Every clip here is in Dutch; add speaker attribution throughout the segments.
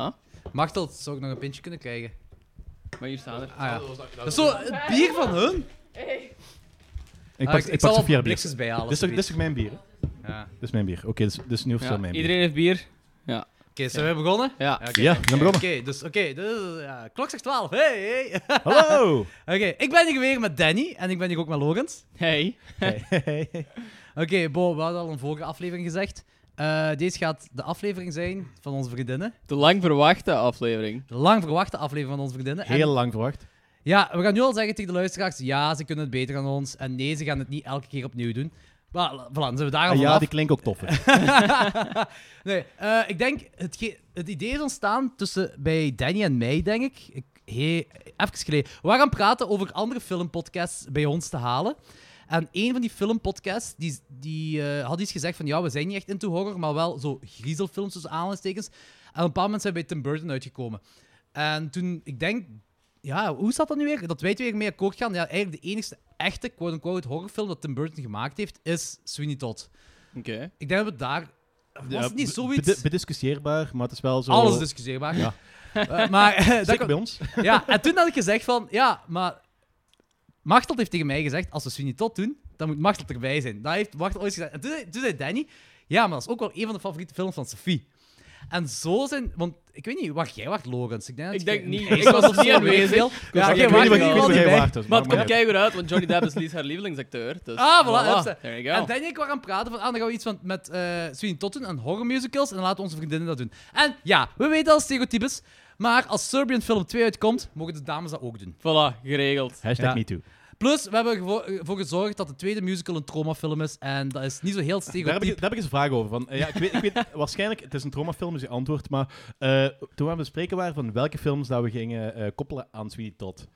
Speaker 1: Ah?
Speaker 2: Machteld, zou ik nog een pintje kunnen krijgen?
Speaker 1: Maar hier staan er.
Speaker 2: Ah ja. Dat is zo het bier van hun.
Speaker 3: Ik
Speaker 2: Ah,
Speaker 3: pak, ik pak
Speaker 2: zal
Speaker 3: Sophia bier.
Speaker 2: blikjes bijhalen.
Speaker 3: Dit is, toch, dit is toch mijn bier? hè?
Speaker 2: alsjeblieft. Ja.
Speaker 3: Dit is mijn bier. Oké, dus, dus nu officieel
Speaker 1: Ja,
Speaker 3: mijn bier.
Speaker 1: iedereen heeft bier.
Speaker 2: Oké, zijn we begonnen?
Speaker 1: Ja.
Speaker 2: Oké.
Speaker 3: Ja, we zijn begonnen.
Speaker 2: Oké, dus oké, dus, ja, klok zegt 12. Hey, hey. oké,
Speaker 3: Hallo!
Speaker 2: ik ben hier weer met Danny en ik ben hier ook met Logans.
Speaker 1: Hey.
Speaker 3: Hey.
Speaker 2: Oké, Bo, we hadden al een vorige aflevering gezegd. Eh, deze gaat de aflevering zijn van onze vriendinnen.
Speaker 1: De lang verwachte aflevering.
Speaker 2: De lang verwachte aflevering van onze vriendinnen. En-
Speaker 3: Heel lang verwacht.
Speaker 2: Ja, we gaan nu al zeggen tegen de luisteraars: ja, ze kunnen het beter dan ons. En nee, ze gaan het niet elke keer opnieuw doen. Maar voilà, dan zijn we daar al
Speaker 3: Ah, ja,
Speaker 2: vanaf.
Speaker 3: die klinkt ook toffer.
Speaker 2: nee, eh, ik denk, het, ge- het idee is ontstaan tussen bij Danny en mij, denk ik. ik he- even geleden. We gaan praten over andere filmpodcasts bij ons te halen. En een van die filmpodcasts die, die, eh, had iets gezegd van ja, we zijn niet echt into horror, maar wel zo griezelfilms tussen aanhalingstekens. En op een bepaald moment zijn we bij Tim Burton uitgekomen. En toen, ik denk, ja, hoe staat dat nu weer? Dat wij twee weer mee akkoord gaan. Ja, eigenlijk de enige echte, quote-unquote, horrorfilm dat Tim Burton gemaakt heeft, is Sweeney Todd.
Speaker 1: Oké.
Speaker 2: Ik denk dat we daar. Was
Speaker 3: Ja,
Speaker 2: het niet
Speaker 3: be-
Speaker 2: zoiets?
Speaker 3: bedi- Bediscussieerbaar, maar het is wel zo...
Speaker 2: Alles is discussieerbaar.
Speaker 3: Ja.
Speaker 2: Eh, maar, eh, dat
Speaker 3: Zeker
Speaker 2: kon-
Speaker 3: bij ons.
Speaker 2: ja, en toen had ik gezegd van, ja, maar... Machteld heeft tegen mij gezegd, als we Sweeney Todd doen, dan moet Machteld erbij zijn. Dat heeft Machteld ooit gezegd. En toen, toen zei Danny, ja, maar dat is ook wel een van de favoriete films van Sophie. En zo zijn... Want ik weet niet waar jij was, Logans. Ik denk, dat
Speaker 1: Ik denk
Speaker 2: jij-
Speaker 1: niet.
Speaker 2: een
Speaker 1: Ik
Speaker 2: ijs
Speaker 1: was nog
Speaker 2: of
Speaker 1: niet
Speaker 2: zo
Speaker 1: aanwezig.
Speaker 2: weet veel.
Speaker 1: was
Speaker 2: Ja,
Speaker 1: nog
Speaker 3: ik
Speaker 2: jij
Speaker 1: niet
Speaker 2: was
Speaker 3: weet niet
Speaker 1: waar ik
Speaker 2: er wel
Speaker 3: wat ik weet
Speaker 2: niet
Speaker 3: niet
Speaker 2: bij.
Speaker 3: waar het was.
Speaker 1: Maar
Speaker 3: Maar
Speaker 1: het komt
Speaker 3: maar-
Speaker 1: kei goed uit, want Johnny Depp is niet haar lievelingsacteur. Dus,
Speaker 2: Ah, voilà,
Speaker 1: voilà.
Speaker 2: hupsa.
Speaker 1: There
Speaker 2: En
Speaker 1: you go.
Speaker 2: Danny en ik waren aan het praten van, ah, dan gaan we iets van, met eh Sweeney Todd doen en horrormusicals en dan laten we onze vriendinnen dat doen. En ja, we weten al stereotypes, maar als Serbian Film 2 uitkomt, mogen de dames dat ook doen.
Speaker 1: Voilà, geregeld.
Speaker 3: Hashtag
Speaker 2: Ja.
Speaker 3: me too.
Speaker 2: Plus, we hebben ervoor ervoor gezorgd dat de tweede musical een traumafilm is en dat is niet zo heel
Speaker 3: Daar heb, ik,
Speaker 2: stereotyp.
Speaker 3: daar heb ik eens een vraag over. Van, eh, ja, ik weet, ik weet, waarschijnlijk, het is een traumafilm, is je antwoord. Maar eh, toen we aan het bespreken waren van welke films dat we gingen eh, koppelen aan Sweeney Todd.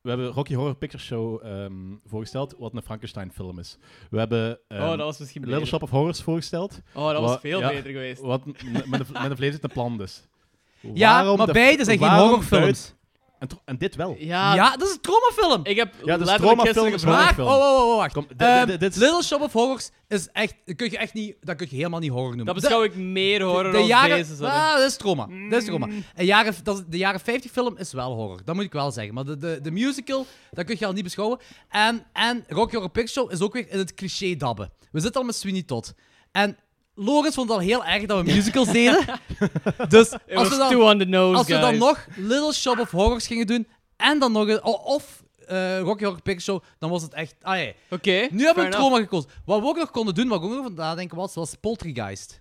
Speaker 3: We hebben Rocky Horror Picture Show ehm, voorgesteld, wat een Frankenstein-film is. We hebben ehm,
Speaker 1: Oh, dat was misschien
Speaker 3: Little
Speaker 1: beter.
Speaker 3: Shop of Horrors voorgesteld,
Speaker 1: Oh, dat was
Speaker 3: Wa-
Speaker 1: veel
Speaker 3: ja.
Speaker 1: beter geweest.
Speaker 3: wat met een, met een vlees uit een plan dus.
Speaker 2: Ja,
Speaker 3: Waarom
Speaker 2: maar
Speaker 3: de-
Speaker 2: beide zijn geen
Speaker 3: waarom
Speaker 2: horrorfilms.
Speaker 3: buiten- En, tro- en dit wel.
Speaker 1: Ja,
Speaker 2: Ja, dat is een traumafilm.
Speaker 1: ik heb
Speaker 3: Ja, dat is
Speaker 1: letterlijk gisteren
Speaker 3: traumafilm,
Speaker 1: gevraagd.
Speaker 3: trauma-
Speaker 2: Maar, oh,
Speaker 3: horrorfilm.
Speaker 2: oh, oh, wacht.
Speaker 3: Kom, dit-
Speaker 2: Ehm,
Speaker 3: dit- dit is-
Speaker 2: Little Shop of Horrors is echt, dat kun je echt niet, dat kun je helemaal niet horror noemen.
Speaker 1: Dat
Speaker 2: De-
Speaker 1: beschouw ik meer horror
Speaker 2: de
Speaker 1: dan
Speaker 2: jaren,
Speaker 1: deze. sorry. Mm.
Speaker 2: ah, dat is trauma. Dat is trauma. En jaren, dat is- de jaren 50 film is wel horror. Dat moet ik wel zeggen. Maar de, de, de musical, dat kun je al niet beschouwen. En, en Rocky Horror Picture Show is ook weer in het cliché dabben. We zitten al met Sweeney Todd. En Lorenz vond het al heel erg dat we musicals deden. dus
Speaker 1: It
Speaker 2: als we
Speaker 1: was
Speaker 2: dan,
Speaker 1: too on the nose,
Speaker 2: als we dan
Speaker 1: guys.
Speaker 2: nog Little Shop of Horrors gingen doen en dan nog een, o- of eh, Rocky Horror Picture Show, dan was het echt... Ah, ja.
Speaker 1: Oké,
Speaker 2: Nu hebben we
Speaker 1: fair
Speaker 2: een trauma gekozen. Wat we ook nog konden doen, wat ik ook nog van nadenken was, was Poltergeist.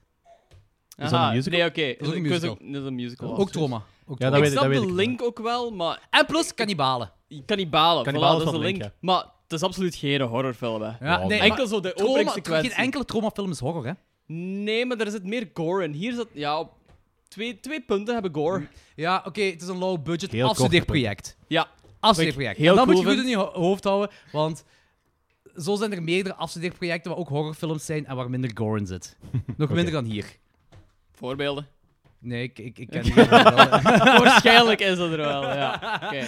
Speaker 1: enough.
Speaker 3: Is dat een
Speaker 1: Aha,
Speaker 3: musical?
Speaker 1: Nee, oké.
Speaker 2: is ook een
Speaker 1: Ik was
Speaker 2: musical.
Speaker 1: ook- Dat is een musical.
Speaker 2: Ook trauma. Ook
Speaker 3: Ja,
Speaker 2: trauma.
Speaker 3: dat
Speaker 1: ik
Speaker 3: weet ik,
Speaker 1: snap
Speaker 3: dat weet
Speaker 1: de
Speaker 3: ik.
Speaker 1: link ook wel, maar
Speaker 2: En plus kannibalen.
Speaker 1: je kan niet balen. Kan
Speaker 3: Kan niet
Speaker 1: voilà,
Speaker 3: balen
Speaker 1: dat is
Speaker 3: van
Speaker 1: de
Speaker 3: link,
Speaker 1: link. Maar het is absoluut geen horrorfilm, hè.
Speaker 2: Ja,
Speaker 3: Wow,
Speaker 2: nee,
Speaker 3: man.
Speaker 2: maar
Speaker 1: Enkel zo de
Speaker 2: trauma-
Speaker 1: openingssequentie.
Speaker 2: Geen enkele traumafilm is horror, hè?
Speaker 1: Nee, maar er zit meer gore in. Hier zat... Ja, op twee, twee punten hebben gore.
Speaker 2: Ja, oké, het is een low-budget
Speaker 3: Heel kort
Speaker 2: afstudeerproject.
Speaker 1: Ja.
Speaker 2: Afstudeerproject.
Speaker 1: Wat ik heel
Speaker 2: En dat
Speaker 1: cool
Speaker 2: moet je goed in
Speaker 1: vind-
Speaker 2: je ho- hoofd houden, want zo zijn er meerdere afstudeerprojecten waar ook horrorfilms zijn en waar minder gore in zit. Nog minder dan hier.
Speaker 1: Voorbeelden.
Speaker 2: Nee, ik, ik, ik ken die wel.
Speaker 1: Waarschijnlijk is dat er wel, ja. Oké.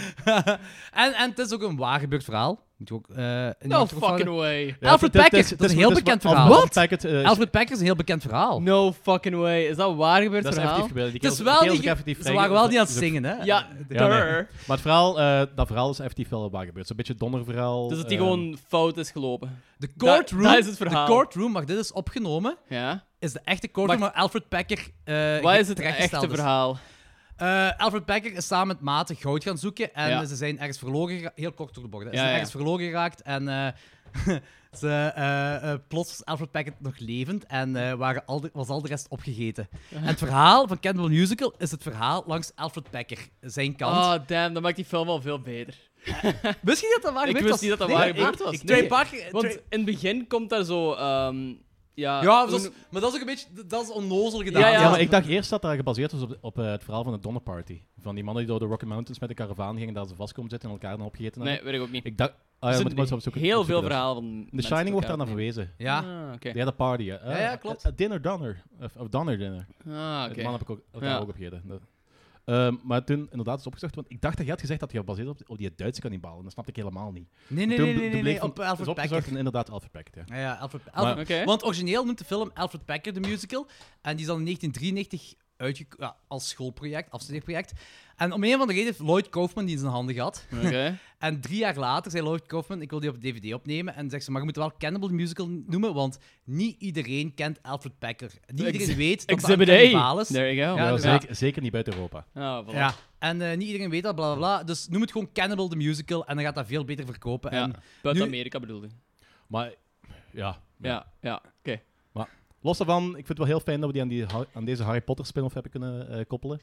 Speaker 2: en, en het is ook een waargebeurd verhaal. Moet je ook, eh, in je
Speaker 1: No
Speaker 2: achterhoofd
Speaker 1: Oh, fucking
Speaker 2: houden.
Speaker 1: way.
Speaker 3: Ja,
Speaker 2: Alfred
Speaker 3: dit- dit-
Speaker 2: Packard,
Speaker 3: dit
Speaker 2: dat is een heel bekend
Speaker 3: Alfred
Speaker 2: verhaal. Wat?
Speaker 3: Packard, eh, is-
Speaker 2: Alfred Packard is een heel bekend verhaal.
Speaker 1: No fucking way. Is dat waar gebeurd
Speaker 3: dat is
Speaker 1: verhaal?
Speaker 3: effectief gebeurd. Die
Speaker 2: Het is wel
Speaker 3: kerels- die kerels
Speaker 2: niet,
Speaker 3: ook
Speaker 2: ge-
Speaker 3: effectief
Speaker 2: ze waren wel
Speaker 3: vrijge-
Speaker 2: niet aan
Speaker 3: ze-
Speaker 2: het zingen, hè?
Speaker 1: Ja,
Speaker 3: Ja, nee.
Speaker 1: durr.
Speaker 3: Maar het verhaal, eh, dat verhaal is effectief wel waar gebeurd. Zo'n beetje het donderverhaal.
Speaker 1: Dus dat die
Speaker 3: ehm,
Speaker 1: gewoon fout is gelopen.
Speaker 2: De courtroom,
Speaker 1: dat is het
Speaker 2: de
Speaker 1: verhaal.
Speaker 2: courtroom, maar dit is opgenomen,
Speaker 1: Ja?
Speaker 2: is de echte courtroom waar Alfred Packer eh
Speaker 1: Wat is het
Speaker 2: terechtgesteld
Speaker 1: echte
Speaker 2: is.
Speaker 1: verhaal?
Speaker 2: Eh, Alfred Packer is samen met maten goud gaan zoeken en
Speaker 1: Ja.
Speaker 2: ze zijn ergens verloren gera- Heel kort door de bocht. hè. Ze
Speaker 1: Ja,
Speaker 2: zijn
Speaker 1: ja.
Speaker 2: ergens verloren geraakt en eh, ze, eh, eh, plots was Alfred Packer nog levend en eh, waren al de- was al de rest opgegeten. En het verhaal van Cannibal Musical is het verhaal langs Alfred Packer, zijn kant.
Speaker 1: Oh, damn. Dat maakt die film al veel beter.
Speaker 2: wist je niet dat dat waar
Speaker 1: Ik
Speaker 2: gebeurd
Speaker 1: wist
Speaker 2: was?
Speaker 1: niet dat dat
Speaker 2: Nee,
Speaker 1: waar
Speaker 2: ik-
Speaker 1: gebeurd was.
Speaker 2: ik- Trey
Speaker 1: Nee.
Speaker 2: Parker...
Speaker 1: Want
Speaker 2: Eh, Trey-
Speaker 1: in het begin komt daar zo. ehm, ja,
Speaker 2: ja,
Speaker 1: hoe
Speaker 2: dat is-
Speaker 1: noem-
Speaker 2: maar dat is ook een beetje... Dat is onnozel gedaan.
Speaker 1: Ja,
Speaker 3: Ja,
Speaker 1: ja.
Speaker 3: maar ik dacht eerst dat dat gebaseerd was op, op eh, het verhaal van de Donner Party. Van die mannen die door de Rocky Mountains met de karavaan gingen, daar ze vast komen zitten en elkaar dan opgegeten
Speaker 1: nee,
Speaker 3: hebben.
Speaker 1: weet ik ook niet.
Speaker 3: Ik dacht... Ah,
Speaker 1: Er
Speaker 3: ja,
Speaker 1: zit
Speaker 3: moet ik maar eens opzoeken.
Speaker 1: heel
Speaker 3: Opzoeken
Speaker 1: veel
Speaker 3: dus.
Speaker 1: verhaal van.
Speaker 3: The Shining wordt daar naar verwezen.
Speaker 2: Ja.
Speaker 1: Ah, oké.
Speaker 3: Ja, de party. hè. Eh,
Speaker 2: Ja, ja, klopt.
Speaker 3: eh, Dinner Donner. Of, of Donner Dinner.
Speaker 1: Ah,
Speaker 3: De
Speaker 1: oké.
Speaker 3: man heb ik ook, elkaar
Speaker 1: Ja.
Speaker 3: ook opgegeten. Dat- Ehm, maar toen inderdaad is opgezocht, want ik dacht dat je had gezegd dat je gebaseerd op, op die Duitse kannibalen. Dat snapte ik helemaal niet.
Speaker 2: Nee, nee,
Speaker 3: toen,
Speaker 2: nee,
Speaker 3: toen
Speaker 2: nee, nee,
Speaker 3: bleek
Speaker 2: nee,
Speaker 3: van-
Speaker 2: op
Speaker 3: is
Speaker 2: Alfred
Speaker 3: opgezocht
Speaker 2: Packer.
Speaker 3: en inderdaad Alfred Packard, ja.
Speaker 2: Ja, ja, Alfred, Alfred-
Speaker 1: Oké.
Speaker 2: Want origineel noemt de film Alfred Packer de Musical. En die is dan in 1993 uitge- ja, als schoolproject, afstudeerproject. En om een van de reden heeft Lloyd Kaufman die in zijn handen gehad.
Speaker 1: Oké.
Speaker 2: En drie jaar later zei Lloyd Kaufman, ik wil die op DVD opnemen. En zegt ze, maar je moet wel Cannibal the Musical noemen, want niet iedereen kent Alfred Packer. Niet
Speaker 1: Ex-
Speaker 2: iedereen weet dat dat een
Speaker 1: Exhibit A.
Speaker 2: kannibaal is.
Speaker 1: There you go.
Speaker 2: Ja,
Speaker 3: Ja,
Speaker 2: dus-
Speaker 3: zeker, zeker niet buiten Europa.
Speaker 1: Ah, voilà.
Speaker 2: Ja. En eh, niet iedereen weet dat, bla bla bla. Dus noem het gewoon Cannibal the Musical en dan gaat dat veel beter verkopen.
Speaker 1: Ja.
Speaker 2: En
Speaker 1: Buiten
Speaker 2: Nu-
Speaker 1: Amerika bedoelde.
Speaker 3: Maar ja,
Speaker 1: Ja, ja. Oké.
Speaker 3: Los daarvan, ik vind het wel heel fijn dat we die aan, die, Har- aan deze Harry Potter spin-off hebben kunnen eh, koppelen.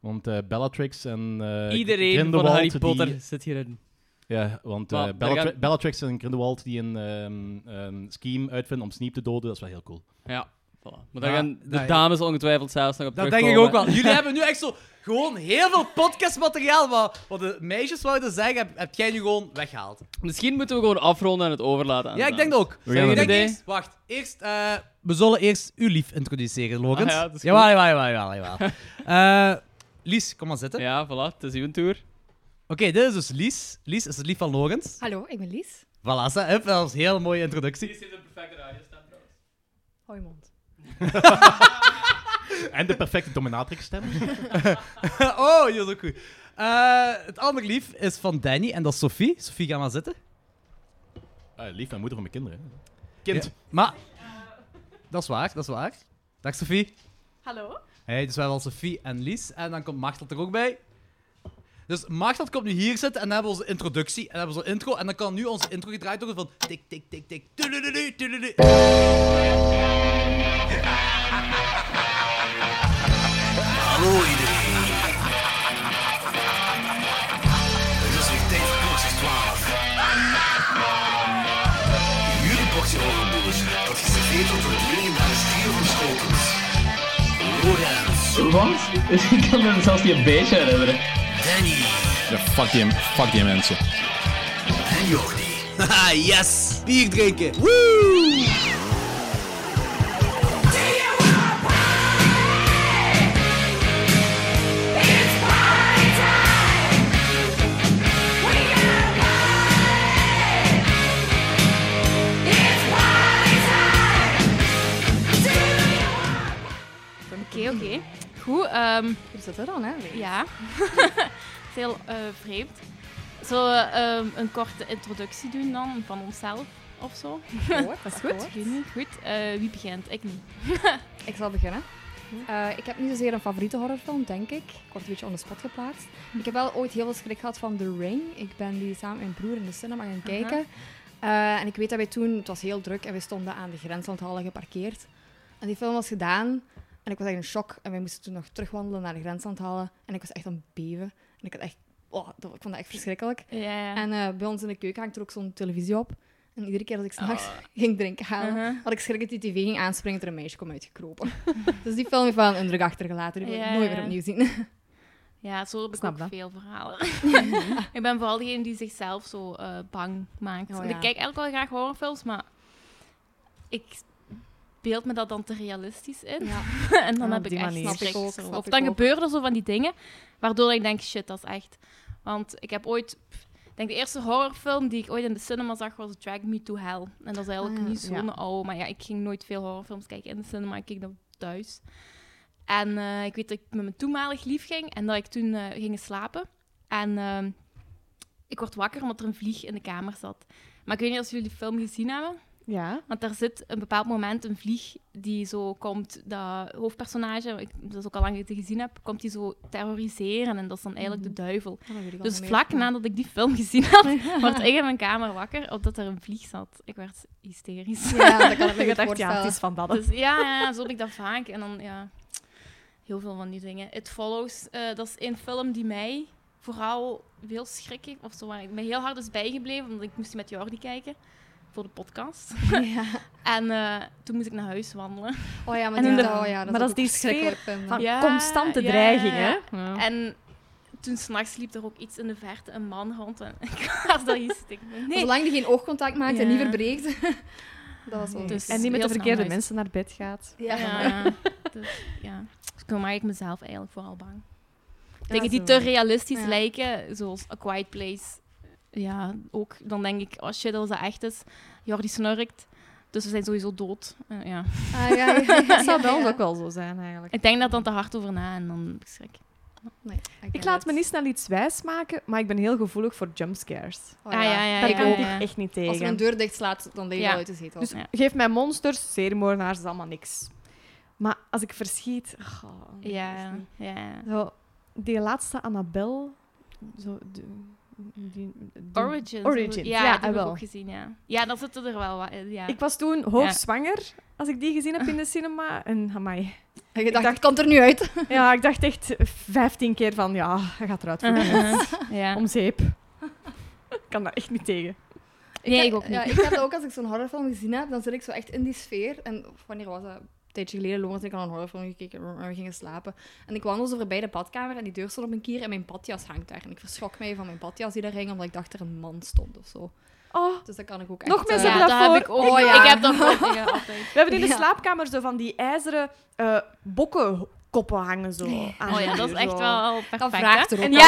Speaker 3: Want eh, Bellatrix en eh,
Speaker 1: Iedereen van
Speaker 3: Grindelwald,
Speaker 1: Harry
Speaker 3: die-
Speaker 1: Potter zit hierin.
Speaker 3: ja, want eh,
Speaker 1: Maar daar
Speaker 3: Bellatri-
Speaker 1: gaan-
Speaker 3: Bellatrix en Grindelwald die een ehm, een scheme uitvinden om Sneep te doden, dat is wel heel cool.
Speaker 1: Ja. Voilà. Maar daar
Speaker 2: Ja,
Speaker 1: gaan de
Speaker 2: nee.
Speaker 1: dames ongetwijfeld zelfs nog op
Speaker 2: dat denk
Speaker 1: terugkomen.
Speaker 2: ik ook wel. Jullie hebben nu echt zo gewoon heel veel podcastmateriaal. Wat, wat de meisjes wouden zeggen, heb, heb jij nu gewoon weggehaald.
Speaker 1: Misschien moeten we gewoon afronden en het overlaten aan
Speaker 2: ja,
Speaker 1: de
Speaker 2: ik denk dat
Speaker 1: dames.
Speaker 2: ook.
Speaker 3: We gaan
Speaker 1: dat
Speaker 2: ik denk
Speaker 1: doen.
Speaker 2: eerst, wacht, eerst, eh, we zullen eerst uw lief introduceren, Lorenz.
Speaker 1: Ah ja, dat is goed.
Speaker 2: jawel, jawel, jawel, jawel, jawel. Eh, Lies, kom maar zitten.
Speaker 1: Ja, voilà. Het is uw tour.
Speaker 2: Oké, dit is dus Lies. Lies is het lief van Lorenz.
Speaker 4: Hallo, ik ben Lies.
Speaker 2: Voilà, ze- hup, dat was een hele mooie introductie.
Speaker 1: heeft een perfecte radiostem trouwens.
Speaker 4: Hoi mond.
Speaker 3: En de perfecte dominatrix stem.
Speaker 2: oh, die was ook goed. Eh, het andere lief is van Danny en dat is Sophie. Sophie, ga maar zitten.
Speaker 3: Ah, lief en moeder van mijn kinderen. hè. Kind.
Speaker 2: Ja, maar... Dat is waar, dat is waar. Dag Sophie.
Speaker 4: Hallo.
Speaker 2: Hey, dus we hebben al Sophie en Lies. En dan komt Machteld er ook bij. Dus Machteld komt nu hier zitten en dan hebben we onze introductie. En dan hebben we onze intro. En dan kan nu onze intro gedraaid worden van... Tik, tik, tik, tik. tudududu, tududu.
Speaker 5: Hallo iedereen. Het is weer tijd voor boxjes 12. Jullie boxje overboers, dat is gegeven door de legendarische stier van Schotens. Lorenz,
Speaker 6: Want ik kan me zelfs niet een beetje herinneren.
Speaker 5: Danny
Speaker 3: Ja, fuck die, fuck die mensen.
Speaker 5: en Jordi.
Speaker 2: Haha, Ah, yes! Bier drinken.
Speaker 4: Oké, oké. Goed, ehm, hier zitten we dan, hè? Ja. Het is heel eh, vreemd. Zullen we ehm, een korte introductie doen dan van onszelf of zo?
Speaker 7: Dat is
Speaker 4: Ik weet niet. Goed, eh, wie begint? Ik niet.
Speaker 7: Ik zal beginnen. Eh, ik heb niet zozeer een favoriete horrorfilm, denk ik. Ik word een beetje on the spot geplaatst.
Speaker 4: Hm.
Speaker 7: Ik heb wel ooit heel veel schrik gehad van The Ring. Ik ben die samen met mijn broer in de cinema gaan kijken. Eh, en ik weet dat wij toen, het was heel druk en wij stonden aan de grens van het Halle geparkeerd. En die film was gedaan en ik was echt in shock. En wij moesten toen nog terugwandelen naar de grens van het Halle. En ik was echt aan het beven. En ik, had echt, oh, dat, ik vond dat echt verschrikkelijk.
Speaker 4: Ja, ja.
Speaker 7: En eh, bij ons in de keuken hangt er ook zo'n televisie op. En iedere keer als ik s'nachts
Speaker 4: Ah.
Speaker 7: ging drinken halen,
Speaker 4: Uh-huh.
Speaker 7: had ik schrik dat die tv ging aanspringen, dat er een meisje kwam uitgekropen. dus die film heeft wel een indruk achtergelaten. Die wil ik
Speaker 4: Ja,
Speaker 7: nooit
Speaker 4: ja.
Speaker 7: meer opnieuw zien.
Speaker 4: Ja, zo heb ik
Speaker 7: Snap
Speaker 4: ook
Speaker 7: dat.
Speaker 4: veel verhalen. ik ben vooral degene die zichzelf zo eh, bang maakt.
Speaker 7: Oh,
Speaker 4: Want
Speaker 7: ja.
Speaker 4: Ik kijk eigenlijk wel graag horrorfilms, maar ik beeld me dat dan te realistisch in.
Speaker 7: Ja.
Speaker 4: en dan
Speaker 7: Ja,
Speaker 4: heb
Speaker 7: op
Speaker 4: ik
Speaker 7: die
Speaker 4: echt
Speaker 7: manier.
Speaker 4: schrik.
Speaker 7: Snap ik ook,
Speaker 4: zo.
Speaker 7: snap
Speaker 4: Of
Speaker 7: ik
Speaker 4: dan
Speaker 7: ook.
Speaker 4: gebeuren er zo van die dingen, waardoor ik denk, shit, dat is echt... Want ik heb ooit... pff, Ik denk de eerste horrorfilm die ik ooit in de cinema zag was Drag Me to Hell. En dat is eigenlijk
Speaker 7: Ah, ja.
Speaker 4: niet zo'n
Speaker 7: Ja.
Speaker 4: oude, maar ja, ik ging nooit veel horrorfilms kijken in de cinema. Ik keek dat thuis. En eh, ik weet dat ik met mijn toenmalig lief ging en dat ik toen eh, ging slapen. En ehm, ik word wakker omdat er een vlieg in de kamer zat. Maar ik weet niet of jullie de film gezien hebben.
Speaker 7: Ja.
Speaker 4: Want daar zit een bepaald moment een vlieg die zo komt, dat hoofdpersonage, ik, dat is ook al lang dat ik het gezien heb, komt die zo terroriseren en dat is dan eigenlijk
Speaker 7: Mhm.
Speaker 4: de duivel. Dus vlak nadat ik die film gezien had, word ik in mijn kamer wakker omdat er een vlieg zat. Ik werd hysterisch.
Speaker 7: Ja, dat kan ik me
Speaker 4: Ik
Speaker 7: goed
Speaker 4: dacht,
Speaker 7: voorstellen.
Speaker 4: ja,
Speaker 7: Ja,
Speaker 4: het
Speaker 7: is van dat.
Speaker 4: Dus ja, ja, ja, zo heb ik dat vaak. En dan, ja, heel veel van die dingen. It Follows, eh, dat is een film die mij vooral veel schrik heeft. Of zo, waar ik me heel hard is bijgebleven, want ik moest die met Jordi kijken. Voor de podcast. En eh, toen moest ik naar huis wandelen.
Speaker 7: Oh ja, maar,
Speaker 8: En
Speaker 7: die,
Speaker 8: in de-
Speaker 7: oh, ja, dat
Speaker 8: maar dat
Speaker 7: ook
Speaker 8: is die
Speaker 7: verschrikkelijk film.
Speaker 8: Van
Speaker 4: Ja,
Speaker 8: constante
Speaker 4: ja,
Speaker 8: dreiging,
Speaker 4: ja.
Speaker 8: hè?
Speaker 4: En toen s'nachts liep er ook iets in de verte, een man rond. En ik was daar iets. ik dacht, Nee.
Speaker 7: Zolang die geen oogcontact maakt en
Speaker 4: Ja.
Speaker 7: niet verbreekt. dat was wel
Speaker 4: Dus-
Speaker 8: en die met
Speaker 4: heel
Speaker 8: de verkeerde
Speaker 4: snel
Speaker 8: mensen naar bed gaat.
Speaker 7: Ja.
Speaker 4: Ja, ja. Dus, ja. Dus toen maak ik mezelf eigenlijk vooral bang. Dingen die
Speaker 8: zo.
Speaker 4: te realistisch
Speaker 7: Ah, Ja.
Speaker 4: lijken, zoals A Quiet oh Place. Ja, ook dan denk ik, als je dat dat echt is, Jordi snurkt. Dus we zijn sowieso dood. Eh, ja.
Speaker 7: Ah, ja, ja, ja,
Speaker 8: Dat zou bij
Speaker 7: ja,
Speaker 8: ons
Speaker 7: ja.
Speaker 8: ook wel zo zijn, eigenlijk.
Speaker 4: Ik denk dat dan te hard over na en dan heb ik schrik.
Speaker 7: Nee, I
Speaker 8: Ik
Speaker 7: get
Speaker 8: laat
Speaker 7: it.
Speaker 8: me niet snel iets wijs maken, maar ik ben heel gevoelig voor jumpscares.
Speaker 7: Oh,
Speaker 4: Ah, ja, ja,
Speaker 8: Daar
Speaker 4: ik
Speaker 8: kan
Speaker 4: ook.
Speaker 8: ik
Speaker 4: Ja.
Speaker 8: echt niet
Speaker 7: Als
Speaker 8: tegen.
Speaker 7: er een deur dicht slaat, dan lig je
Speaker 4: Ja.
Speaker 7: wel uit de zetel.
Speaker 8: Dus
Speaker 4: Ja.
Speaker 8: geef mij monsters, seriemoordenaars, dat is allemaal niks. Maar als ik verschiet... goh, dat is
Speaker 4: Ja,
Speaker 8: niet-
Speaker 4: ja.
Speaker 8: Zo, die laatste Annabelle... Zo, de, die, die-
Speaker 4: Origins.
Speaker 8: Origins,
Speaker 4: Ja,
Speaker 8: ja,
Speaker 4: dat heb ik
Speaker 8: jawel.
Speaker 4: ook gezien, ja. Ja, dan zitten er wel wat in, ja.
Speaker 8: Ik was toen hoogzwanger, als ik die gezien heb in de cinema. En amai.
Speaker 7: En je dacht,
Speaker 8: dacht-
Speaker 7: het komt er nu uit.
Speaker 8: Ja, ik dacht echt 15 keer van, ja, hij gaat eruit voor
Speaker 4: Uh-huh.
Speaker 8: de
Speaker 4: ja.
Speaker 8: om zeep. Ik kan daar echt niet tegen.
Speaker 4: Nee, ik
Speaker 7: heb-
Speaker 4: ook niet.
Speaker 7: Ja, ik heb dat ook als ik zo'n horrorfilm gezien heb, dan zit ik zo echt in die sfeer. En of wanneer was dat? Een tijdje geleden, Lorenz en ik aan een horrorfilm gekeken en we gingen slapen. En ik wandelde zo voorbij de badkamer en die deur stond op een kier en mijn badjas hangt daar. En ik verschrok mij van mijn badjas die daar hing, omdat ik dacht er een man stond of zo.
Speaker 8: Oh,
Speaker 7: Dus dat kan ik ook echt...
Speaker 8: Nog mensen
Speaker 7: eh,
Speaker 8: hebben dat voor.
Speaker 4: heb ik ook.
Speaker 7: Oh, ja.
Speaker 4: Ik heb dat ook ja, altijd.
Speaker 8: we hebben in de
Speaker 7: Ja.
Speaker 8: slaapkamer zo van die ijzeren eh bokkenkoppen hangen. Zo, aan
Speaker 4: Oh
Speaker 8: de
Speaker 4: ja, dat is
Speaker 8: muur,
Speaker 4: echt
Speaker 8: zo.
Speaker 4: wel perfect,
Speaker 7: Dat
Speaker 4: hè?
Speaker 7: vraagt er ook
Speaker 8: En
Speaker 7: aan.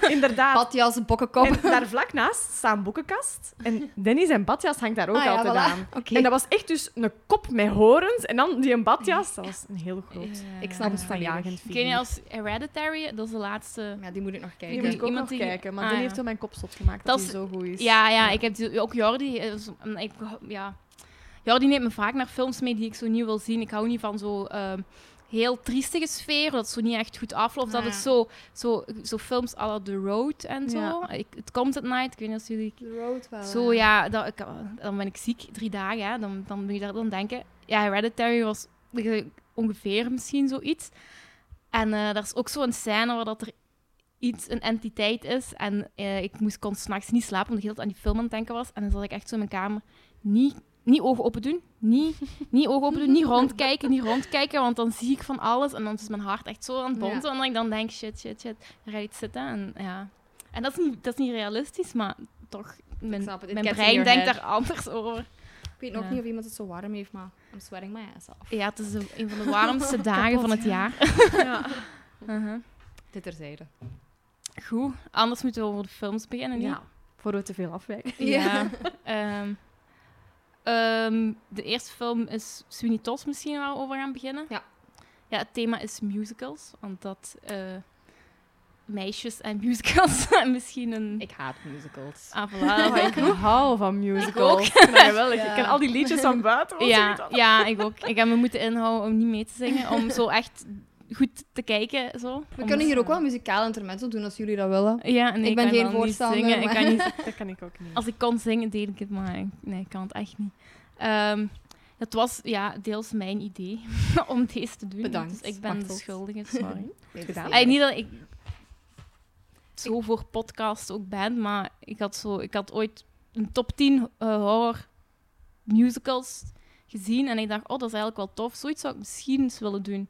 Speaker 8: ja, inderdaad.
Speaker 7: Badjas, bokkenkop.
Speaker 8: En daar vlak naast staan boekenkast. En Denny zijn badjas hangt daar ook
Speaker 7: Ah ja,
Speaker 8: altijd
Speaker 7: voilà.
Speaker 8: aan.
Speaker 7: Oké.
Speaker 8: En dat was echt dus een kop met horens. En dan die een badjas. Dat was een heel groot.
Speaker 4: Ja.
Speaker 7: Ik snap het
Speaker 8: van
Speaker 7: volledig.
Speaker 4: Ken je als Hereditary? Dat is de laatste...
Speaker 7: Ja, die moet ik nog kijken.
Speaker 8: Die moet ik ook
Speaker 4: Iemand
Speaker 8: nog
Speaker 4: die-
Speaker 8: kijken, maar
Speaker 4: Ah,
Speaker 8: die
Speaker 4: ja.
Speaker 8: heeft wel mijn kop zot
Speaker 4: Dat
Speaker 8: gemaakt dat, die
Speaker 4: is-
Speaker 8: zo goed is.
Speaker 4: Ja, ja, ik heb die- ook Jordi. eh, is- mm, Ik, ja. Jordi neemt me vaak naar films mee die ik zo niet wil zien. Ik hou niet van zo ehm, heel triestige sfeer, dat het zo niet echt goed afloopt. Dat
Speaker 7: Ah,
Speaker 4: het
Speaker 7: ja.
Speaker 4: zo, zo, zo films à la The Road en zo.
Speaker 8: Ja.
Speaker 4: Ik, het komt at night, ik weet niet of jullie...
Speaker 7: The Road wel.
Speaker 4: Zo ja, dat, ik, dan ben ik ziek, drie dagen. Hè, dan, dan moet je daar dan denken. Ja, Hereditary was ge- ongeveer misschien zoiets. En eh er is ook zo'n scène waar dat er iets, een entiteit is. En eh, ik moest, kon s'nachts niet slapen, omdat ik heel de tijd aan die film aan het denken was. En dan zat ik echt zo in mijn kamer, niet, niet ogen open doen, niet, niet ogen open doen, niet rondkijken, niet rondkijken. Want dan zie ik van alles en dan is mijn hart echt zo aan het
Speaker 7: Ja.
Speaker 4: bonzen. En dan ik dan denk, shit, shit, shit, er gaat iets zitten. En, ja. en dat, is niet, dat is niet realistisch, maar toch, mijn,
Speaker 7: snap het, it
Speaker 4: mijn
Speaker 7: gets in
Speaker 4: brein
Speaker 7: your
Speaker 4: denkt
Speaker 7: head.
Speaker 4: daar anders over.
Speaker 7: Ik weet nog
Speaker 4: Ja.
Speaker 7: niet of iemand het zo warm heeft, maar I'm sweating my ass off.
Speaker 4: Ja, het is een, een van de warmste dagen van het jaar. Uh-huh.
Speaker 7: Dit terzijde.
Speaker 4: Goed, anders moeten we over de films beginnen. niet?
Speaker 8: Ja, voor we te veel afwijken.
Speaker 4: Ja. Ehm, ehm, de eerste film is Sweeney Todd misschien waar we over gaan beginnen.
Speaker 7: Ja.
Speaker 4: Ja, het thema is musicals, want dat eh, meisjes en musicals misschien een...
Speaker 7: Ik haat musicals.
Speaker 4: Ah, voilà.
Speaker 8: Oh, ik hou van musicals. Ik vind dat geweldig. Ik ken al die liedjes van buiten. wat ze niet
Speaker 4: Ja,
Speaker 8: hadden.
Speaker 4: ja, ik ook. Ik heb me moeten inhouden om niet mee te zingen, om zo echt goed te kijken. Zo.
Speaker 7: We kunnen hier ook wel een muzikaal intermezzo doen als jullie dat willen.
Speaker 4: Ja, nee,
Speaker 7: Ik
Speaker 4: ik
Speaker 7: ben
Speaker 4: kan
Speaker 7: geen
Speaker 4: wel niet
Speaker 7: voorstander,
Speaker 4: zingen. Ik
Speaker 7: maar-
Speaker 4: kan niet,
Speaker 8: Dat kan ik ook niet.
Speaker 4: als ik kon zingen, deed ik het, maar ik- nee, ik kan het echt niet. Ehm, het was ja, deels mijn idee om deze te doen.
Speaker 7: Bedankt, Ah.
Speaker 4: Dus ik ben de
Speaker 7: Machteld.
Speaker 4: schuldige, sorry.
Speaker 7: Nee,
Speaker 8: gedaan.
Speaker 4: Eigenlijk niet dat ik zo voor podcast ook ben, maar ik had, zo, ik had ooit een top 10 eh, horror musicals gezien. En ik dacht, oh, dat is eigenlijk wel tof. Zoiets zou ik misschien eens willen doen.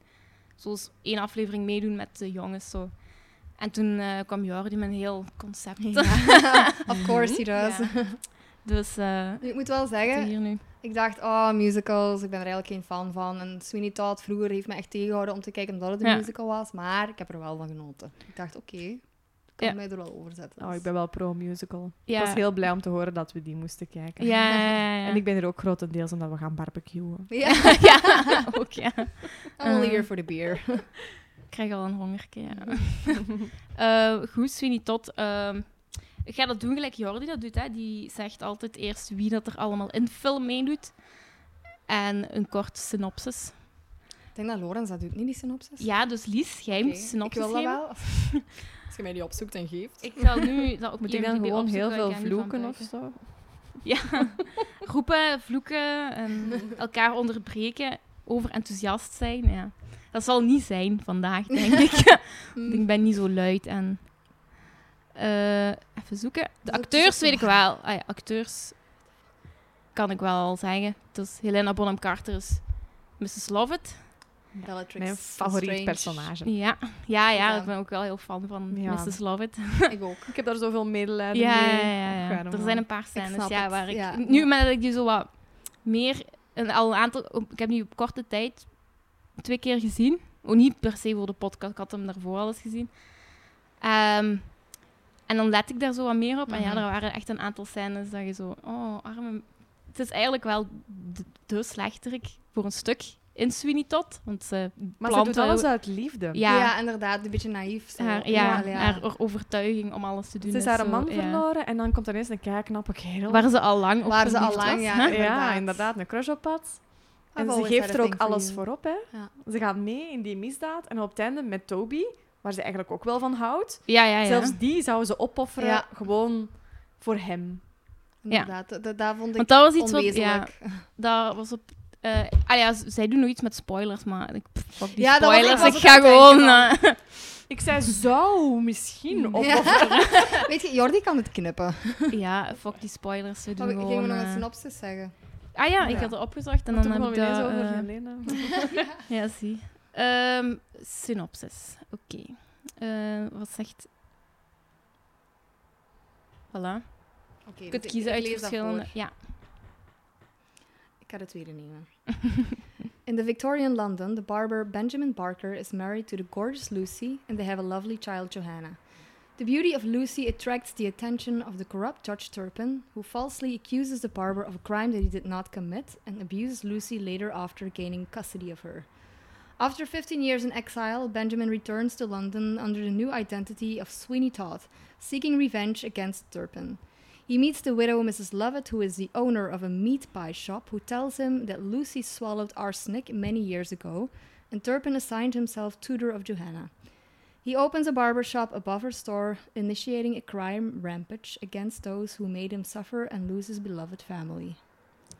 Speaker 4: Zoals één aflevering meedoen met de jongens. Zo. En toen eh, kwam Jordi met een heel concept.
Speaker 7: of course he does.
Speaker 4: Ja. Dus eh,
Speaker 7: Nu, Ik moet wel
Speaker 4: zitten we
Speaker 7: zeggen,
Speaker 4: hier nu.
Speaker 7: ik dacht, oh, musicals, ik ben er eigenlijk geen fan van. En Sweeney Todd vroeger heeft me echt tegengehouden om te kijken omdat het een
Speaker 4: Ja.
Speaker 7: musical was. Maar ik heb er wel van genoten. Ik dacht, oké, ik kan
Speaker 4: Ja.
Speaker 7: mij er wel over zetten.
Speaker 8: Oh, ik ben wel pro-musical.
Speaker 4: Ja.
Speaker 8: Ik was heel blij om te horen dat we die moesten kijken.
Speaker 4: Ja, ja, ja.
Speaker 8: En ik ben er ook grotendeels omdat we gaan barbecuen.
Speaker 7: Ja,
Speaker 4: ja, ook ja.
Speaker 7: I'm only
Speaker 4: Eh.
Speaker 7: here for the beer.
Speaker 4: Ik krijg al een hongerke, ja. Eh, goed, Sweeney Todd. ehm, ik ga dat doen gelijk Jordi dat doet. Hè. Die zegt altijd eerst wie dat er allemaal in de film meedoet. En een korte synopsis.
Speaker 7: Ik denk dat Lorenz dat doet, niet die synopsis?
Speaker 4: Ja, dus Lies, jij
Speaker 7: Oké,
Speaker 4: moet synopsis
Speaker 7: Ik wil dat
Speaker 4: geven.
Speaker 7: wel. Als je mij die opzoekt en geeft.
Speaker 4: Ik zal nu dat op
Speaker 8: Moet ik dan
Speaker 4: IMDb
Speaker 8: gewoon heel
Speaker 4: opzoeken,
Speaker 8: veel
Speaker 4: ik ga niet van
Speaker 8: vloeken of
Speaker 4: buiken.
Speaker 8: zo?
Speaker 4: Ja, roepen, vloeken, en elkaar onderbreken, overenthousiast zijn. Ja. Dat zal niet zijn vandaag, denk ik. Want ik ben niet zo luid en... Eh, even zoeken. De
Speaker 7: Zoek,
Speaker 4: acteurs
Speaker 7: zoek.
Speaker 4: weet ik wel. Ah ja, acteurs kan ik wel al zeggen. Dus Helena Bonham Carter is Mrs. Lovett.
Speaker 7: Bellatrix
Speaker 8: Mijn favoriet
Speaker 7: Lestrange.
Speaker 8: personage.
Speaker 4: Ja, ja, ja,
Speaker 7: Ja.
Speaker 4: ik ben ook wel heel fan van
Speaker 8: Ja.
Speaker 4: Mrs. Lovett.
Speaker 7: Ik ook.
Speaker 8: Ik heb daar zoveel medelijden
Speaker 4: Ja,
Speaker 8: mee.
Speaker 4: ja, ja, ja.
Speaker 8: Waarom
Speaker 4: Er
Speaker 8: wel?
Speaker 4: zijn een paar scènes
Speaker 7: snap
Speaker 4: ja,
Speaker 7: het,
Speaker 4: waar ik...
Speaker 7: ja.
Speaker 4: Nu met dat ik die zo wat meer... Een, al een aantal... op- Ik heb die op korte tijd twee keer gezien. Ook niet per se voor de podcast. Ik had hem daarvoor al eens gezien. Ehm, en dan let ik daar zo wat meer op. En ja,
Speaker 7: Mhm.
Speaker 4: er waren echt een aantal scènes dat je zo... Oh, arme Het is eigenlijk wel de, de slechterik voor een stuk in Sweeney Todd. Want ze
Speaker 8: Maar ze
Speaker 4: plant
Speaker 8: doet
Speaker 4: wel-
Speaker 8: alles uit liefde.
Speaker 4: Ja,
Speaker 7: inderdaad. Een beetje naïef. zo.
Speaker 4: haar, ja,
Speaker 7: ja.
Speaker 4: haar overtuiging om alles te doen.
Speaker 8: Ze is
Speaker 4: zo,
Speaker 8: haar man
Speaker 4: ja.
Speaker 8: verloren en dan komt ineens een keiknappe kerel.
Speaker 4: Waar ze al lang op
Speaker 7: Waar ze al
Speaker 4: verliefd
Speaker 7: lang,
Speaker 4: was.
Speaker 7: ja.
Speaker 4: Huh?
Speaker 8: Ja,
Speaker 7: inderdaad. Ah,
Speaker 8: inderdaad, een crush op had. En ze
Speaker 7: always had a
Speaker 8: geeft er ook
Speaker 7: thing for
Speaker 8: alles
Speaker 7: you.
Speaker 8: voor op, hè.
Speaker 7: Ja.
Speaker 8: Ze gaat mee in die misdaad en op het einde met Toby, waar ze eigenlijk ook wel van houdt.
Speaker 4: Ja, Ah, ja, ja.
Speaker 8: Zelfs die zou ze opofferen,
Speaker 7: Ja.
Speaker 8: gewoon voor hem.
Speaker 7: Inderdaad. Dat, dat- dat vond ik
Speaker 4: Want dat was iets wat... Ja,
Speaker 7: onwezenlijk.
Speaker 4: dat was op... eh, ah ja, z- zij doen nog iets met spoilers, maar ik, pff, fuck die
Speaker 7: Ja, dat was- ik
Speaker 4: spoilers.
Speaker 7: was
Speaker 4: ik
Speaker 7: ook
Speaker 4: ga
Speaker 7: aan het
Speaker 4: gewoon...
Speaker 7: denken
Speaker 4: eh,
Speaker 8: Ik zei, zou misschien opofferen.
Speaker 7: Mm. Ja. Weet je, Jordi kan het knippen.
Speaker 4: ja, fuck die spoilers. We doen
Speaker 7: Maar ik ging
Speaker 4: gewoon...
Speaker 7: me nog een
Speaker 4: eh,
Speaker 7: synopsis zeggen.
Speaker 4: ah ja,
Speaker 8: Ja.
Speaker 4: ik had het opgezocht en
Speaker 8: Maar
Speaker 4: dan heb
Speaker 8: toen
Speaker 4: ik
Speaker 8: kwam
Speaker 4: dat...
Speaker 8: ineens over
Speaker 4: eh,
Speaker 8: Helena.
Speaker 4: Ja, zie. Ehm, synopsis. Oké. Eh, wat zegt. Voilà.
Speaker 7: Oké, dus
Speaker 4: Je kunt kiezen uit verschillende. Ja.
Speaker 7: Ik ga het tweede nemen. In the Victorian London, the barber Benjamin Barker is married to the gorgeous Lucy, and they have a lovely child, Johanna. The beauty of Lucy attracts the attention of the corrupt Judge Turpin, who falsely accuses the barber of a crime that he did not commit and abuses Lucy later after gaining custody of her. After 15 years in exile, Benjamin returns to London under the new identity of Sweeney Todd, seeking revenge against Turpin. He meets the widow Mrs. Lovett, who is the owner of a meat pie shop, who tells him that Lucy swallowed arsenic many years ago, and Turpin assigned himself tutor of Johanna. He opens a barber shop above her store, initiating a crime rampage against those who made him suffer and lose his beloved family.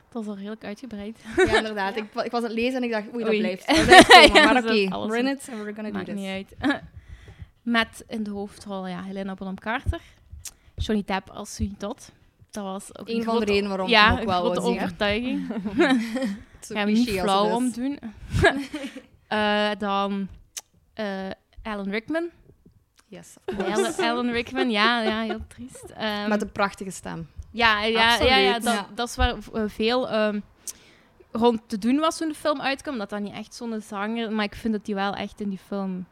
Speaker 4: Dat is al redelijk uitgebreid.
Speaker 7: Ja, inderdaad. Ik, wa- ik was aan het lezen en ik dacht, oei, dat
Speaker 4: Oei.
Speaker 7: blijft. Dat blijft komen,
Speaker 4: Ja,
Speaker 7: maar
Speaker 4: dat
Speaker 7: oké,
Speaker 4: is alles
Speaker 7: we're in
Speaker 4: niet.
Speaker 7: it and we're gonna do
Speaker 4: Maakt
Speaker 7: this.
Speaker 4: niet uit. Met in de hoofdrol ja, Helena Bonham Carter. Johnny Depp als Sweeney Todd. Dat was ook
Speaker 7: Een
Speaker 4: een
Speaker 7: van de
Speaker 4: grote-
Speaker 7: redenen waarom ik
Speaker 4: ja,
Speaker 7: hem ook wel
Speaker 4: een grote
Speaker 7: wou zien.
Speaker 4: overtuiging.
Speaker 7: Het is zo
Speaker 4: Gaan we niet
Speaker 7: cliché als het
Speaker 4: flauw
Speaker 7: is.
Speaker 4: om doen. Eh, dan eh, Alan Rickman.
Speaker 7: Yes,
Speaker 4: Ehm,
Speaker 7: of course.
Speaker 4: Alan, Alan Rickman, ja, ja heel triest. Ehm,
Speaker 7: Met een prachtige stem.
Speaker 4: Ja, ja, ja, ja,
Speaker 8: Absoluut.
Speaker 4: dat,
Speaker 7: Ja.
Speaker 4: dat is waar eh, veel ehm, rond te doen was toen de film uitkwam. Dat dat niet echt zo'n zanger... Maar ik vind dat die wel echt in die film...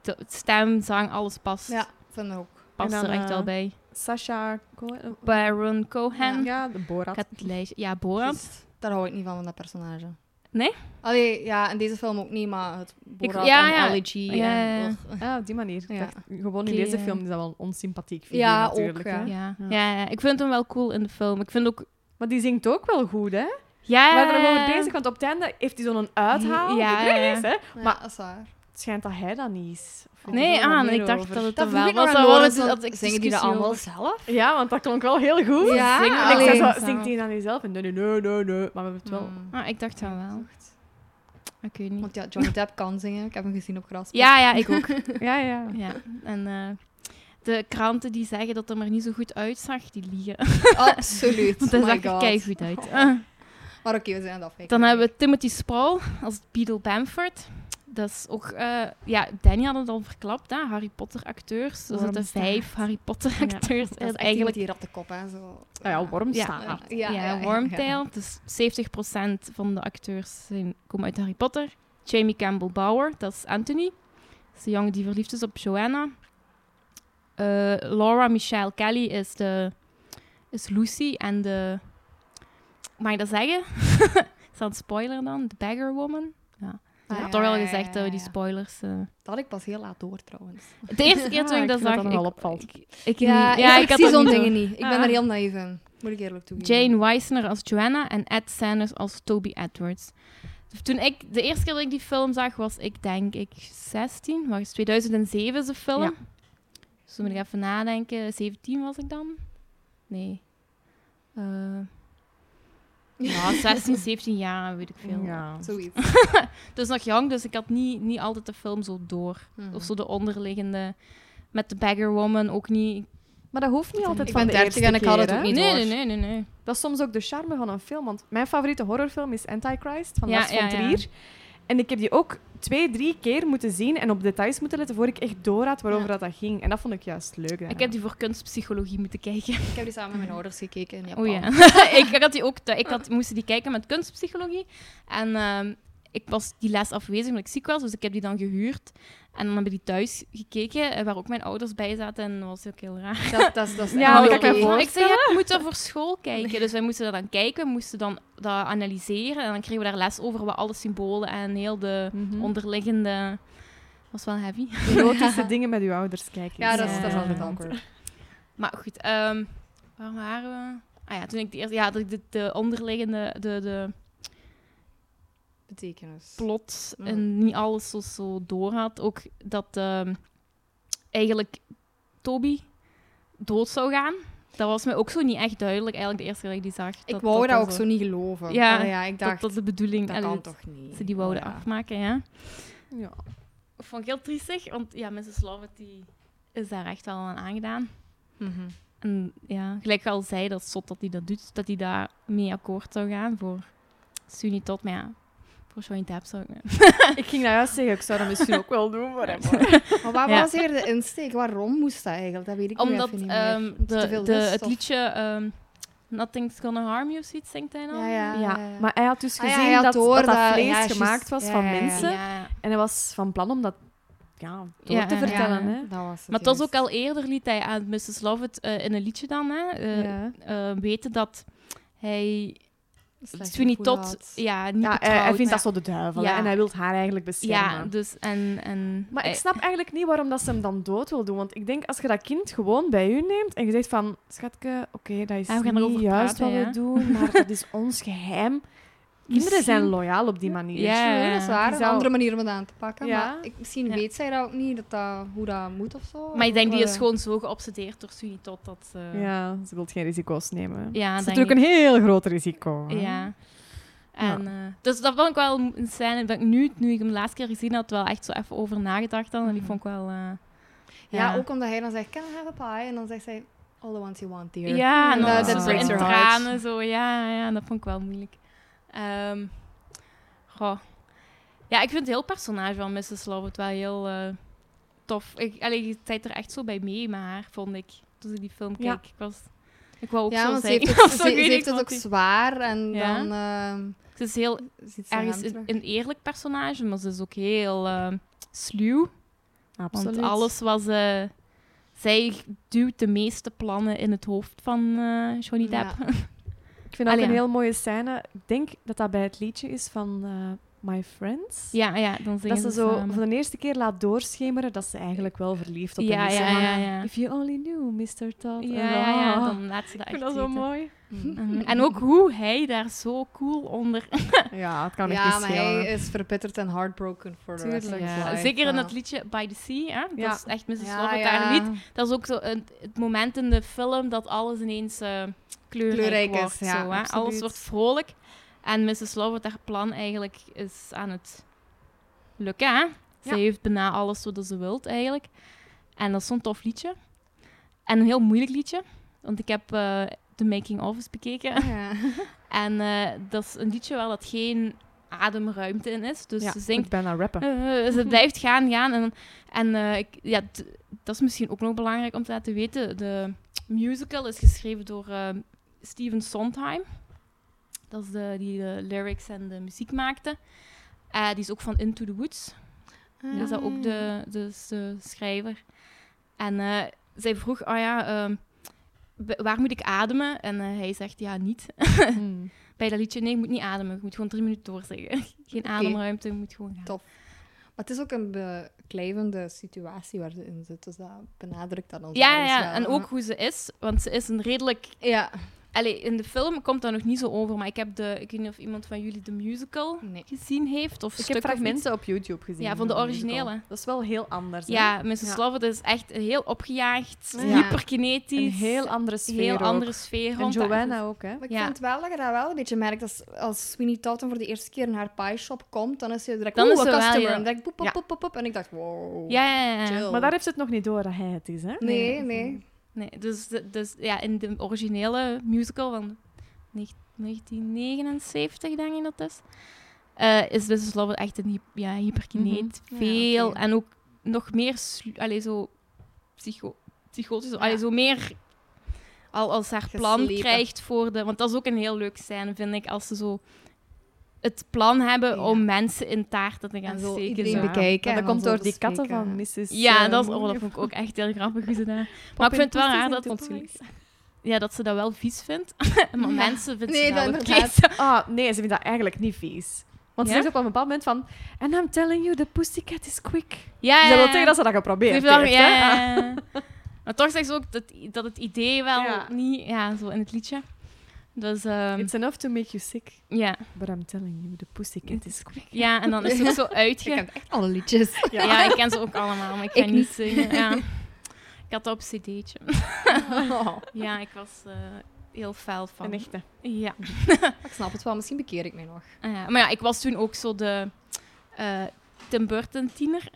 Speaker 4: te- stem, zang, alles past,
Speaker 7: Ja, vind ik ook.
Speaker 4: past
Speaker 8: En dan,
Speaker 4: er echt wel
Speaker 8: eh,
Speaker 4: bij.
Speaker 8: Sasha Cohen.
Speaker 4: Baron Cohen. Ja,
Speaker 8: Ja, de Borat.
Speaker 4: ik had het lijstje. Ja, Borat.
Speaker 7: Juist. Daar hou ik niet van, van dat personage.
Speaker 4: Nee?
Speaker 7: Allee, ja, in deze film ook niet, maar het Borat
Speaker 4: ja, ja.
Speaker 7: en Elegy
Speaker 4: Ja,
Speaker 7: en...
Speaker 4: ja, ja.
Speaker 7: Ugh.
Speaker 8: Ah, op die manier. Ik
Speaker 7: Ja.
Speaker 8: dacht, gewoon in
Speaker 4: Oké,
Speaker 8: deze
Speaker 4: ja.
Speaker 8: film is dat wel een onsympathiek figuur
Speaker 7: Ja, ook,
Speaker 8: natuurlijk.
Speaker 7: ja.
Speaker 8: hè.
Speaker 4: Ja.
Speaker 8: Ja.
Speaker 4: Ja. ja, ik vind hem wel cool in de film. Ik vind ook...
Speaker 8: Maar die zingt ook wel goed, hè?
Speaker 4: Ja,
Speaker 8: We waren er wel over bezig, want op het einde heeft hij zo'n uithaal.
Speaker 4: Eh. Ja,
Speaker 8: Die
Speaker 4: ja.
Speaker 8: is, hè?
Speaker 7: Ja,
Speaker 8: Maar-
Speaker 7: dat is waar.
Speaker 8: Het schijnt dat hij dat niet is. Of weet
Speaker 4: Nee,
Speaker 8: ik veel
Speaker 4: aan.
Speaker 8: meer
Speaker 4: ik dacht
Speaker 8: over.
Speaker 4: dat het
Speaker 7: Dat
Speaker 4: er
Speaker 7: vroeg
Speaker 4: wel
Speaker 7: ik nog
Speaker 4: was.
Speaker 7: aan
Speaker 4: dat we
Speaker 7: Laurens,
Speaker 4: dat-
Speaker 7: want
Speaker 4: dat ik
Speaker 7: zingen die dat
Speaker 4: discussie
Speaker 7: allemaal
Speaker 4: over-
Speaker 7: zelf?
Speaker 8: Ja, want dat klonk wel heel goed.
Speaker 7: Ja,
Speaker 4: zingen
Speaker 8: En ik
Speaker 4: alleen.
Speaker 8: zei
Speaker 7: allee.
Speaker 8: zo, zingt hij dan niet zelf? En nee, nee, nee, nee, nee. Maar we hebben het wel...
Speaker 7: Hmm.
Speaker 4: Ah, ik dacht dan wel. Ik weet niet.
Speaker 7: Want ja, Johnny Depp kan zingen. Ik heb hem gezien op Gras.
Speaker 4: Ja, ja, ik ook.
Speaker 8: Ja, ja.
Speaker 4: Ja, en eh, de kranten die zeggen dat het er maar niet zo goed uitzag, die liegen.
Speaker 7: Absoluut.
Speaker 4: Want hij
Speaker 7: My
Speaker 4: zag er
Speaker 7: God.
Speaker 4: keigoed uit. Eh,
Speaker 7: Maar oké, we zijn aan het afwijken.
Speaker 4: dan hebben we Timothy Spall als Beadle Bamford. Dat is ook... eh, ja, Danny had het al verklapt, hè. Harry Potter acteurs. Er
Speaker 8: Warm
Speaker 4: zitten vijf Harry Potter
Speaker 8: Ja.
Speaker 4: acteurs.
Speaker 7: Dat is echt
Speaker 4: en
Speaker 7: iemand
Speaker 4: eh, eigenlijk... Nou
Speaker 7: die hier op de kop, hè. Zo.
Speaker 8: Ah ja, wormstaart.
Speaker 7: Ja,
Speaker 4: Ja,
Speaker 7: ja,
Speaker 4: Wormtail.
Speaker 7: ja.
Speaker 4: Dus 70% van de acteurs zijn, komen uit Harry Potter. Jamie Campbell Bower, dat is Anthony. Dat is de jongen die verliefd is op Joanna. Eh, Laura Michelle Kelly is, de, is Lucy. En de... Mag ik dat zeggen? is dat een spoiler dan? De Beggar Woman?
Speaker 7: Ah,
Speaker 4: ik
Speaker 7: ja,
Speaker 4: heb toch wel
Speaker 7: ja,
Speaker 4: gezegd
Speaker 7: ja,
Speaker 4: dat we die
Speaker 7: ja.
Speaker 4: spoilers... eh,
Speaker 7: Dat had ik pas heel laat door, trouwens.
Speaker 4: De eerste keer
Speaker 8: Ja,
Speaker 4: toen ik dat
Speaker 8: ik vind dat
Speaker 4: zag...
Speaker 8: dat wel opvalt.
Speaker 4: Ik, ik,
Speaker 7: Ja,
Speaker 4: niet- ja,
Speaker 7: ik,
Speaker 4: ik had
Speaker 7: zie
Speaker 4: dat
Speaker 7: zo'n
Speaker 4: niet door.
Speaker 7: dingen niet. Ik ben
Speaker 4: Ah.
Speaker 7: er heel naïef in. Moet ik eerlijk toegeven.
Speaker 4: Jane Weissner als Joanna en Ed Sanders als Toby Edwards. Toen ik de eerste keer dat ik die film zag, was ik denk ik 16. Wacht, eens, 2007 is de film.
Speaker 8: Ja.
Speaker 4: Dus toen moet ik even nadenken. 17 was ik dan? Nee. Eh, ja, 16, 17 jaar, weet ik veel.
Speaker 8: Ja.
Speaker 7: Zoiets.
Speaker 4: Het is nog jong, dus ik had niet, niet altijd de film zo door.
Speaker 7: Mhm.
Speaker 4: Of zo de onderliggende... Met de Beggar Woman ook niet.
Speaker 8: Maar dat hoeft niet altijd
Speaker 7: Ik
Speaker 8: van
Speaker 7: ben
Speaker 8: de
Speaker 7: 30
Speaker 8: eerste
Speaker 7: en ik had
Speaker 8: keer,
Speaker 7: het ook
Speaker 8: hè.
Speaker 7: niet
Speaker 4: nee,
Speaker 7: door.
Speaker 4: nee, nee, nee, nee.
Speaker 8: Dat is soms ook de charme van een film. Want mijn favoriete horrorfilm is Antichrist van
Speaker 4: Ja,
Speaker 8: Lars
Speaker 4: ja,
Speaker 8: von
Speaker 4: ja.
Speaker 8: Trier. En ik heb die ook twee, drie keer moeten zien en op details moeten letten voor ik echt door had waarover dat, dat ging. En dat vond ik juist leuk. daaraan.
Speaker 4: Ik heb die voor kunstpsychologie moeten kijken.
Speaker 7: Ik heb die samen met mijn ouders gekeken in Japan.
Speaker 4: Oh ja. ik had die ook. te- ik had, moest die kijken met kunstpsychologie. En ehm, ik ik was die les afwezig omdat ik ziek was, dus ik heb die dan gehuurd. En dan hebben die thuis gekeken, eh, waar ook mijn ouders bij zaten. En dat was ook heel raar.
Speaker 7: Dat, dat, is- dat is
Speaker 8: Ja,
Speaker 7: echt
Speaker 8: dat
Speaker 7: oké.
Speaker 8: kan ik me
Speaker 4: Maar ik zei, ja, ik moet dat voor school kijken. Dus wij moesten dat dan kijken, we moesten dan dat analyseren. En dan kregen we daar les over, wat alle symbolen en heel de
Speaker 8: Mhm.
Speaker 4: onderliggende... Dat was wel heavy.
Speaker 8: Erotische dingen met uw ouders kijken.
Speaker 7: Ja, dat is,
Speaker 4: Ja.
Speaker 7: dat is altijd awkward.
Speaker 4: Maar goed, ehm, waar waren we? Ah ja, toen ik de eerste... Ja, dat ik de, de onderliggende... De, de
Speaker 7: Betekenis.
Speaker 4: plot
Speaker 7: Mhm.
Speaker 4: en niet alles zo, zo door had. Ook dat ehm, eigenlijk Toby dood zou gaan. Dat was mij ook zo niet echt duidelijk, eigenlijk de eerste keer dat ik die zag.
Speaker 7: Ik wou dat ook zo niet geloven.
Speaker 4: Ja,
Speaker 7: Allee, ja ik
Speaker 4: Dat
Speaker 7: dacht,
Speaker 4: dat
Speaker 7: dat,
Speaker 4: de bedoeling... allee,
Speaker 7: kan
Speaker 4: dat
Speaker 7: toch niet.
Speaker 4: Ze die wouden
Speaker 7: Ja.
Speaker 4: afmaken, ja.
Speaker 8: Ja.
Speaker 4: Dat vond ik heel triestig, want ja, Mrs. Lovett die is daar echt wel aan aangedaan.
Speaker 7: Mhm.
Speaker 4: En ja, gelijk al zei, dat is zot dat hij dat doet, dat hij daar mee akkoord zou gaan voor Sunny tot, maar ja, voor Johnny Depp zou ik...
Speaker 8: Ik ging nou juist zeggen, ik zou dat misschien ook wel doen. Maar Ah,
Speaker 7: Maar wat
Speaker 4: Ja.
Speaker 7: was hier de insteek? Waarom moest dat eigenlijk? Dat weet ik nu
Speaker 4: Omdat
Speaker 7: even niet meer.
Speaker 4: ehm,
Speaker 7: Te
Speaker 4: de,
Speaker 7: veel
Speaker 4: de,
Speaker 7: lust,
Speaker 4: het
Speaker 7: of-
Speaker 4: liedje ehm, Nothing's Gonna Harm You, zoiets zingt hij dan?
Speaker 7: Ja, ja, ja.
Speaker 8: ja, maar hij had dus
Speaker 7: Ah ja,
Speaker 8: gezien
Speaker 7: hij had
Speaker 8: dat,
Speaker 7: door
Speaker 8: dat dat
Speaker 7: dat-
Speaker 8: vlees
Speaker 7: ja, juist.
Speaker 8: gemaakt was
Speaker 7: Ja,
Speaker 8: van
Speaker 7: ja, ja.
Speaker 8: mensen.
Speaker 4: Ja.
Speaker 8: En hij was van plan om dat ja, door
Speaker 4: Ja,
Speaker 8: te
Speaker 4: ja, ja.
Speaker 8: vertellen.
Speaker 7: Ja,
Speaker 8: Hè?
Speaker 7: Dat was het
Speaker 4: Maar het was
Speaker 7: juist.
Speaker 4: ook al eerder liet hij aan Mrs. Lovett eh, in een liedje dan, hè, eh,
Speaker 8: ja.
Speaker 4: eh, weten dat hij
Speaker 7: Slecht
Speaker 4: Sweeney
Speaker 7: gevoel
Speaker 4: Todd
Speaker 7: had. eh,
Speaker 4: ja, niet
Speaker 8: Ja, hij-
Speaker 4: betrouwt,
Speaker 8: hij vindt dat
Speaker 4: hè.
Speaker 8: zo de duivel.
Speaker 4: Ja.
Speaker 8: hè, En hij wil haar eigenlijk beschermen.
Speaker 4: Ja, dus en... en eh,
Speaker 8: Maar
Speaker 4: hij-
Speaker 8: ik snap eigenlijk niet waarom dat ze hem dan dood wil doen. Want ik denk, als je dat kind gewoon bij u neemt en je zegt van... Schatke, oké, dat is
Speaker 4: Ja, Ah, we gaan
Speaker 8: niet
Speaker 4: erover
Speaker 8: juist
Speaker 4: praten,
Speaker 8: wat
Speaker 4: ja."
Speaker 8: we doen, maar dat is ons geheim. Kinderen zijn
Speaker 4: Misschien-
Speaker 8: loyaal op die manier.
Speaker 4: Ja,
Speaker 7: Ja, dat is waar.
Speaker 8: Die
Speaker 7: Een
Speaker 8: zou-
Speaker 7: andere manier om het aan te pakken.
Speaker 8: Ja.
Speaker 7: Maar ik, misschien
Speaker 4: Ja.
Speaker 7: weet zij dat ook niet, dat dat, hoe dat moet of zo.
Speaker 4: Maar ik denk, die
Speaker 7: Wel, eh,
Speaker 4: is gewoon zo geobsedeerd door Sweeney Todd dat eh, ze...
Speaker 8: Ja, ze wil geen risico's nemen. Het
Speaker 4: ja
Speaker 8: is
Speaker 4: denk
Speaker 8: natuurlijk
Speaker 4: ik.
Speaker 8: een heel groot risico. hè.
Speaker 4: Ja. En, eh, dus dat vond ik wel een scène dat ik nu, nu ik hem de laatste keer gezien had, wel echt zo even over nagedacht had. En
Speaker 7: Mhm.
Speaker 4: die vond ik wel... eh,
Speaker 7: Ja, ook omdat hij dan zegt, can I have a pie? En dan zegt zij, all the ones you want, dear.
Speaker 4: Ja, en
Speaker 7: En
Speaker 4: dan
Speaker 7: dat-
Speaker 4: zit
Speaker 8: dat
Speaker 4: ze
Speaker 8: breaks
Speaker 4: in
Speaker 8: her heart.
Speaker 4: tranen. Zo. Ja, ja, dat vond ik wel moeilijk. Ehm, goh. Ja, ik vind het heel personage van Mrs. Lovett wel heel eh, tof. Ik, allee, je tijd er echt zo bij mee maar vond ik. Toen ik die film keek.
Speaker 8: Ja.
Speaker 4: Ik, was, ik wou ook
Speaker 7: Ja,
Speaker 4: zo
Speaker 7: want ze
Speaker 4: zijn.
Speaker 7: heeft,
Speaker 4: of
Speaker 7: ook,
Speaker 4: zo,
Speaker 7: ze,
Speaker 4: ik
Speaker 7: ze
Speaker 4: weet
Speaker 7: heeft
Speaker 4: niet
Speaker 7: het
Speaker 4: wat
Speaker 7: ook
Speaker 4: die-
Speaker 7: zwaar en
Speaker 4: Ja.
Speaker 7: dan ehm,
Speaker 4: Ze is heel
Speaker 7: ziet ze
Speaker 4: ergens
Speaker 7: hem
Speaker 4: een,
Speaker 7: terug.
Speaker 4: een eerlijk personage, maar ze is ook heel eh, sluw.
Speaker 8: Absoluut.
Speaker 4: Want alles was... eh, zij duwt de meeste plannen in het hoofd van eh, Johnny
Speaker 7: Ja.
Speaker 4: Depp.
Speaker 8: Ik vind dat
Speaker 4: Allee,
Speaker 8: ook een
Speaker 4: ja.
Speaker 8: heel mooie scène. Ik denk dat dat bij het liedje is van eh, My Friends.
Speaker 4: Ja, ja, dan zingen
Speaker 8: Dat ze
Speaker 4: ze
Speaker 8: zo
Speaker 4: samen.
Speaker 8: voor de eerste keer laat doorschemeren dat ze eigenlijk wel verliefd op
Speaker 4: ja,
Speaker 8: hem is.
Speaker 4: ja,
Speaker 8: Maar
Speaker 4: ja, ja.
Speaker 8: If you only knew, Mr. Todd.
Speaker 4: Ja, ja, ja,
Speaker 8: Ah.
Speaker 4: dan laat ze dat
Speaker 8: Ik
Speaker 4: echt
Speaker 8: vind dat zo
Speaker 4: weten.
Speaker 8: mooi.
Speaker 4: Mhm. En ook hoe hij daar zo cool onder...
Speaker 8: Ja, het kan echt
Speaker 7: Ja,
Speaker 8: niet
Speaker 7: maar
Speaker 8: schelen.
Speaker 7: hij
Speaker 4: eh,
Speaker 7: is verbitterd en heartbroken voor de rest of
Speaker 8: Tuurlijk.
Speaker 7: his
Speaker 8: Ja.
Speaker 7: life.
Speaker 4: Zeker in dus
Speaker 7: Ja.
Speaker 4: dat liedje By the Sea, hè?
Speaker 8: Ja.
Speaker 4: Dat is echt Mrs.
Speaker 7: Ja,
Speaker 4: Lovett
Speaker 7: ja.
Speaker 4: daar niet. Dat is ook zo een- het moment in de film dat alles ineens eh, kleurrijk,
Speaker 7: Kleurrijk is,
Speaker 4: wordt.
Speaker 7: ja,
Speaker 4: zo, hè? Alles
Speaker 8: absoluut.
Speaker 4: wordt vrolijk. En Mrs. Lovett, haar plan eigenlijk is aan het lukken, hè? Ze
Speaker 8: Ja.
Speaker 4: heeft bijna alles wat ze wilt, eigenlijk. En dat is zo'n tof liedje. En een heel moeilijk liedje. Want ik heb eh de making-of eens bekeken.
Speaker 7: Ja.
Speaker 4: En eh, dat is een liedje waar dat geen ademruimte in is. Dus
Speaker 8: ja,
Speaker 4: ze zingt...
Speaker 8: Ik Mm. ben aan rappen.
Speaker 4: eh, ze blijft gaan, gaan. En, en eh, ik, ja, d- dat is misschien ook nog belangrijk om te laten weten. De musical is geschreven door eh, Steven Sondheim. Dat is de, die de lyrics en de muziek maakte. Eh, die is ook van Into the Woods. Dat Dus is dat ook de, de, de schrijver. En eh, zij vroeg, oh ja, ehm, w- waar moet ik ademen? En eh, hij zegt, ja, niet
Speaker 8: Hmm.
Speaker 4: bij dat liedje, nee, je moet niet ademen. Je moet gewoon drie minuten doorzeggen. Geen ademruimte, je moet gewoon gaan.
Speaker 7: Top. Maar het is ook een beklijvende situatie waar ze in zit, dus dat benadrukt dat ons
Speaker 4: Ja,
Speaker 7: ergens
Speaker 4: ja,
Speaker 7: wel.
Speaker 4: en ook hoe ze is. Want ze is een redelijk...
Speaker 7: Ja.
Speaker 4: Allee, in de film komt dat nog niet zo over, maar ik heb de... Ik weet niet of iemand van jullie de musical
Speaker 7: Nee.
Speaker 4: gezien heeft, of
Speaker 8: Ik heb
Speaker 4: stukken of iets.
Speaker 8: fragmenten op YouTube gezien.
Speaker 4: Ja, van de
Speaker 8: een musical.
Speaker 4: originele.
Speaker 8: Dat is wel heel anders. hè?
Speaker 4: Ja, Mrs.
Speaker 8: Ja.
Speaker 4: Lovett is echt heel opgejaagd,
Speaker 7: Ja.
Speaker 4: hyperkinetisch.
Speaker 8: Een heel andere sfeer
Speaker 4: heel
Speaker 8: ook.
Speaker 4: andere sfeer.
Speaker 8: En
Speaker 4: rond haar.
Speaker 8: Joanna ook, hè.
Speaker 7: Maar ik
Speaker 4: Ja.
Speaker 7: vind wel dat je dat wel een beetje merkt. Als, als Sweeney Todd dan voor de eerste keer in haar pie shop komt, dan is ze direct
Speaker 4: Dan
Speaker 7: "Oeh,
Speaker 4: is
Speaker 7: een
Speaker 4: ze wel
Speaker 7: customer.
Speaker 4: heel-
Speaker 7: En direct poep,
Speaker 8: Ja.
Speaker 7: poep, poep, poep. En ik dacht, wow.
Speaker 4: Ja, ja, ja, ja.
Speaker 7: chill.
Speaker 8: Maar daar heeft ze het nog niet door dat hij het is, hè.
Speaker 7: Nee, nee.
Speaker 4: Nee, dus, dus ja, in de originele musical van neg- 1979, denk ik dat is, eh, is Mrs. Lovett echt een hy- ja, hyperkineet.
Speaker 7: Mhm. Ja,
Speaker 4: Veel
Speaker 7: oké.
Speaker 4: en ook nog meer slu- allee, zo psycho psychotisch, allee, zo meer al als haar plan
Speaker 7: Geslepen.
Speaker 4: krijgt voor de... Want dat is ook een heel leuk scène, vind ik, als ze zo het plan hebben
Speaker 7: Ja.
Speaker 4: om mensen in taarten te gaan
Speaker 7: En zo
Speaker 4: steken.
Speaker 7: iedereen
Speaker 4: zo.
Speaker 7: bekijken. bekijken
Speaker 8: Dat
Speaker 7: en
Speaker 8: komt
Speaker 7: dan
Speaker 8: door
Speaker 7: zo
Speaker 8: die katten van
Speaker 7: bespreken.
Speaker 8: Mrs.
Speaker 4: Ja,
Speaker 8: eh,
Speaker 4: dat, is, oh, dat
Speaker 8: Moonlight.
Speaker 4: vond ik ook echt heel grappig hoe ze dat... Maar ik vind het wel
Speaker 8: Poes is
Speaker 4: raar
Speaker 8: in
Speaker 4: dat,
Speaker 8: de
Speaker 4: natuurlijk,
Speaker 8: toys.
Speaker 4: ja, dat ze dat wel vies vindt. maar mensen vinden
Speaker 7: Nee,
Speaker 4: ze dat
Speaker 7: dat
Speaker 4: wel oké.
Speaker 7: inderdaad.
Speaker 4: zo.
Speaker 8: Ah, nee, ze vindt dat eigenlijk niet vies. Want
Speaker 4: Ja?
Speaker 8: ze zegt op een bepaald moment van... And I'm telling you, the pussycat is quick.
Speaker 4: Ja,
Speaker 8: Ze wil
Speaker 4: ja,
Speaker 8: zeggen dat ze dat geprobeerd
Speaker 4: Eh. Ze
Speaker 8: heeft,
Speaker 4: heeft wel-
Speaker 8: hè.
Speaker 4: ja, ja, ja. Maar toch zegt ze ook dat, dat het idee wel
Speaker 8: Ja.
Speaker 4: niet... Ja, zo in het liedje. Dus, ehm,
Speaker 8: Ah, It's enough to make you sick.
Speaker 4: ja.
Speaker 8: But I'm telling you, the pussycat is quick.
Speaker 4: ja, en dan is het ook zo
Speaker 7: Ik
Speaker 4: uitge...
Speaker 7: heb echt alle liedjes.
Speaker 4: Ja. ik ken ze ook allemaal, maar ik ga
Speaker 7: Ik
Speaker 4: niet,
Speaker 7: niet.
Speaker 4: zingen. Ja. Ik had dat op cd'tje.
Speaker 7: Oh,
Speaker 4: Ja, ik was eh, heel fel van.
Speaker 8: Een echte.
Speaker 4: Ja.
Speaker 7: ik snap het wel, misschien bekeer ik mij nog.
Speaker 4: Ah ja, maar ja, ik was toen ook zo de eh, Tim Burton tiener.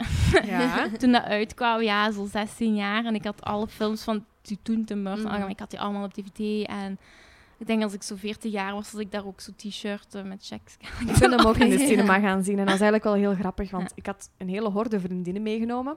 Speaker 8: Ja.
Speaker 4: toen dat uitkwam, ja, zo 16 jaar. En ik had alle films van die toen Tim Burton.
Speaker 8: Mhm.
Speaker 4: Ik had die allemaal op dvd. En ik denk als ik zo 14 jaar was, had ik daar ook zo'n t-shirt eh, met checks.
Speaker 8: Ik ben hem ook in de cinema gaan zien. En dat is eigenlijk wel heel grappig, want ik had een hele horde vriendinnen meegenomen.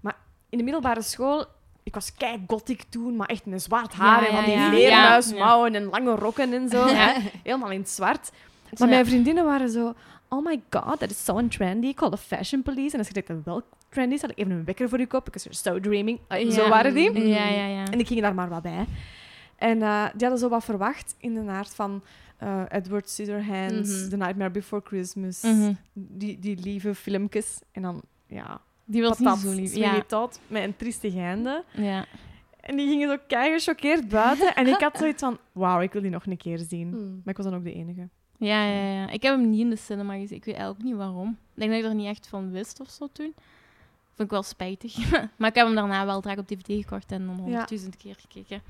Speaker 8: Maar in de middelbare school, ik was kei gothic toen, maar echt met zwart haar
Speaker 4: Ja,
Speaker 8: en van die
Speaker 4: ja, ja.
Speaker 8: vleermuismouwen en lange rokken en zo. hè. Helemaal in het zwart. Maar mijn vriendinnen waren zo... Oh my god, that is so trendy. Call the fashion police. En als ik dacht, wel trendy, had ik even een wekker voor je kop. Because you're so dreaming. Eh, Zo
Speaker 4: Ja.
Speaker 8: waren die.
Speaker 4: Ja, ja, ja.
Speaker 8: En ik ging daar maar wat bij. En eh, die hadden zo wat verwacht in de aard van eh, Edward Scissorhands,
Speaker 4: Mhm.
Speaker 8: The Nightmare Before Christmas,
Speaker 4: Mhm.
Speaker 8: die, die lieve filmpjes. En dan, ja,
Speaker 4: Die was niet
Speaker 8: patat,
Speaker 4: zo lief.
Speaker 8: Sweeney
Speaker 4: Ja.
Speaker 8: Todd met een triestig einde.
Speaker 4: Ja.
Speaker 8: En die gingen zo kei gechoqueerd buiten. en ik had zoiets van, wauw, ik wil die nog een keer zien.
Speaker 4: Mm.
Speaker 7: Hmm.
Speaker 8: Maar ik was dan ook de enige.
Speaker 4: Ja, ja, ja. Ik heb hem niet in de cinema gezien. Ik weet eigenlijk niet waarom. Ik denk dat ik er niet echt van wist of zo toen. Vond ik wel spijtig. maar ik heb hem daarna wel direct op DVD gekocht en dan honderdduizend keer gekeken.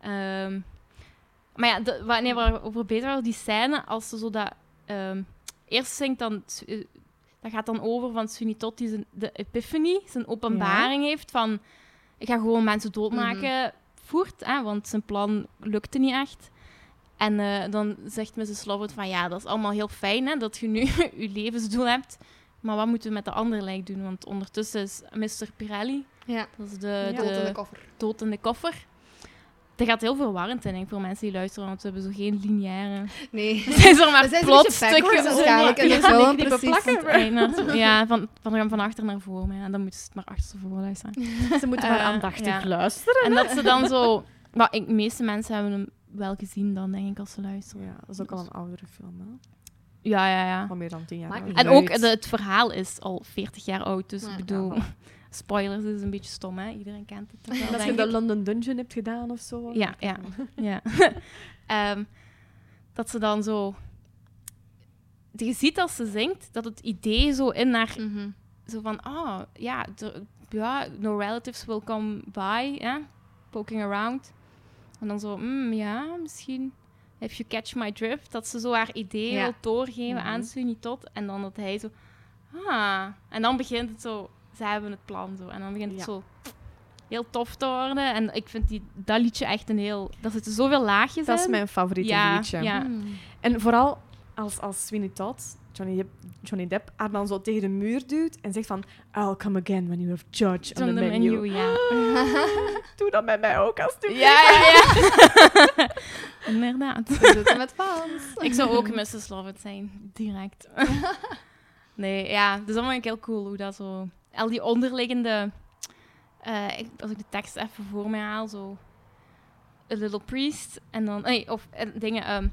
Speaker 4: Ehm, maar ja, de, wa- nee, waar we over bezig waren, die scène, als ze zo dat... ehm, eerst zingt dan... Su- eh, Dat gaat dan over van Sweeney Todd, die zijn, de epiphany, zijn openbaring heeft van... Ik ga gewoon mensen doodmaken,
Speaker 7: Mhm.
Speaker 4: voert, hè, want zijn plan lukte niet echt. En eh, dan zegt Mrs. Lovett van ja, dat is allemaal heel fijn hè, dat je nu je levensdoel hebt. Maar wat moeten we met de andere lijk doen? Want ondertussen is Mr. Pirelli,
Speaker 7: Ja.
Speaker 4: dat is Eh, de,
Speaker 7: Tot in de
Speaker 4: de
Speaker 7: koffer.
Speaker 4: dood in de koffer. Dat gaat heel verwarrend zijn denk ik, voor mensen die luisteren, want we hebben zo geen lineaire...
Speaker 7: Nee.
Speaker 4: Er zijn er
Speaker 7: We
Speaker 4: maar
Speaker 7: zijn zo'n beetje
Speaker 4: plotstukken
Speaker 7: backwards waarschijnlijk
Speaker 4: om.
Speaker 7: in de
Speaker 4: Ja,
Speaker 7: film,
Speaker 4: die knippen
Speaker 7: precies.
Speaker 4: plakken. Nee, nou, Ja, van, van, van achter naar voren. Maar ja, dan moeten ze het maar achterstevoren luisteren.
Speaker 8: Ze moeten maar
Speaker 4: Eh,
Speaker 8: aandachtig
Speaker 4: ja.
Speaker 8: luisteren.
Speaker 4: En dat ze dan zo... Maar ik, de meeste mensen hebben hem wel gezien dan, denk ik, als ze luisteren.
Speaker 8: Ja, dat is ook al een oudere film, hè.
Speaker 4: Ja, ja, ja.
Speaker 8: Van meer dan tien jaar
Speaker 7: Maakt
Speaker 8: oud.
Speaker 7: niet
Speaker 4: En
Speaker 7: Leuk.
Speaker 4: ook de, het verhaal is al 40 jaar oud, dus
Speaker 7: Ja,
Speaker 4: ik bedoel, spoilers is een beetje stom, hè? Iedereen kent het. toch wel,
Speaker 8: Als je
Speaker 4: denk
Speaker 8: de
Speaker 4: ik.
Speaker 8: London Dungeon hebt gedaan of zo.
Speaker 4: Ja, ja. ja. Ehm, dat ze dan zo. Je ziet als ze zingt dat het idee zo in haar.
Speaker 7: Mhm.
Speaker 4: Zo van, oh ja, er- ja no relatives will come by, ja, poking around. En dan zo, mm, ja, misschien. If you catch my drift, dat ze zo haar idee
Speaker 7: Ja.
Speaker 4: wil doorgeven
Speaker 8: Mhm.
Speaker 4: aan Sunny tot. En dan dat hij zo, ah. En dan begint het zo, ze hebben het plan zo. En dan begint het
Speaker 8: Ja.
Speaker 4: zo heel tof te worden. En ik vind die, dat liedje echt een heel... Daar zitten zoveel laagjes
Speaker 8: Dat is
Speaker 4: in.
Speaker 8: mijn favoriete
Speaker 4: Ja,
Speaker 8: liedje.
Speaker 4: ja.
Speaker 7: Hmm.
Speaker 8: En vooral als, als Sweeney Todd, Johnny Depp, Johnny Depp, haar dan zo tegen de muur duwt en zegt van I'll come again when you have judged
Speaker 4: It's
Speaker 8: on the menu.
Speaker 4: ja.
Speaker 8: Doe dat met mij ook, alsjeblieft.
Speaker 4: Ja, ja, ja. Inderdaad.
Speaker 8: Dus
Speaker 7: We zitten met fans.
Speaker 4: Ik zou ook Mrs. Lovett zijn, direct. nee, ja, dus dat vond ik heel cool hoe dat zo... Al die onderliggende... eh, ik- als ik de tekst even voor mij haal, zo... A Little Priest, en dan... Nee, of eh, dingen... ehm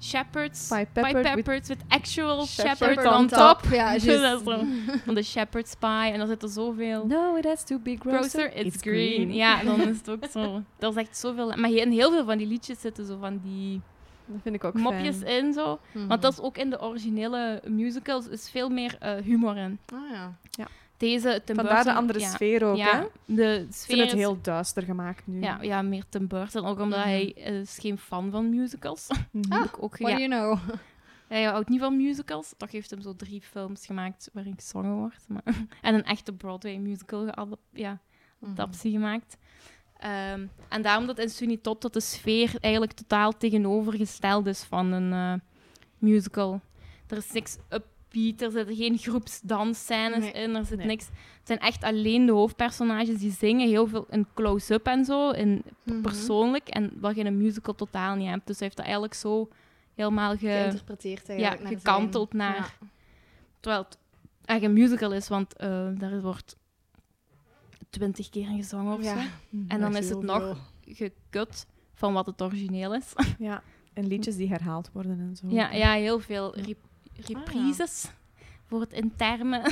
Speaker 4: shepherds.
Speaker 8: Pied
Speaker 4: Pied
Speaker 8: Piper with-
Speaker 4: Peppers with actual
Speaker 8: Shepherd
Speaker 4: shepherd, on top.
Speaker 7: Ja,
Speaker 4: Dat
Speaker 7: juist.
Speaker 4: is zo. Van de shepherd's pie. En dan zit er zoveel...
Speaker 8: No, it has to be grosser.
Speaker 4: Grocer, it's, green. Ja, dan is het ook zo. Dat is echt zoveel... Maar hier in heel veel van die liedjes zitten zo van die
Speaker 8: Dat vind ik ook
Speaker 4: mopjes
Speaker 8: fijn.
Speaker 4: in, zo.
Speaker 7: Mhm.
Speaker 4: Want
Speaker 8: Mhm.
Speaker 4: dat is ook in de originele musicals, is veel meer eh, humor in.
Speaker 7: Ah, ja.
Speaker 4: Deze Tim
Speaker 8: Vandaar de
Speaker 4: Burton-
Speaker 8: andere
Speaker 4: ja.
Speaker 8: sfeer ook, hè.
Speaker 4: Ja, de
Speaker 8: Ik
Speaker 4: sfeer
Speaker 8: vind het
Speaker 4: is-
Speaker 8: heel duister gemaakt nu.
Speaker 4: Ja, ja, meer Tim Burton. Ook omdat
Speaker 7: Mhm.
Speaker 4: hij eh, is geen fan van musicals.
Speaker 8: Mhm.
Speaker 7: Ah.
Speaker 4: Heb ik ook,
Speaker 7: What
Speaker 4: ja,
Speaker 7: do you know?
Speaker 4: Hij houdt niet van musicals. Toch heeft hem zo drie films gemaakt waarin gezongen wordt. Maar... En een echte Broadway musical geadap- ja,
Speaker 7: Mhm.
Speaker 4: adaptie gemaakt. Ehm, en daarom dat in Sunny Top dat de sfeer eigenlijk totaal tegenovergesteld is van een eh, musical. Er is niks upbeat, er zitten geen groepsdansscènes
Speaker 7: Nee.
Speaker 4: in, er zit
Speaker 8: Nee.
Speaker 4: niks... Het zijn echt alleen de hoofdpersonages die zingen, heel veel in close-up en zo, in
Speaker 7: Mhm.
Speaker 4: persoonlijk en wat je in een musical totaal niet hebt. Dus hij heeft dat eigenlijk zo helemaal ge,
Speaker 7: geïnterpreteerd
Speaker 4: ja,
Speaker 7: eigenlijk. naar de
Speaker 4: gekanteld
Speaker 7: film.
Speaker 4: naar... Terwijl het eigenlijk een musical is, want eh, daar wordt twintig keer in gezongen
Speaker 7: Ja.
Speaker 4: of zo.
Speaker 7: Ja.
Speaker 4: En dan
Speaker 7: Dat
Speaker 4: is het
Speaker 7: heel
Speaker 4: nog
Speaker 7: veel.
Speaker 4: gekut van wat het origineel is.
Speaker 8: Ja. En liedjes die herhaald worden en zo.
Speaker 4: Ja, ja heel veel
Speaker 8: Ja.
Speaker 4: rep- reprises voor het in termen.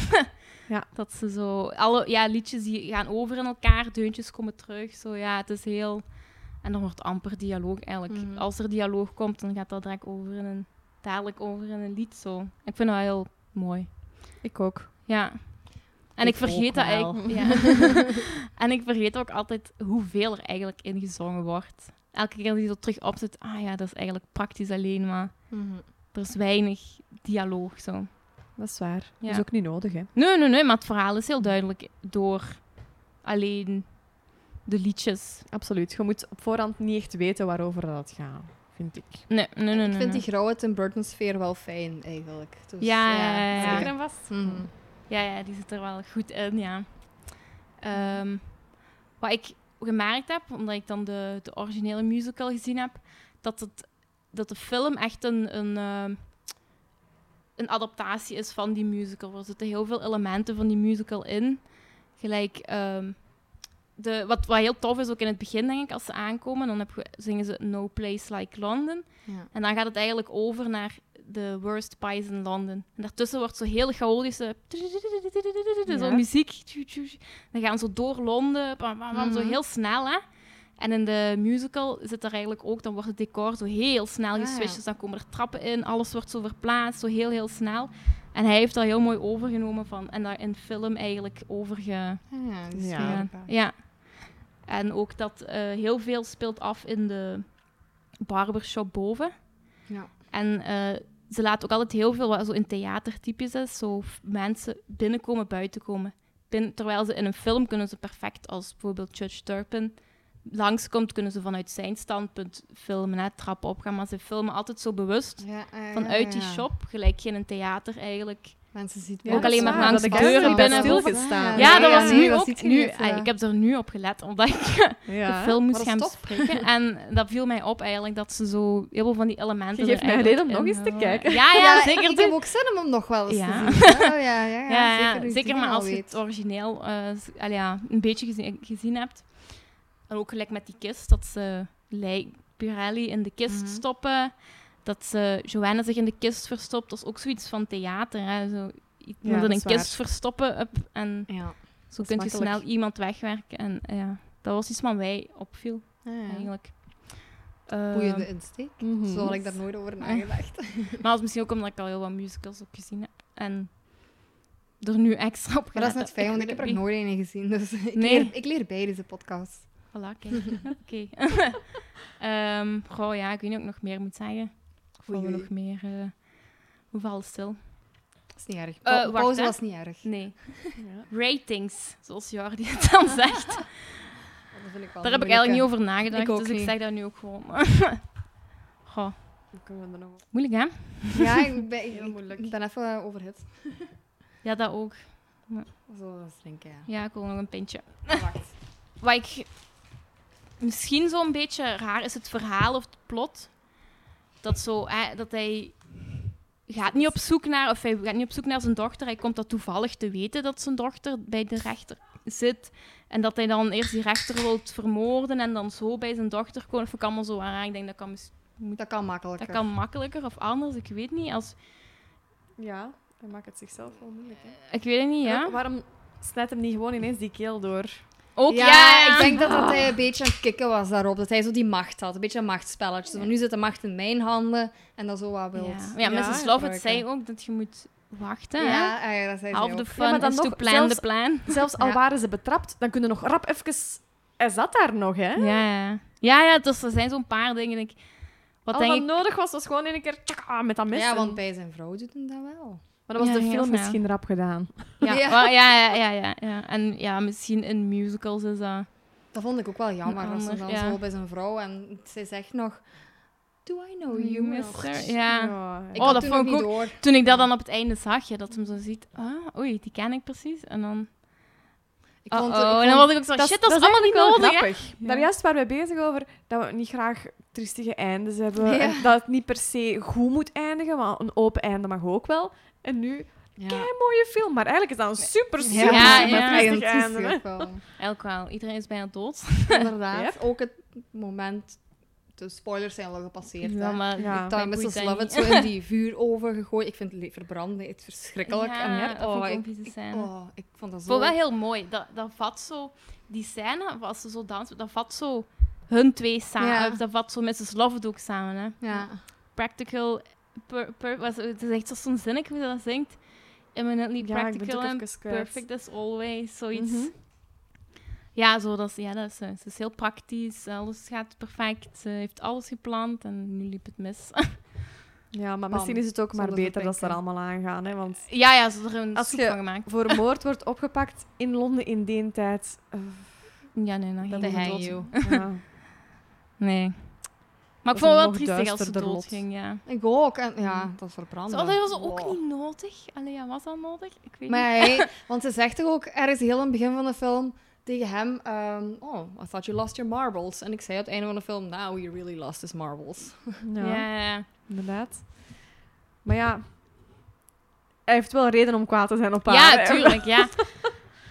Speaker 8: Ja.
Speaker 4: Dat ze zo... Alle ja, liedjes die gaan over in elkaar, deuntjes komen terug. Zo, ja, het is heel... En dan wordt amper dialoog eigenlijk.
Speaker 7: Mhm.
Speaker 4: Als er dialoog komt, dan gaat dat direct over in een... Dadelijk over in een lied, zo. Ik vind dat heel mooi.
Speaker 8: Ik ook.
Speaker 4: Ja. En ik,
Speaker 8: Ik
Speaker 4: vergeet
Speaker 8: ook
Speaker 4: dat
Speaker 8: wel.
Speaker 4: eigenlijk. Ja. en ik vergeet ook altijd hoeveel er eigenlijk ingezongen wordt. Elke keer dat je zo terug opzet, ah ja, dat is eigenlijk praktisch alleen maar...
Speaker 7: Mhm.
Speaker 4: Er is weinig dialoog zo.
Speaker 8: Dat is waar.
Speaker 4: Ja.
Speaker 8: Dat is ook niet nodig, hè.
Speaker 4: Nee, nee, nee, maar het verhaal is heel duidelijk door alleen de liedjes.
Speaker 8: Absoluut. Je moet op voorhand niet echt weten waarover dat gaat, vind ik.
Speaker 4: Nee, nee, nee. nee,
Speaker 7: Ik vind die
Speaker 4: nee.
Speaker 7: grauwe Tim Burton sfeer wel fijn, eigenlijk. Dus,
Speaker 4: Ja, ja, ja, ja.
Speaker 7: zeker.
Speaker 4: en vast.
Speaker 7: Mhm.
Speaker 4: Ja, ja, die zit er wel goed in, ja. Ehm, wat ik gemerkt heb, omdat ik dan de, de originele musical gezien heb, dat, het, dat de film echt een, een, ehm, een adaptatie is van die musical. Er zitten heel veel elementen van die musical in. Gelijk, ehm, de, wat, wat heel tof is, ook in het begin, denk ik, als ze aankomen, dan heb je- zingen ze No Place Like London.
Speaker 7: Ja.
Speaker 4: En dan gaat het eigenlijk over naar de worst pies in London. En daartussen wordt zo heel chaotische... Zo
Speaker 8: Ja.
Speaker 4: muziek. Dan gaan ze door Londen, pam, pam, pam, zo
Speaker 7: Mhm.
Speaker 4: heel snel, hè. En in de musical zit er eigenlijk ook... Dan wordt het decor zo heel snel
Speaker 7: Ah,
Speaker 4: geswitcht.
Speaker 7: ja.
Speaker 4: Dus dan komen er trappen in, alles wordt zo verplaatst, zo heel, heel snel. En hij heeft dat heel mooi overgenomen van... En daar in film eigenlijk overge...
Speaker 7: Ja, dus- die
Speaker 8: Ja.
Speaker 7: sfeer
Speaker 4: Ja.
Speaker 7: erbij.
Speaker 4: ja. En ook dat eh, heel veel speelt af in de barbershop boven.
Speaker 7: Ja.
Speaker 4: En eh, ze laat ook altijd heel veel wat zo in theatertypes is. Zo f- mensen binnenkomen, buiten komen. Bin- terwijl ze in een film kunnen ze perfect, als bijvoorbeeld Judge Turpin langskomt, kunnen ze vanuit zijn standpunt filmen, hè, trappen opgaan. Maar ze filmen altijd zo bewust
Speaker 7: Ja, ja, ja,
Speaker 4: vanuit die
Speaker 7: ja.
Speaker 4: shop, gelijk geen een theater eigenlijk.
Speaker 7: Mensen zien
Speaker 8: Ja,
Speaker 7: wel
Speaker 4: ook
Speaker 7: dat
Speaker 4: alleen maar
Speaker 7: ze
Speaker 4: langs
Speaker 7: vast
Speaker 4: de
Speaker 7: staan.
Speaker 4: deuren binnen.
Speaker 8: stilgestaan.
Speaker 7: Ja,
Speaker 4: Ja,
Speaker 7: nee,
Speaker 4: dat
Speaker 7: ja,
Speaker 4: was
Speaker 7: nee,
Speaker 4: nu
Speaker 7: dat
Speaker 4: ook.
Speaker 7: ziet je
Speaker 4: Nu,
Speaker 7: niet,
Speaker 4: ah,
Speaker 7: ja.
Speaker 4: ik heb er nu op gelet, omdat ik de film moest
Speaker 7: dat is
Speaker 4: gaan
Speaker 7: tof.
Speaker 4: bespreken. En dat viel mij op eigenlijk, dat ze zo heel veel van die elementen...
Speaker 8: Je geeft
Speaker 4: er
Speaker 8: mij
Speaker 4: eigenlijk
Speaker 8: reden om
Speaker 4: in
Speaker 8: nog eens te
Speaker 4: hadden.
Speaker 8: kijken.
Speaker 4: Ah, Ja, ja, zeker.
Speaker 7: Ik
Speaker 4: doe.
Speaker 7: heb ook zin om hem nog wel eens
Speaker 4: Ja.
Speaker 7: te zien. hè. Oh, ja, ja, ja,
Speaker 4: Ja, ja,
Speaker 7: zeker, nu
Speaker 4: zeker,
Speaker 7: ik die
Speaker 4: maar
Speaker 7: al
Speaker 4: als je
Speaker 7: weet.
Speaker 4: het origineel eh, z- allee, ja, een beetje gezien, gezien hebt. En ook gelijk met die kist, dat ze Lei Pirelli in de kist
Speaker 7: Mhm.
Speaker 4: stoppen. Dat ze Joanna zich in de kist verstopt. Dat is ook zoiets van theater. Hè? Zo, iemand in een
Speaker 8: dat is
Speaker 4: kist verstoppen. Up, en
Speaker 7: Ja.
Speaker 4: zo
Speaker 8: is
Speaker 4: kun je
Speaker 8: makkelijk.
Speaker 4: snel iemand wegwerken. En ja, dat was iets wat mij opviel,
Speaker 7: Ja, ja.
Speaker 4: eigenlijk. Ehm,
Speaker 7: Boeiende insteek.
Speaker 4: Mhm.
Speaker 7: Zo had ik daar nooit over nagedacht.
Speaker 4: maar dat is misschien ook omdat ik al heel wat musicals ook gezien heb. En er nu extra op
Speaker 7: Maar dat is
Speaker 4: gelet
Speaker 7: net
Speaker 4: heb.
Speaker 7: fijn, want ik
Speaker 4: weet
Speaker 7: heb
Speaker 4: het
Speaker 7: er
Speaker 4: niet.
Speaker 7: nooit een gezien. Dus ik,
Speaker 4: Nee.
Speaker 7: leer, ik leer bij deze podcast.
Speaker 4: Voilà, kijk. Oké. Ehm, goh, ja, ik weet niet of ik nog meer moet zeggen. Ik voel me
Speaker 7: Oei, oei.
Speaker 4: nog meer... eh hoe valt stil?
Speaker 7: Dat is niet erg.
Speaker 4: Eh,
Speaker 7: Pa-
Speaker 4: wacht,
Speaker 7: pauze
Speaker 4: hè.
Speaker 7: was niet erg.
Speaker 4: Nee. Ratings, zoals Jordi het dan zegt.
Speaker 7: Dat vind ik wel
Speaker 4: Daar heb
Speaker 7: moeilijke.
Speaker 4: ik eigenlijk niet over nagedacht,
Speaker 7: Oh, Ik ook
Speaker 4: dus ik
Speaker 7: niet.
Speaker 4: zeg dat nu ook gewoon. goh, moeilijk hè?
Speaker 7: Ja, ik ben, ik-
Speaker 8: Heel moeilijk.
Speaker 7: ik ben even eh, overhit.
Speaker 4: Ja, dat ook.
Speaker 7: Zo, dat is drinken, ja.
Speaker 4: Ja, ik wil nog een pintje.
Speaker 7: Wacht.
Speaker 4: Wat ik misschien zo'n beetje raar is het verhaal of het plot. Dat, zo, hè, dat hij gaat niet op zoek naar, of hij gaat niet op zoek naar zijn dochter. Hij komt dat toevallig te weten dat zijn dochter bij de rechter zit. En dat hij dan eerst die rechter wil vermoorden en dan zo bij zijn dochter komen. Of ik allemaal zo aan. Ik denk dat kan, mis-
Speaker 7: Dat kan makkelijker.
Speaker 4: dat kan makkelijker of anders. Ik weet niet. Als,
Speaker 8: Ja, dan maakt het zichzelf wel moeilijk. Hè?
Speaker 4: ik weet het niet, ja.
Speaker 8: Waarom snijdt hem niet gewoon ineens die keel door?
Speaker 4: Ook
Speaker 7: ja,
Speaker 4: ja,
Speaker 7: ik denk dat, dat hij een beetje aan het kikken was daarop. Dat hij zo die macht had. Een beetje een machtspelletje. Zo van, nu zit de macht in mijn handen. En dat zo wat
Speaker 4: Ja,
Speaker 7: wilt.
Speaker 4: maar
Speaker 7: Ja,
Speaker 4: ja, Mrs.
Speaker 7: gebruiken.
Speaker 4: Lovett zei ook dat je moet wachten. hè.
Speaker 7: Ja, ah ja, dat zei ze
Speaker 4: Half
Speaker 7: ook.
Speaker 4: the
Speaker 8: Ja,
Speaker 4: fun
Speaker 8: maar dan
Speaker 4: is to
Speaker 8: nog,
Speaker 4: plan
Speaker 8: zelfs-
Speaker 4: the plan.
Speaker 8: Zelfs al
Speaker 7: Ja.
Speaker 8: waren ze betrapt, dan kunnen nog rap even... Hij zat daar nog, hè?
Speaker 4: Ja, ja. Ja, ja, dus er zijn zo'n paar dingen. denk Ik, wat
Speaker 8: Al
Speaker 4: denk
Speaker 8: wat
Speaker 4: ik...
Speaker 8: nodig was, was gewoon in een keer tjaka, met dat mes.
Speaker 7: Ja,
Speaker 8: en-
Speaker 7: want bij zijn vrouw doet hem dat wel.
Speaker 8: Maar dat was
Speaker 4: Ja,
Speaker 8: de
Speaker 4: heel
Speaker 8: film
Speaker 4: snel.
Speaker 8: misschien rap gedaan.
Speaker 4: Ja,
Speaker 7: Ja.
Speaker 4: wel, ja, ja, ja, ja, ja. En ja, misschien in musicals is dat...
Speaker 7: Dat vond ik ook wel jammer.
Speaker 4: Een
Speaker 7: Als ze
Speaker 4: ander,
Speaker 7: dan
Speaker 4: ja.
Speaker 7: zo bij zijn vrouw en zij zegt nog... Do I know you,
Speaker 4: Mister,
Speaker 7: mister?
Speaker 4: Ja.
Speaker 7: Ik
Speaker 4: Oh,
Speaker 7: had
Speaker 4: dat
Speaker 7: toen
Speaker 4: vond
Speaker 7: nog
Speaker 4: ik
Speaker 7: niet door.
Speaker 4: Toen ik dat dan op het einde zag, ja, dat hem zo ziet... Ah, oei, die ken ik precies. En dan...
Speaker 7: Ik vond,
Speaker 4: Oh,
Speaker 7: ik
Speaker 4: en dan
Speaker 7: vond-
Speaker 4: was ik ook zo,
Speaker 8: Dat is-
Speaker 4: shit, dat is allemaal niet
Speaker 8: eigenlijk wel
Speaker 4: nodig. hè.
Speaker 8: grappig. Daarjuist waren we bezig over dat we niet graag triestige eindes hebben.
Speaker 7: Ja.
Speaker 8: En dat het niet per se goed moet eindigen, maar een open einde mag ook wel. En nu,
Speaker 7: ja.
Speaker 8: mooie film. Maar eigenlijk is dat een super,
Speaker 7: Ja,
Speaker 8: super,
Speaker 4: ja,
Speaker 8: super
Speaker 4: ja.
Speaker 8: triestig
Speaker 7: Eigenlijk
Speaker 8: einde. hè.
Speaker 7: ook wel.
Speaker 4: Eigenlijk wel, iedereen is bijna dood.
Speaker 7: Inderdaad. Ook het moment... De spoilers zijn al gepasseerd.
Speaker 4: Ja,
Speaker 7: hè.
Speaker 4: maar
Speaker 8: Ja.
Speaker 7: Dat
Speaker 4: boeit
Speaker 7: Mrs.
Speaker 4: dat
Speaker 7: Lovett zo
Speaker 4: niet.
Speaker 7: in die vuur over gegooid. Ik vind het le- verbranden, het is verschrikkelijk.
Speaker 4: Ja,
Speaker 7: en,
Speaker 4: dat vond
Speaker 7: oh,
Speaker 4: ik ook
Speaker 7: ik,
Speaker 4: vieze
Speaker 7: ik,
Speaker 4: scène.
Speaker 7: oh, ik vond dat
Speaker 4: Ik
Speaker 7: zo...
Speaker 4: vond het wel heel mooi. Dat, dat vat zo... Die scène, als ze zo dansen, dat vat zo hun twee samen.
Speaker 7: Ja.
Speaker 4: Of dat vat zo Mrs. Lovett ook samen, hè.
Speaker 7: Ja.
Speaker 4: Practical... Per, per- was, het is echt zo- zo'n zinnetje hoe dat zingt. Eminently
Speaker 8: Ja, ik ben het
Speaker 4: practical
Speaker 8: ook
Speaker 4: and
Speaker 8: even kwijt.
Speaker 4: perfect as always. Zoiets.
Speaker 8: Mhm.
Speaker 4: Ja, zo, dat, is- ja, dat is, eh, ze is heel praktisch. Alles gaat perfect. Ze heeft alles gepland en nu liep het mis.
Speaker 8: Ja, maar
Speaker 7: Bam.
Speaker 8: misschien is het ook maar
Speaker 7: Zonder te
Speaker 8: beter dat ze er
Speaker 7: denken.
Speaker 8: allemaal aan gaan. Hè, want
Speaker 4: ja, ja, ze hebben er een
Speaker 8: Als
Speaker 4: soep
Speaker 8: je-
Speaker 4: van gemaakt.
Speaker 8: voor moord wordt opgepakt in Londen in die tijd. eh,
Speaker 4: Ja, nee, dan
Speaker 8: dan
Speaker 4: ging
Speaker 8: moet
Speaker 4: hij
Speaker 8: het dood.
Speaker 4: dood.
Speaker 8: Ja.
Speaker 4: Nee. Maar ik vond
Speaker 8: is
Speaker 4: het
Speaker 8: een
Speaker 4: wel
Speaker 8: nog
Speaker 4: triestig als ze
Speaker 8: duisterder lot.
Speaker 4: dood ging, ja.
Speaker 7: Ik ook. En,
Speaker 4: Mm.
Speaker 7: ja, dat is verbranden.
Speaker 4: Zo, dat was ook
Speaker 7: Wow.
Speaker 4: niet nodig. Allee, ja, was dat nodig? Ik weet
Speaker 7: Maar
Speaker 4: niet.
Speaker 7: hij, want ze zegt toch ook ergens heel aan het begin van de film tegen hem: ehm, Oh, I thought you lost your marbles. En ik zei aan het einde van de film: Now he really lost his marbles.
Speaker 8: Ja,
Speaker 4: Ja, ja, ja.
Speaker 8: inderdaad. Maar ja, hij heeft wel reden om kwaad te zijn op haar.
Speaker 4: ja
Speaker 8: hè.
Speaker 4: tuurlijk, ja.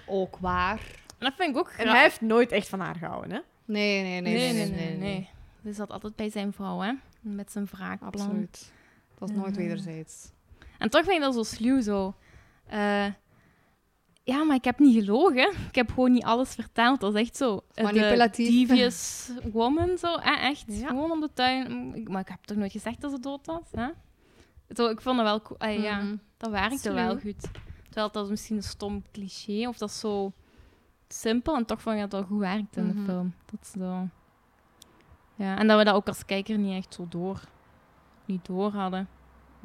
Speaker 7: Ook waar.
Speaker 4: En dat vind ik ook
Speaker 8: En
Speaker 4: grappig.
Speaker 8: hij heeft nooit echt van haar gehouden, hè?
Speaker 7: Nee, nee, nee. Nee, nee, nee. nee.
Speaker 4: Dus dat altijd bij zijn vrouw, hè. Met zijn wraakplan.
Speaker 7: Absoluut. Dat is nooit
Speaker 4: Ja.
Speaker 7: wederzijds.
Speaker 4: En toch vind ik dat zo sluw, zo. Eh, ja, maar ik heb niet gelogen. Ik heb gewoon niet alles verteld. Dat is echt zo. eh, de
Speaker 7: Manipulatief.
Speaker 4: devious woman, zo. eh, echt.
Speaker 8: Ja.
Speaker 4: Gewoon om de tuin. Ik- Maar ik heb toch nooit gezegd dat ze dood was, hè? Zo, ik vond dat wel... co- eh, ja.
Speaker 7: Mhm.
Speaker 4: Dat werkte
Speaker 8: Sluw.
Speaker 4: wel goed. Terwijl dat is misschien een stom cliché of dat is zo simpel en toch vond ik dat wel goed werkt in
Speaker 7: Mhm.
Speaker 4: de film. Dat is zo. Ja, en dat we dat ook als kijker niet echt zo door, niet door hadden.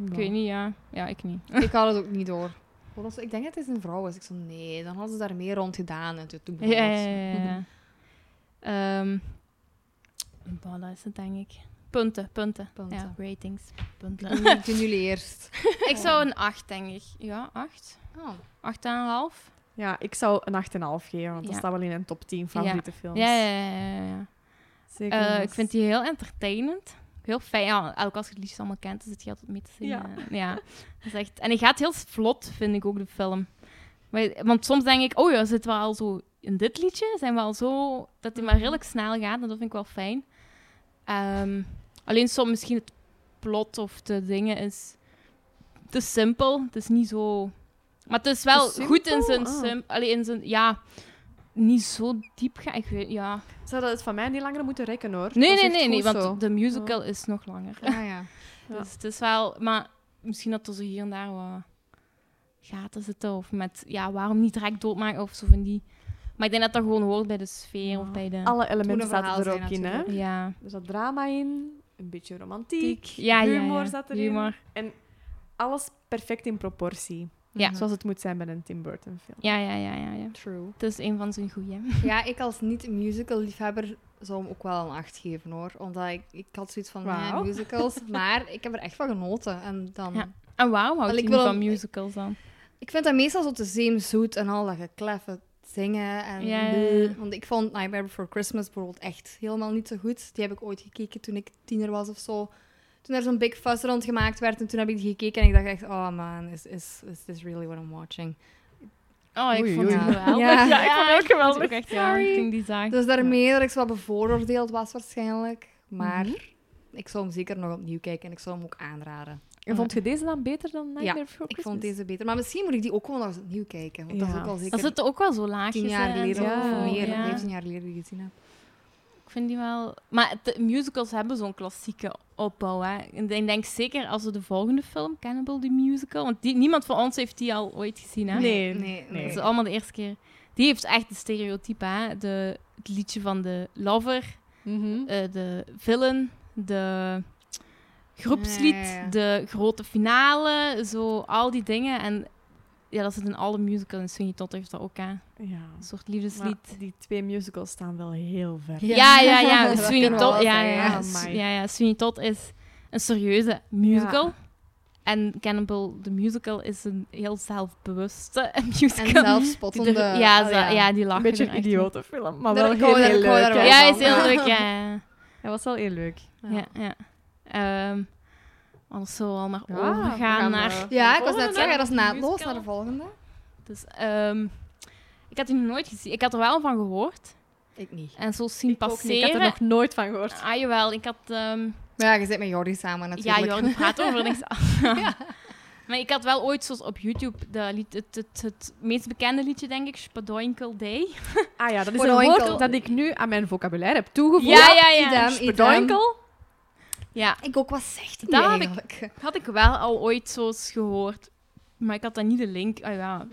Speaker 4: Ik weet niet, ja. Ja, ik niet.
Speaker 7: Ik had het ook niet door. Want als- Ik denk dat het een vrouw is. Ik zei: Nee, dan hadden ze daar meer rond gedaan. En toen toen begon Mhm,
Speaker 4: Ja, ja,
Speaker 7: het.
Speaker 4: ja, ja. Ehm, bah, dat is het, denk ik. Punten, punten.
Speaker 7: Punten.
Speaker 4: Ja, ratings, punten.
Speaker 7: Ik doe- ik doe jullie eerst.
Speaker 4: ik zou een 8, denk ik. Ja, 8.
Speaker 7: Oh.
Speaker 4: 8,5.
Speaker 8: Ja, ik zou een 8,5 geven, want dat
Speaker 4: Ja.
Speaker 8: staat wel in een top 10 favoriete films.
Speaker 4: Ja, ja, ja, ja, ja.
Speaker 8: Zeker.
Speaker 4: Eh,
Speaker 8: en
Speaker 4: ik
Speaker 8: vast.
Speaker 4: vind die heel entertainend. Heel fijn. Ja, ook als je het liefst allemaal kent, dan zit je altijd mee te zingen. Ja. Dat is echt... En die gaat heel vlot, vind ik ook, de film. Maar, want soms denk ik, oh ja, zitten we al zo in dit liedje? Zijn we al zo... Dat die
Speaker 8: Mhm.
Speaker 4: maar redelijk snel gaat, en dat vind ik wel fijn. Ehm, alleen soms misschien het plot of de dingen is te simpel. Het is niet zo... Maar het is wel
Speaker 8: Te
Speaker 4: goed in
Speaker 8: simpel?
Speaker 4: zijn...
Speaker 8: Ah.
Speaker 4: sim- Allee, in zijn... Ja, niet zo diep gaan. Ik weet... Ja...
Speaker 8: Ze hadden het van mij niet langer moeten rekken, hoor.
Speaker 4: Nee,
Speaker 8: Dat is
Speaker 4: nee,
Speaker 8: echt
Speaker 4: nee, nee,
Speaker 8: goed
Speaker 4: want
Speaker 8: zo.
Speaker 4: de musical is nog langer.
Speaker 7: Ah, ja.
Speaker 8: Ja.
Speaker 4: Dus het is wel... Maar misschien dat er zo hier en daar wat gaten zitten. Of met, ja, waarom niet direct doodmaken of zo van die... Maar ik denk dat dat gewoon hoort bij de sfeer of bij de...
Speaker 8: Alle
Speaker 7: Toen
Speaker 8: elementen
Speaker 7: een
Speaker 8: zaten
Speaker 7: verhaal
Speaker 8: er
Speaker 7: zijn
Speaker 8: ook in, hè?
Speaker 7: natuurlijk.
Speaker 4: Ja.
Speaker 8: Er zat drama in, een beetje romantiek,
Speaker 4: Ja, ja,
Speaker 8: humor
Speaker 4: ja.
Speaker 8: zat erin.
Speaker 4: Humor.
Speaker 8: En alles perfect in proportie.
Speaker 4: Ja.
Speaker 8: Zoals het moet zijn bij een Tim Burton film.
Speaker 4: Ja, ja, ja, ja, ja.
Speaker 7: Mhm. True.
Speaker 4: Het is een van zijn goeie.
Speaker 7: Ja, ik als niet-musical-liefhebber zou hem ook wel een 8 geven, hoor. Omdat ik, ik had zoiets van, ja,
Speaker 8: Wauw.
Speaker 7: musicals. Maar ik heb er echt van genoten. En dan...
Speaker 4: Ja. En waarom houdt
Speaker 7: Wel,
Speaker 4: hij
Speaker 7: ik
Speaker 4: niet
Speaker 7: wil
Speaker 4: van
Speaker 7: hem-
Speaker 4: musicals dan?
Speaker 7: Ik vind dat meestal zo te zeemzoet en al dat gekleffen zingen. En
Speaker 4: Ja, ja, ja.
Speaker 7: Want ik vond Nightmare Before Christmas bijvoorbeeld echt helemaal niet zo goed. Die heb ik ooit gekeken toen ik tiener was of zo. Toen er zo'n big fuss rond gemaakt werd en toen heb ik die gekeken en ik dacht echt, oh man, is, is, is this really what I'm watching?
Speaker 4: Oh, ik
Speaker 2: Oei,
Speaker 4: vond
Speaker 7: oei.
Speaker 4: het geweldig.
Speaker 7: Ja. Ja,
Speaker 8: ik vond het ook geweldig.
Speaker 4: ook echt, ja,
Speaker 7: Sorry.
Speaker 4: ik denk die zaak.
Speaker 7: Dus daarmee dat ik zo wat bevooroordeeld was waarschijnlijk. Maar
Speaker 4: Mhm.
Speaker 7: ik zou hem zeker nog opnieuw kijken en ik zou hem ook aanraden.
Speaker 4: Mhm.
Speaker 8: En vond je deze dan beter dan Nightmare Before
Speaker 7: Ik vond
Speaker 8: Christmas?
Speaker 7: deze beter. Maar misschien moet ik die ook gewoon nog eens opnieuw kijken. Want dat is
Speaker 8: Ja.
Speaker 7: ook al
Speaker 4: Dat
Speaker 7: zeker
Speaker 4: zit ook wel zo laagjes.
Speaker 7: tien jaar
Speaker 4: hè, en
Speaker 7: geleden
Speaker 4: zo.
Speaker 7: of meer,
Speaker 4: Ja.
Speaker 7: 15 jaar geleden die ik gezien heb.
Speaker 4: Ik vind die wel... Maar de musicals hebben zo'n klassieke opbouw, hè. En ik denk zeker als we de volgende film, Cannibal the Musical... Want die, niemand van ons heeft die al ooit gezien, hè.
Speaker 8: Nee,
Speaker 7: nee,
Speaker 8: nee.
Speaker 4: Dat is allemaal de eerste keer. Die heeft echt de stereotype, hè. De, het liedje van de lover,
Speaker 8: Mhm.
Speaker 4: eh, de villain, de groepslied,
Speaker 7: Ja, ja, ja.
Speaker 4: de grote finale, zo al die dingen. En ja, dat zit in alle musicals. En Sweeney Todd heeft dat ook, hè. Een
Speaker 8: Ja.
Speaker 4: soort
Speaker 8: Maar
Speaker 4: liefdeslied.
Speaker 8: die twee musicals staan wel heel ver.
Speaker 4: Dus Ja, ja, ja.
Speaker 7: Dat
Speaker 4: Sweeney
Speaker 8: Oh
Speaker 7: kunnen we wel
Speaker 4: Todd, ja,
Speaker 7: zeggen,
Speaker 4: ja,
Speaker 8: ja.
Speaker 4: ja, ja. Sweeney Todd is een serieuze musical. En Cannibal, the musical, is een heel zelfbewuste
Speaker 7: En
Speaker 4: musical.
Speaker 7: zelfspottende...
Speaker 4: Die er- ja,
Speaker 7: ah,
Speaker 4: ze- ja. die
Speaker 8: Een
Speaker 4: lachen
Speaker 8: beetje
Speaker 4: er
Speaker 8: een
Speaker 4: echt
Speaker 8: idiote film, maar
Speaker 7: Daar-
Speaker 8: wel
Speaker 7: ik
Speaker 8: heel,
Speaker 7: hou daar-
Speaker 8: heel
Speaker 7: ik hou
Speaker 8: leuk.
Speaker 7: daar
Speaker 4: mee.
Speaker 7: wel
Speaker 8: hè.
Speaker 4: Ja,
Speaker 7: van.
Speaker 4: is heel leuk, ja.
Speaker 8: Hij was wel heel leuk.
Speaker 4: ja, ja. Ehm, anders zo al maar
Speaker 8: Ja, we
Speaker 4: overgaan
Speaker 8: gaan,
Speaker 4: naar...
Speaker 8: eh,
Speaker 7: Ja, ik was net
Speaker 4: volgende
Speaker 7: zeggen, dat is naadloos
Speaker 4: musical.
Speaker 7: naar de volgende.
Speaker 4: Dus, ehm, ik had die nog nooit gezien. Ik had er wel van gehoord.
Speaker 7: Ik niet.
Speaker 4: En zo zien
Speaker 8: Ik ook niet,
Speaker 4: passeren.
Speaker 8: Ik had er nog nooit van gehoord.
Speaker 4: Ah, jawel. Ik had... ehm,
Speaker 7: Maar ja, je zit met Jordi samen natuurlijk.
Speaker 4: ja, Jordi praat over niks af. Maar ik had wel ooit zoals op YouTube dat lied, het, het, het meest bekende liedje, denk ik, Spadoinkel Day.
Speaker 8: Ah ja, dat is
Speaker 7: Voor
Speaker 8: een
Speaker 7: een
Speaker 8: woord
Speaker 7: enkel.
Speaker 8: dat ik nu aan mijn vocabulaire heb toegevoegd.
Speaker 4: Ja, ja, ja.
Speaker 7: idem, idem.
Speaker 8: Spedoinkel.
Speaker 4: Ja,
Speaker 7: Ik ook, wat zegt hij
Speaker 4: Daar heb ik-
Speaker 7: eigenlijk?
Speaker 4: had ik wel al ooit zo eens gehoord. Maar ik had dan niet de link. Ah, ja.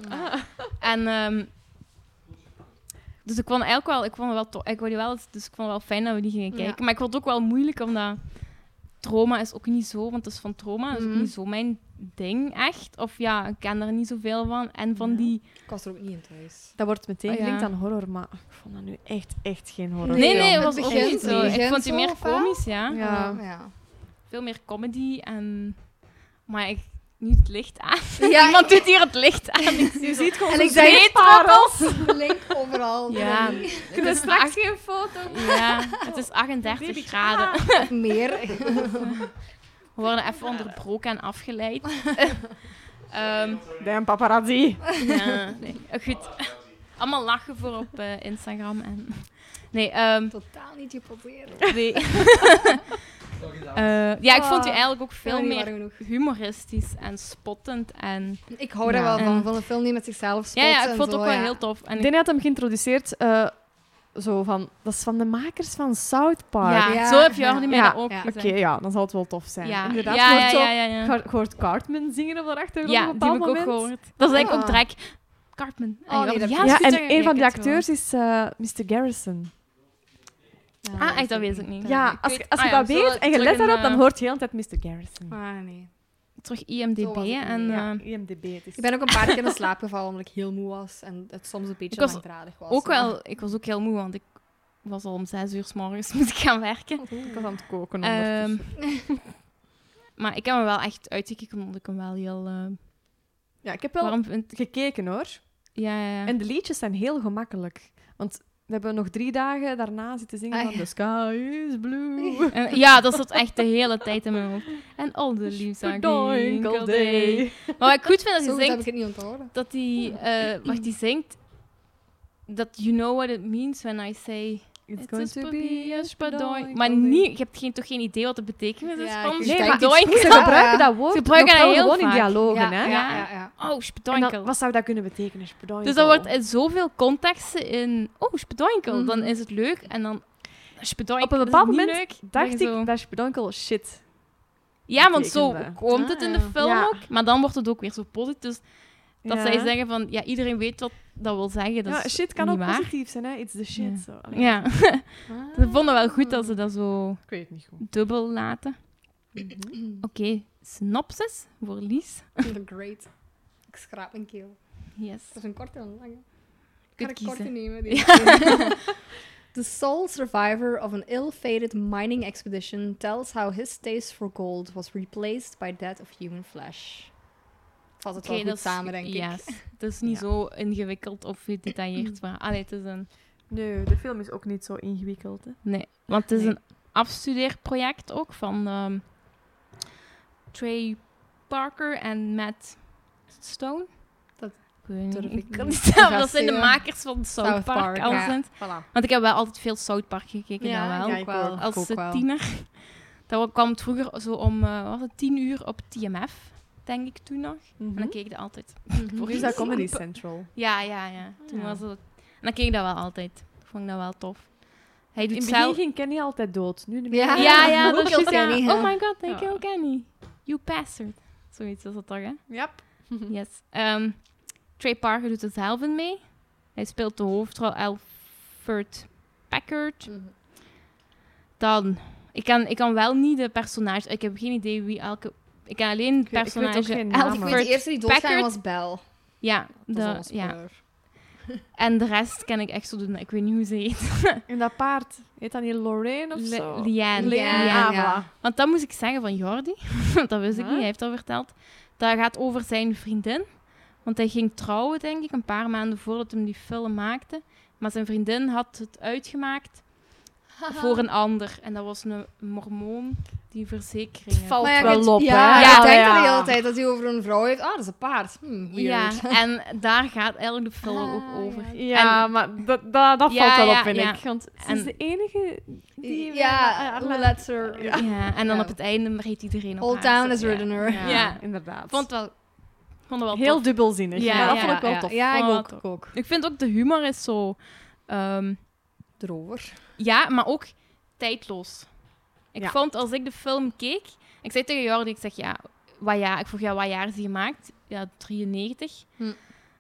Speaker 4: En, ehm, dus ik vond eigenlijk wel, ik vond het wel, to- ik wou die wel, eens- dus ik vond het wel fijn dat we die gingen
Speaker 7: Ja.
Speaker 4: kijken. Maar ik vond het ook wel moeilijk, omdat trauma is ook niet zo, want het is van trauma, dat is ook
Speaker 7: Mhm.
Speaker 4: niet zo mijn ding echt. Of ja, ik ken er niet zoveel van. En van
Speaker 8: Ja.
Speaker 4: die
Speaker 7: Ik was er ook niet in thuis.
Speaker 8: Dat wordt meteen
Speaker 4: Ah, ja.
Speaker 8: gelinkt aan horror, maar ik vond dat nu echt, echt geen horror.
Speaker 4: Nee,
Speaker 7: Ja.
Speaker 4: nee,
Speaker 7: Het
Speaker 4: het was ook
Speaker 7: begint-
Speaker 4: niet
Speaker 7: het
Speaker 4: zo. Ik
Speaker 7: begint
Speaker 4: vond die
Speaker 7: zo
Speaker 4: meer
Speaker 7: vaak.
Speaker 4: komisch, ja.
Speaker 8: Ja.
Speaker 7: ja.
Speaker 4: Veel meer comedy en... Maar ik... Nu het licht aan.
Speaker 7: Ja,
Speaker 4: Iemand doet hier het licht aan. Ik zie-
Speaker 8: Je ziet gewoon
Speaker 7: En
Speaker 8: zo'n
Speaker 7: ik zei-
Speaker 8: zweetparels.
Speaker 7: Blink overal.
Speaker 4: Ja.
Speaker 8: Kunnen we straks geen foto?
Speaker 4: Ja, het is 38 graden.
Speaker 7: Of meer.
Speaker 4: We worden even onderbroken en afgeleid. Ehm,
Speaker 8: Damn, paparazzi.
Speaker 4: ja, nee. Eh, Goed. Allemaal lachen voor op eh, Instagram. En... Nee, ehm,
Speaker 7: Totaal niet hypoteren.
Speaker 4: nee. Eh, ja, ik vond u
Speaker 7: Ah,
Speaker 4: eigenlijk ook veel meer
Speaker 7: genoeg.
Speaker 4: humoristisch en spottend. En...
Speaker 7: Ik hou daar
Speaker 8: Ja.
Speaker 7: wel van,
Speaker 4: En-
Speaker 7: van een film die met zichzelf spot
Speaker 4: Ja, ja, ik vond het
Speaker 7: zo,
Speaker 4: ook wel
Speaker 7: ja.
Speaker 4: heel tof. En
Speaker 8: Ik
Speaker 4: ik
Speaker 8: denk dat hem geïntroduceerd... eh, zo van, dat is van de makers van South Park.
Speaker 4: Ja,
Speaker 7: Ja,
Speaker 4: zo heb je Hardy
Speaker 7: ja.
Speaker 4: mij
Speaker 8: Ja,
Speaker 4: dat ook
Speaker 7: ja.
Speaker 8: Oké,
Speaker 4: gezegd.
Speaker 8: ja, dan zal het wel tof zijn.
Speaker 4: Ja.
Speaker 8: Inderdaad,
Speaker 4: ja,
Speaker 8: je
Speaker 4: ja,
Speaker 8: hoort zo-
Speaker 4: ja, ja, ja.
Speaker 8: je hoort- je hoort Cartman zingen op de achtergrond
Speaker 4: Ja,
Speaker 8: op
Speaker 4: die
Speaker 8: een bepaald
Speaker 4: heb ik ook
Speaker 8: moment.
Speaker 4: gehoord. Dat is eigenlijk
Speaker 7: Ah.
Speaker 4: ook direct Cartman. En dus
Speaker 7: Oh,
Speaker 4: je
Speaker 7: nee,
Speaker 4: dacht,
Speaker 7: dat-
Speaker 4: ja,
Speaker 8: Ja,
Speaker 4: is goed,
Speaker 8: en
Speaker 4: hè?
Speaker 8: een van de
Speaker 4: Ik weet het
Speaker 8: acteurs is eh, Mr. Garrison.
Speaker 7: Ja,
Speaker 4: Ah, echt, dat weet ik niet.
Speaker 8: Ja,
Speaker 4: Ja, ik
Speaker 8: als,
Speaker 4: weet-
Speaker 8: als je
Speaker 4: ah ja,
Speaker 8: dat
Speaker 4: zo
Speaker 8: weet en je
Speaker 4: terug
Speaker 8: let
Speaker 4: in,
Speaker 8: daarop, dan
Speaker 4: eh,
Speaker 8: hoort je de hele tijd Mr. Garrison.
Speaker 7: Ah, nee.
Speaker 4: wel. Terug IMDb
Speaker 7: Zo was het
Speaker 4: en...
Speaker 7: niet,
Speaker 4: eh,
Speaker 8: IMDb, het is...
Speaker 7: Ik ben ook een paar keer in slaap gevallen omdat ik heel moe was en het soms een beetje
Speaker 4: Ik was
Speaker 7: langdradig was.
Speaker 4: ook
Speaker 7: maar-
Speaker 4: wel, ik was ook heel moe, want ik was al om zes uur s morgens moest ik gaan werken.
Speaker 7: Oh,
Speaker 8: Ik was aan het koken
Speaker 4: Ehm,
Speaker 8: ondertussen.
Speaker 7: dus-
Speaker 4: maar ik heb hem wel echt uitgekeken, omdat ik hem wel heel... eh,
Speaker 8: ja, ik heb wel
Speaker 4: warm vind.
Speaker 8: gekeken, hoor.
Speaker 4: Ja, ja, ja.
Speaker 8: En de liedjes zijn heel gemakkelijk. Want we hebben nog drie dagen daarna zitten zingen
Speaker 7: Ah,
Speaker 8: van
Speaker 7: ja.
Speaker 8: The Sky is Blue.
Speaker 4: En- Eh, ja, dat zat echt de hele tijd in mijn hoofd. En al de liefde.
Speaker 8: Verdoinkel
Speaker 4: Maar
Speaker 8: day.
Speaker 4: wat ik goed vind dat
Speaker 7: Zo
Speaker 4: hij
Speaker 7: goed heb
Speaker 4: zingt,
Speaker 7: ik het niet onthouden.
Speaker 4: dat hij, eh wacht, die zingt dat you know what it means when I say
Speaker 8: It's
Speaker 4: going to be a spadoink.
Speaker 8: spadoink
Speaker 4: Maar
Speaker 8: all day.
Speaker 4: niet, je hebt geen, toch geen idee wat de betekenis is
Speaker 7: Ja,
Speaker 4: van
Speaker 7: ik-
Speaker 8: Nee,
Speaker 7: Kijk,
Speaker 8: maar
Speaker 4: spadoink.
Speaker 8: ze gebruiken dat woord
Speaker 4: Ze gebruiken
Speaker 8: nog
Speaker 4: dat
Speaker 8: wel
Speaker 4: heel
Speaker 8: gewoon
Speaker 4: vaak.
Speaker 8: in dialogen,
Speaker 7: ja,
Speaker 8: hè?
Speaker 7: ja,
Speaker 4: Ja.
Speaker 7: ja, ja.
Speaker 4: Oh,
Speaker 8: En dan,
Speaker 4: spadoinkel.
Speaker 8: wat zou dat kunnen betekenen, spadoinkel?
Speaker 4: Dus dat wordt in zoveel contexten in, oh, spadoinkel,
Speaker 7: Mhm.
Speaker 4: dan is het leuk. En dan, spadoinkel,
Speaker 8: Op een
Speaker 4: dat is
Speaker 8: bepaald
Speaker 4: niet
Speaker 8: moment
Speaker 4: leuk.
Speaker 8: dacht
Speaker 4: Dan zo-
Speaker 8: ik dat spadoinkel shit
Speaker 4: Ja, want zo
Speaker 8: betekende.
Speaker 4: komt het
Speaker 7: Ah,
Speaker 4: in de
Speaker 7: ja.
Speaker 4: film
Speaker 8: Ja.
Speaker 4: ook. Maar dan wordt het ook weer zo positief. Dus dat
Speaker 8: Ja.
Speaker 4: zij zeggen van, ja, iedereen weet wat dat wil zeggen. Dat
Speaker 8: Ja,
Speaker 4: is
Speaker 8: shit kan
Speaker 4: niet
Speaker 8: ook
Speaker 4: waar.
Speaker 8: positief zijn, hè? It's the shit.
Speaker 4: Ja.
Speaker 8: Zo. Allee,
Speaker 4: Ja, ze vonden wel goed dat ze dat zo
Speaker 8: Ik weet het niet goed.
Speaker 4: dubbel laten.
Speaker 7: Ah.
Speaker 4: Oké, synopsis voor Lies.
Speaker 7: Great. Ik schraap mijn keel.
Speaker 4: Yes.
Speaker 7: Dat is een korte en een lange.
Speaker 4: Kunt
Speaker 7: Kan ik
Speaker 4: kiezen.
Speaker 7: korte nemen? Die The sole survivor of an ill-fated mining expedition tells how his taste for gold was replaced by that of human flesh. Ik vat het
Speaker 4: Oké,
Speaker 7: wel goed
Speaker 4: dat is-
Speaker 7: samen, denk ik.
Speaker 4: yes. Het is niet
Speaker 8: Ja.
Speaker 4: zo ingewikkeld of gedetailleerd. Maar, allee, het is een...
Speaker 8: Nee, de film is ook niet zo ingewikkeld. Hè?
Speaker 4: Nee, want het is
Speaker 8: Nee.
Speaker 4: een afstudeerproject ook van ehm, Trey Parker en Matt Stone.
Speaker 7: Dat
Speaker 4: Ik weet niet,
Speaker 7: durf ik
Speaker 4: kan
Speaker 7: niet
Speaker 4: niet
Speaker 7: te
Speaker 4: zeggen, want dat zijn de
Speaker 7: zeggen.
Speaker 4: makers van South,
Speaker 7: South
Speaker 4: Park.
Speaker 7: Park,
Speaker 4: al
Speaker 7: ja.
Speaker 4: zijn-
Speaker 7: Voilà.
Speaker 4: Want ik heb wel altijd veel South Park gekeken, dat wel.
Speaker 8: ja, ik wel.
Speaker 4: Als eh, tiener. Dat kwam het vroeger zo om eh, wat was het, tien uur op TMF, denk ik toen nog. En
Speaker 8: Mhm.
Speaker 4: dan keek ik dat altijd.
Speaker 7: Mhm.
Speaker 8: Voor is dat Comedy Central.
Speaker 4: Ja, ja, ja. Toen
Speaker 8: Ja.
Speaker 4: was het... En dan keek ik dat wel altijd. Ik vond dat wel tof. Hij
Speaker 8: In
Speaker 4: doet
Speaker 8: het
Speaker 4: zelf...
Speaker 8: begin ging Kenny altijd dood. Nu de
Speaker 7: Ja.
Speaker 4: Ja, ja,
Speaker 7: They
Speaker 4: dat is
Speaker 7: killed
Speaker 4: ja.
Speaker 7: Kenny, hè?
Speaker 4: Oh my god, they
Speaker 8: Ja.
Speaker 4: killed Kenny. You bastard. Zoiets is dat toch, hè?
Speaker 8: Yep.
Speaker 4: Yes. Ehm, Trey Parker doet er zelf in mee. Hij speelt de hoofdrol Alfred Packard.
Speaker 7: Mhm.
Speaker 4: Dan, ik kan, ik kan wel niet de personage... Ik heb geen idee wie elke... Ik ken alleen het
Speaker 8: weet- ik weet ook
Speaker 4: personage
Speaker 8: geen namen.
Speaker 7: Ik weet, de
Speaker 4: Alfred...
Speaker 7: eerste die doodging
Speaker 4: Packard.
Speaker 7: was Bel.
Speaker 4: Ja,
Speaker 7: Dat is
Speaker 4: de,
Speaker 7: al een
Speaker 4: ja.
Speaker 7: spoiler.
Speaker 4: En de rest ken ik echt zo doen. Ik weet niet hoe ze heet.
Speaker 8: En dat paard, heet dat niet Lorraine of
Speaker 4: Le-
Speaker 8: zo?
Speaker 4: Liane.
Speaker 8: Liane,
Speaker 4: Ja,
Speaker 8: ah,
Speaker 7: ja.
Speaker 8: voilà.
Speaker 4: Want dat moest ik zeggen van Jordi. Want dat wist ik
Speaker 8: Ah.
Speaker 4: niet, hij heeft dat verteld. Dat gaat over zijn vriendin. Want hij ging trouwen, denk ik, een paar maanden voordat hij die film maakte. Maar zijn vriendin had het uitgemaakt voor een ander. En dat was een mormoon die verzekering
Speaker 8: Het valt
Speaker 7: Maar ja, ik
Speaker 8: wel op,
Speaker 7: ja,
Speaker 8: hè?
Speaker 7: ik denk
Speaker 8: ja.
Speaker 7: dat de hele tijd dat hij over een vrouw heeft. Ah, dat is een paard. Hm, weird.
Speaker 4: Ja, en daar gaat eigenlijk de film
Speaker 7: Ah,
Speaker 4: ook over.
Speaker 7: ja.
Speaker 8: Ja,
Speaker 4: En-
Speaker 8: maar dat, dat, dat
Speaker 4: Ja,
Speaker 8: valt wel
Speaker 4: ja,
Speaker 8: op, vind
Speaker 4: ja.
Speaker 8: ik. Want ze
Speaker 4: En-
Speaker 8: is de enige die... we-
Speaker 7: Ja,
Speaker 8: eh,
Speaker 7: let's her.
Speaker 8: Ja.
Speaker 4: Ja, en dan
Speaker 7: Ja.
Speaker 4: op het einde reed iedereen op
Speaker 7: Whole
Speaker 4: haar,
Speaker 7: town
Speaker 4: zo,
Speaker 7: is
Speaker 4: ja.
Speaker 7: ridden her.
Speaker 8: Ja,
Speaker 4: Ja.
Speaker 8: inderdaad.
Speaker 4: Vond wel, vond het wel
Speaker 8: Heel
Speaker 4: tof.
Speaker 8: dubbelzinnig.
Speaker 4: Ja,
Speaker 8: Ja, dat
Speaker 4: ja,
Speaker 8: vond ik wel
Speaker 7: ja.
Speaker 8: tof.
Speaker 7: Ja,
Speaker 4: Oh,
Speaker 7: ik ook.
Speaker 4: tof.
Speaker 7: Ik ook.
Speaker 4: Ik vind ook de humor is zo... ehm,
Speaker 7: Erover.
Speaker 4: Ja, maar ook tijdloos. Ik
Speaker 8: Ja.
Speaker 4: vond als ik de film keek, ik zei tegen Jordi, ik zeg ja, wat jaar, ik vroeg ja, wat jaar is die gemaakt? Ja, 93.
Speaker 7: Hm.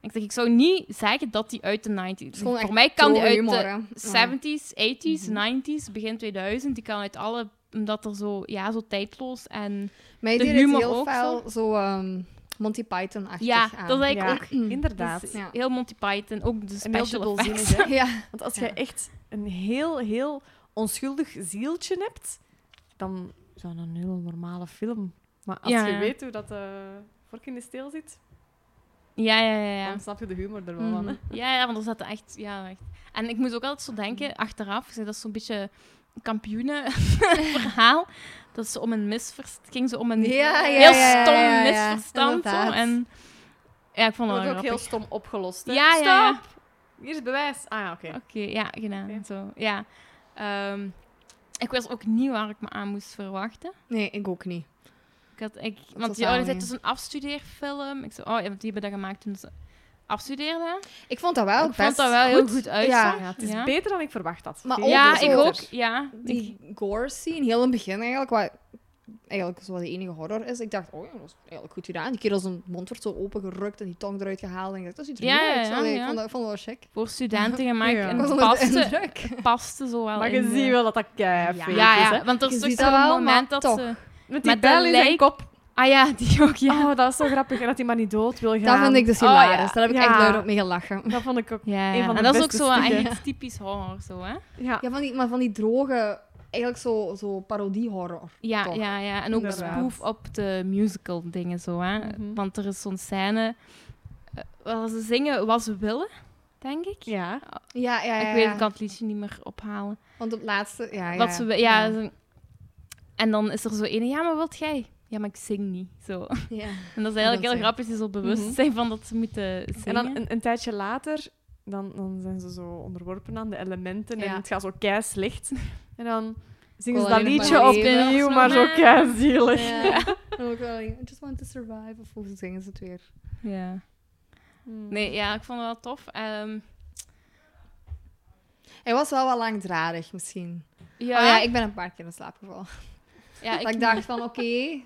Speaker 4: Ik zeg, ik zou niet zeggen dat die uit de 90s.
Speaker 7: gewoon echt
Speaker 4: Voor mij kan die
Speaker 7: Droge
Speaker 4: uit
Speaker 7: humor,
Speaker 4: de
Speaker 7: hè.
Speaker 4: 70s, 80s,
Speaker 7: Mhm.
Speaker 4: 90s, begin 2000. Die kan uit alle, omdat er zo, ja, zo tijdloos en.
Speaker 7: Mij
Speaker 4: De
Speaker 7: deed het
Speaker 4: humor
Speaker 7: heel
Speaker 4: ook
Speaker 7: fel zo ehm, Monty Python-achtig
Speaker 4: Ja,
Speaker 7: aan. Mm.
Speaker 4: dat lijkt
Speaker 8: Ja,
Speaker 4: ook.
Speaker 8: Inderdaad.
Speaker 4: Dus
Speaker 7: Ja.
Speaker 4: Heel Monty Python, ook de
Speaker 8: En heel
Speaker 4: special effects.
Speaker 8: dubbelzinnig, hè.
Speaker 7: Ja,
Speaker 8: Want als
Speaker 7: Ja.
Speaker 8: jij echt een heel, heel onschuldig zieltje hebt, dan is dat een heel normale film. Maar als
Speaker 4: Ja,
Speaker 8: je
Speaker 4: ja.
Speaker 8: weet hoe dat de vork in de steel zit,
Speaker 4: Ja, ja, ja. ja.
Speaker 8: dan snap je de humor er wel van.
Speaker 7: Mhm.
Speaker 8: Hè?
Speaker 4: Ja, ja, want er zaten echt, ja, echt. En ik moest ook altijd zo
Speaker 7: Mhm.
Speaker 4: denken, achteraf, ik zei, dat is zo'n beetje een kampioenenverhaal. dat ze om een misverstand, ging ze om een
Speaker 7: Ja, ja,
Speaker 4: heel
Speaker 7: ja, ja,
Speaker 4: stom
Speaker 7: ja, ja,
Speaker 4: misverstand. zo.
Speaker 7: inderdaad.
Speaker 4: En ja, ik vond dat
Speaker 8: Wordt
Speaker 4: wel
Speaker 8: ook heel
Speaker 4: grappig.
Speaker 8: stom opgelost. Hè?
Speaker 4: Ja, ja, ja.
Speaker 8: Stop! Hier is het bewijs. Ah ja, oké.
Speaker 4: Oké, ja, gedaan.
Speaker 8: Oké.
Speaker 4: Zo, ja. Ehm, ik wist ook niet waar ik me aan moest verwachten.
Speaker 7: nee, ik ook niet.
Speaker 4: Ik had, ik, want die
Speaker 7: Totaal
Speaker 4: oude zei,
Speaker 7: niet.
Speaker 4: het is een afstudeerfilm. Ik zei, oh ja, want die hebben dat gemaakt toen ze afstudeerden.
Speaker 7: Ik vond dat wel
Speaker 4: ik
Speaker 7: best
Speaker 4: vond dat wel heel
Speaker 7: goed.
Speaker 4: goed
Speaker 7: Ja.
Speaker 4: uitzag.
Speaker 8: Oh, Ja, het is beter dan ik verwacht had.
Speaker 7: Maar
Speaker 8: Veel
Speaker 7: ook
Speaker 4: Ja,
Speaker 7: zo-
Speaker 4: ik ook. Ja, Ik-
Speaker 7: Die gore scene, heel in het begin eigenlijk, wat eigenlijk zo de enige horror is. Ik dacht, oh ja, dat is eigenlijk goed gedaan. Die kerel zijn mond wordt zo opengerukt en die tong eruit gehaald. En ik dacht, dat ziet er
Speaker 4: Ja,
Speaker 7: niet
Speaker 4: ja,
Speaker 7: uit.
Speaker 4: ja,
Speaker 7: Allee,
Speaker 4: ja.
Speaker 7: Ik vond dat, ik vond dat wel chic.
Speaker 4: voor studenten gemaakt.
Speaker 8: Ja.
Speaker 4: En
Speaker 7: Ik was
Speaker 4: het
Speaker 7: onder de
Speaker 4: paste,
Speaker 7: indruk.
Speaker 4: het paste zo wel.
Speaker 8: Maar
Speaker 4: in
Speaker 8: je
Speaker 4: de-
Speaker 8: ziet wel dat dat kei
Speaker 4: Ja,
Speaker 8: fake
Speaker 4: ja,
Speaker 8: is. Hè?
Speaker 4: Want er
Speaker 7: Je
Speaker 4: is
Speaker 7: ziet
Speaker 4: toch
Speaker 7: dat
Speaker 4: zo'n
Speaker 7: wel,
Speaker 4: moment
Speaker 7: maar
Speaker 4: dat
Speaker 7: toch.
Speaker 4: ze...
Speaker 8: Met die
Speaker 4: Met dat
Speaker 8: bel in zijn
Speaker 4: lijk.
Speaker 8: kop.
Speaker 4: Ah ja, die ook, ja.
Speaker 8: Oh, dat is zo grappig. En dat hij maar niet dood wil gaan.
Speaker 7: Dat vind ik dus
Speaker 8: Oh,
Speaker 7: hilarisch.
Speaker 8: ja.
Speaker 7: Daar heb ik
Speaker 8: Ja.
Speaker 7: echt luid op mee gelachen.
Speaker 8: Dat vond ik ook.
Speaker 4: ja,
Speaker 8: Een van de
Speaker 4: en dat is ook
Speaker 8: beste
Speaker 4: zo echt
Speaker 8: stukken.
Speaker 4: iets typisch horror, zo, hè?
Speaker 8: Ja.
Speaker 7: Ja, van die, maar van die droge, eigenlijk zo, zo parodie-horror.
Speaker 4: Ja,
Speaker 7: Toch.
Speaker 4: ja, ja. En ook
Speaker 8: Inderdaad.
Speaker 4: spoof op de musical dingen, zo, hè?
Speaker 8: Mhm.
Speaker 4: Want er is zo'n scène eh, waar ze zingen wat ze willen, denk ik.
Speaker 8: ja.
Speaker 7: Ja, ja, ja.
Speaker 4: Ik
Speaker 7: ja.
Speaker 4: weet, ik kan het liedje niet meer ophalen.
Speaker 7: Want op het laatste, ja, ja.
Speaker 4: Wat ze, wi- ja, ze- En dan is er zo ene, ja, maar wat jij? Ja, maar ik zing niet, zo.
Speaker 7: ja.
Speaker 4: En dat is
Speaker 7: dat
Speaker 4: eigenlijk heel
Speaker 7: zingen.
Speaker 4: grappig, ze zo bewust
Speaker 8: Mhm.
Speaker 4: zijn van dat ze moeten zingen.
Speaker 8: En dan een, een tijdje later, dan, dan zijn ze zo onderworpen aan de elementen en
Speaker 7: Ja.
Speaker 8: het gaat zo kei slecht. En dan zingen ze
Speaker 7: Wil
Speaker 8: dat
Speaker 7: alleen nog
Speaker 8: liedje
Speaker 7: maar
Speaker 8: opnieuw,
Speaker 4: leven.
Speaker 8: maar zo kei zielig.
Speaker 7: Ja. Ook wel, I just want to survive. Of hoe zingen ze het weer?
Speaker 4: Ja. Nee, ja, ik vond het wel tof. Ehm,
Speaker 7: Hij was wel wat langdradig, misschien.
Speaker 4: ja,
Speaker 7: Oh ja, ik ben een paar keer in slaap gevallen.
Speaker 4: ja,
Speaker 7: Dat ik dacht van, oké,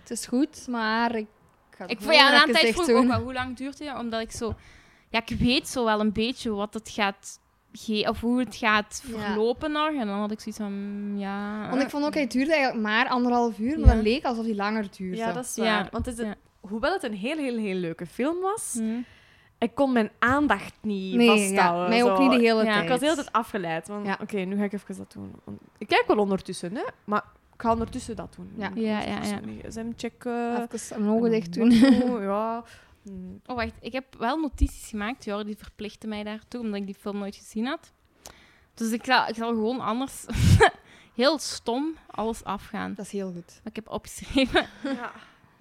Speaker 7: het is goed, maar ik ga
Speaker 4: Ik vond ja, na een
Speaker 7: even
Speaker 4: tijd
Speaker 7: dicht
Speaker 4: vroeg ik
Speaker 7: doen.
Speaker 4: ook wel, hoe lang duurt het? Omdat ik zo... Ja, ik weet zo wel een beetje wat het gaat... Ge of hoe het gaat
Speaker 7: Ja.
Speaker 4: verlopen nog. En dan had ik zoiets van... mm, Ja...
Speaker 7: Want ik vond ook, hij duurde eigenlijk maar anderhalf uur, maar
Speaker 4: Ja.
Speaker 7: dat leek alsof hij langer duurde.
Speaker 8: Ja, dat is
Speaker 4: Ja.
Speaker 8: waar. Want het is een-
Speaker 4: Ja.
Speaker 8: hoewel het een heel, heel, heel leuke film was,
Speaker 4: Hm.
Speaker 8: ik kon mijn aandacht niet
Speaker 7: Nee,
Speaker 8: vasthouden.
Speaker 7: ja, mij ook
Speaker 8: zo.
Speaker 7: niet de hele
Speaker 4: Ja,
Speaker 7: tijd.
Speaker 8: Ik was de hele tijd afgeleid. Want
Speaker 7: Ja.
Speaker 8: oké, nu ga ik even dat doen. Want Ik kijk wel ondertussen, hè. Maar ik ga ondertussen dat doen.
Speaker 7: Ja.
Speaker 8: Ik
Speaker 4: Ja,
Speaker 8: moet
Speaker 4: ja,
Speaker 8: even
Speaker 4: ja.
Speaker 8: mijn gsm checken.
Speaker 7: Even mijn ogen dicht doen.
Speaker 8: Ja. Hm.
Speaker 4: Oh, wacht. Ik heb wel notities gemaakt. Jordi die verplichtte mij daartoe, omdat ik die film nooit gezien had. Dus ik zal, ik zal gewoon anders... heel stom alles afgaan.
Speaker 7: Dat is heel goed.
Speaker 4: Wat ik heb opgeschreven.
Speaker 8: Ja.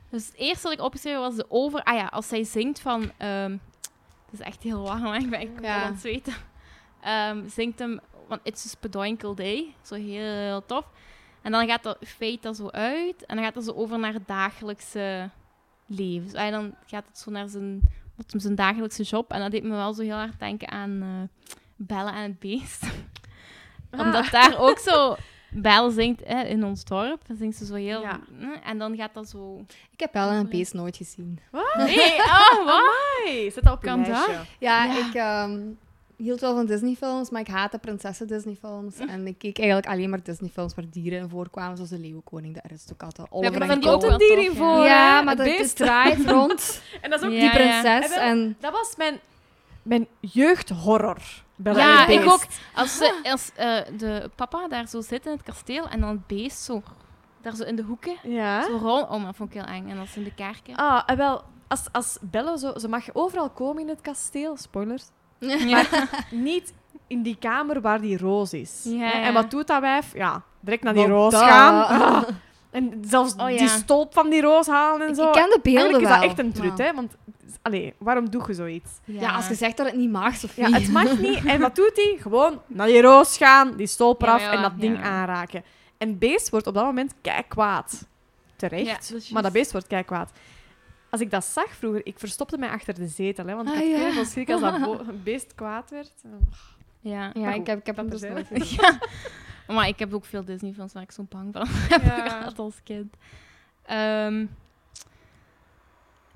Speaker 4: Dus het eerste wat ik opgeschreven was de over... Ah ja, als zij zingt van... ehm, het is echt heel warm, hè. ik ben echt kapot
Speaker 7: Ja.
Speaker 4: aan het zweten. Ehm, zingt hem van It's a Spedoinkle Day. Zo heel tof. En dan gaat dat feit dat zo uit. En dan gaat dat zo over naar het dagelijkse leven. Dus, ah ja, dan gaat het zo naar zijn, wat hem zijn dagelijkse job. En dat deed me wel zo heel hard denken aan eh, Bellen en het Beest. Omdat daar ook zo... Bel zingt hè, in ons dorp. Dan zingt ze zo heel...
Speaker 8: Ja.
Speaker 4: En dan gaat dat zo...
Speaker 7: Ik heb wel een beest nooit gezien.
Speaker 4: Nee, oh, wat?
Speaker 8: Amai, zet dat op
Speaker 4: Kan
Speaker 8: kan
Speaker 4: dat?
Speaker 7: Ja,
Speaker 4: Ja.
Speaker 7: ik ehm, hield wel van Disney-films, maar ik haatte prinsessen Disney-films. En ik keek eigenlijk alleen maar Disney-films waar dieren in voorkwamen, zoals de Leeuwenkoning, de Aristocaten,
Speaker 4: maar
Speaker 7: Oliver
Speaker 4: van
Speaker 7: en
Speaker 4: die ook
Speaker 7: Ko.
Speaker 8: Komt
Speaker 4: wel
Speaker 8: een dier
Speaker 4: tof,
Speaker 8: in voor,
Speaker 7: Ja,
Speaker 8: hè?
Speaker 7: maar
Speaker 8: Het
Speaker 7: dat het
Speaker 8: beest.
Speaker 7: draait rond
Speaker 8: En dat is ook
Speaker 4: Ja,
Speaker 7: die
Speaker 4: ja.
Speaker 7: prinses
Speaker 8: En wel-
Speaker 7: en...
Speaker 8: Dat was mijn Mijn jeugdhorror. Bella
Speaker 4: Ja,
Speaker 8: en het
Speaker 4: ik
Speaker 8: beest.
Speaker 4: ook. Als, ze, als eh, de papa daar zo zit in het kasteel en dan het beest zo, daar zo in de hoeken,
Speaker 8: Ja.
Speaker 4: zo rond, oh, dat vond ik heel eng. En als in de kerken.
Speaker 8: Ah, en wel, als, als Bella zo... Ze mag overal komen in het kasteel. Spoilers.
Speaker 4: Ja.
Speaker 8: Niet in die kamer waar die roos is.
Speaker 4: Ja,
Speaker 8: Hè?
Speaker 4: ja.
Speaker 8: En wat doet dat wijf? Ja, direct naar die
Speaker 7: Want
Speaker 8: roos
Speaker 7: dat-
Speaker 8: gaan. Ah. En zelfs
Speaker 4: Oh, ja.
Speaker 8: die stolp van die roos halen en
Speaker 7: Ik,
Speaker 8: zo.
Speaker 7: ik ken de beelden
Speaker 8: Eigenlijk is dat
Speaker 7: wel,
Speaker 8: echt een trut,
Speaker 7: maar-
Speaker 8: hè. Want, allee, waarom doe je zoiets?
Speaker 7: Ja. als je zegt dat het niet mag, Sophie.
Speaker 8: Ja, het mag niet. En wat doet hij? Gewoon naar die roos gaan, die stolp
Speaker 4: Ja,
Speaker 8: eraf
Speaker 4: ja,
Speaker 8: en dat ding
Speaker 4: ja.
Speaker 8: aanraken. En het beest wordt op dat moment kijk kwaad. Terecht.
Speaker 4: Ja, dat is juist.
Speaker 8: maar dat beest wordt kijk kwaad. Als ik dat zag vroeger, ik verstopte mij achter de zetel, hè, want ik
Speaker 7: Ah,
Speaker 8: had
Speaker 7: ja.
Speaker 8: heel veel schrik als dat bo- beest kwaad werd.
Speaker 4: Ja.
Speaker 7: Ja,
Speaker 8: Maar
Speaker 7: ik
Speaker 8: goed,
Speaker 7: heb, ik heb hem
Speaker 8: dat
Speaker 7: dus nooit
Speaker 8: terzijde.
Speaker 7: gezien.
Speaker 4: Maar ik heb ook veel Disney-films waar ik zo bang van heb gehad als kind. Ehm,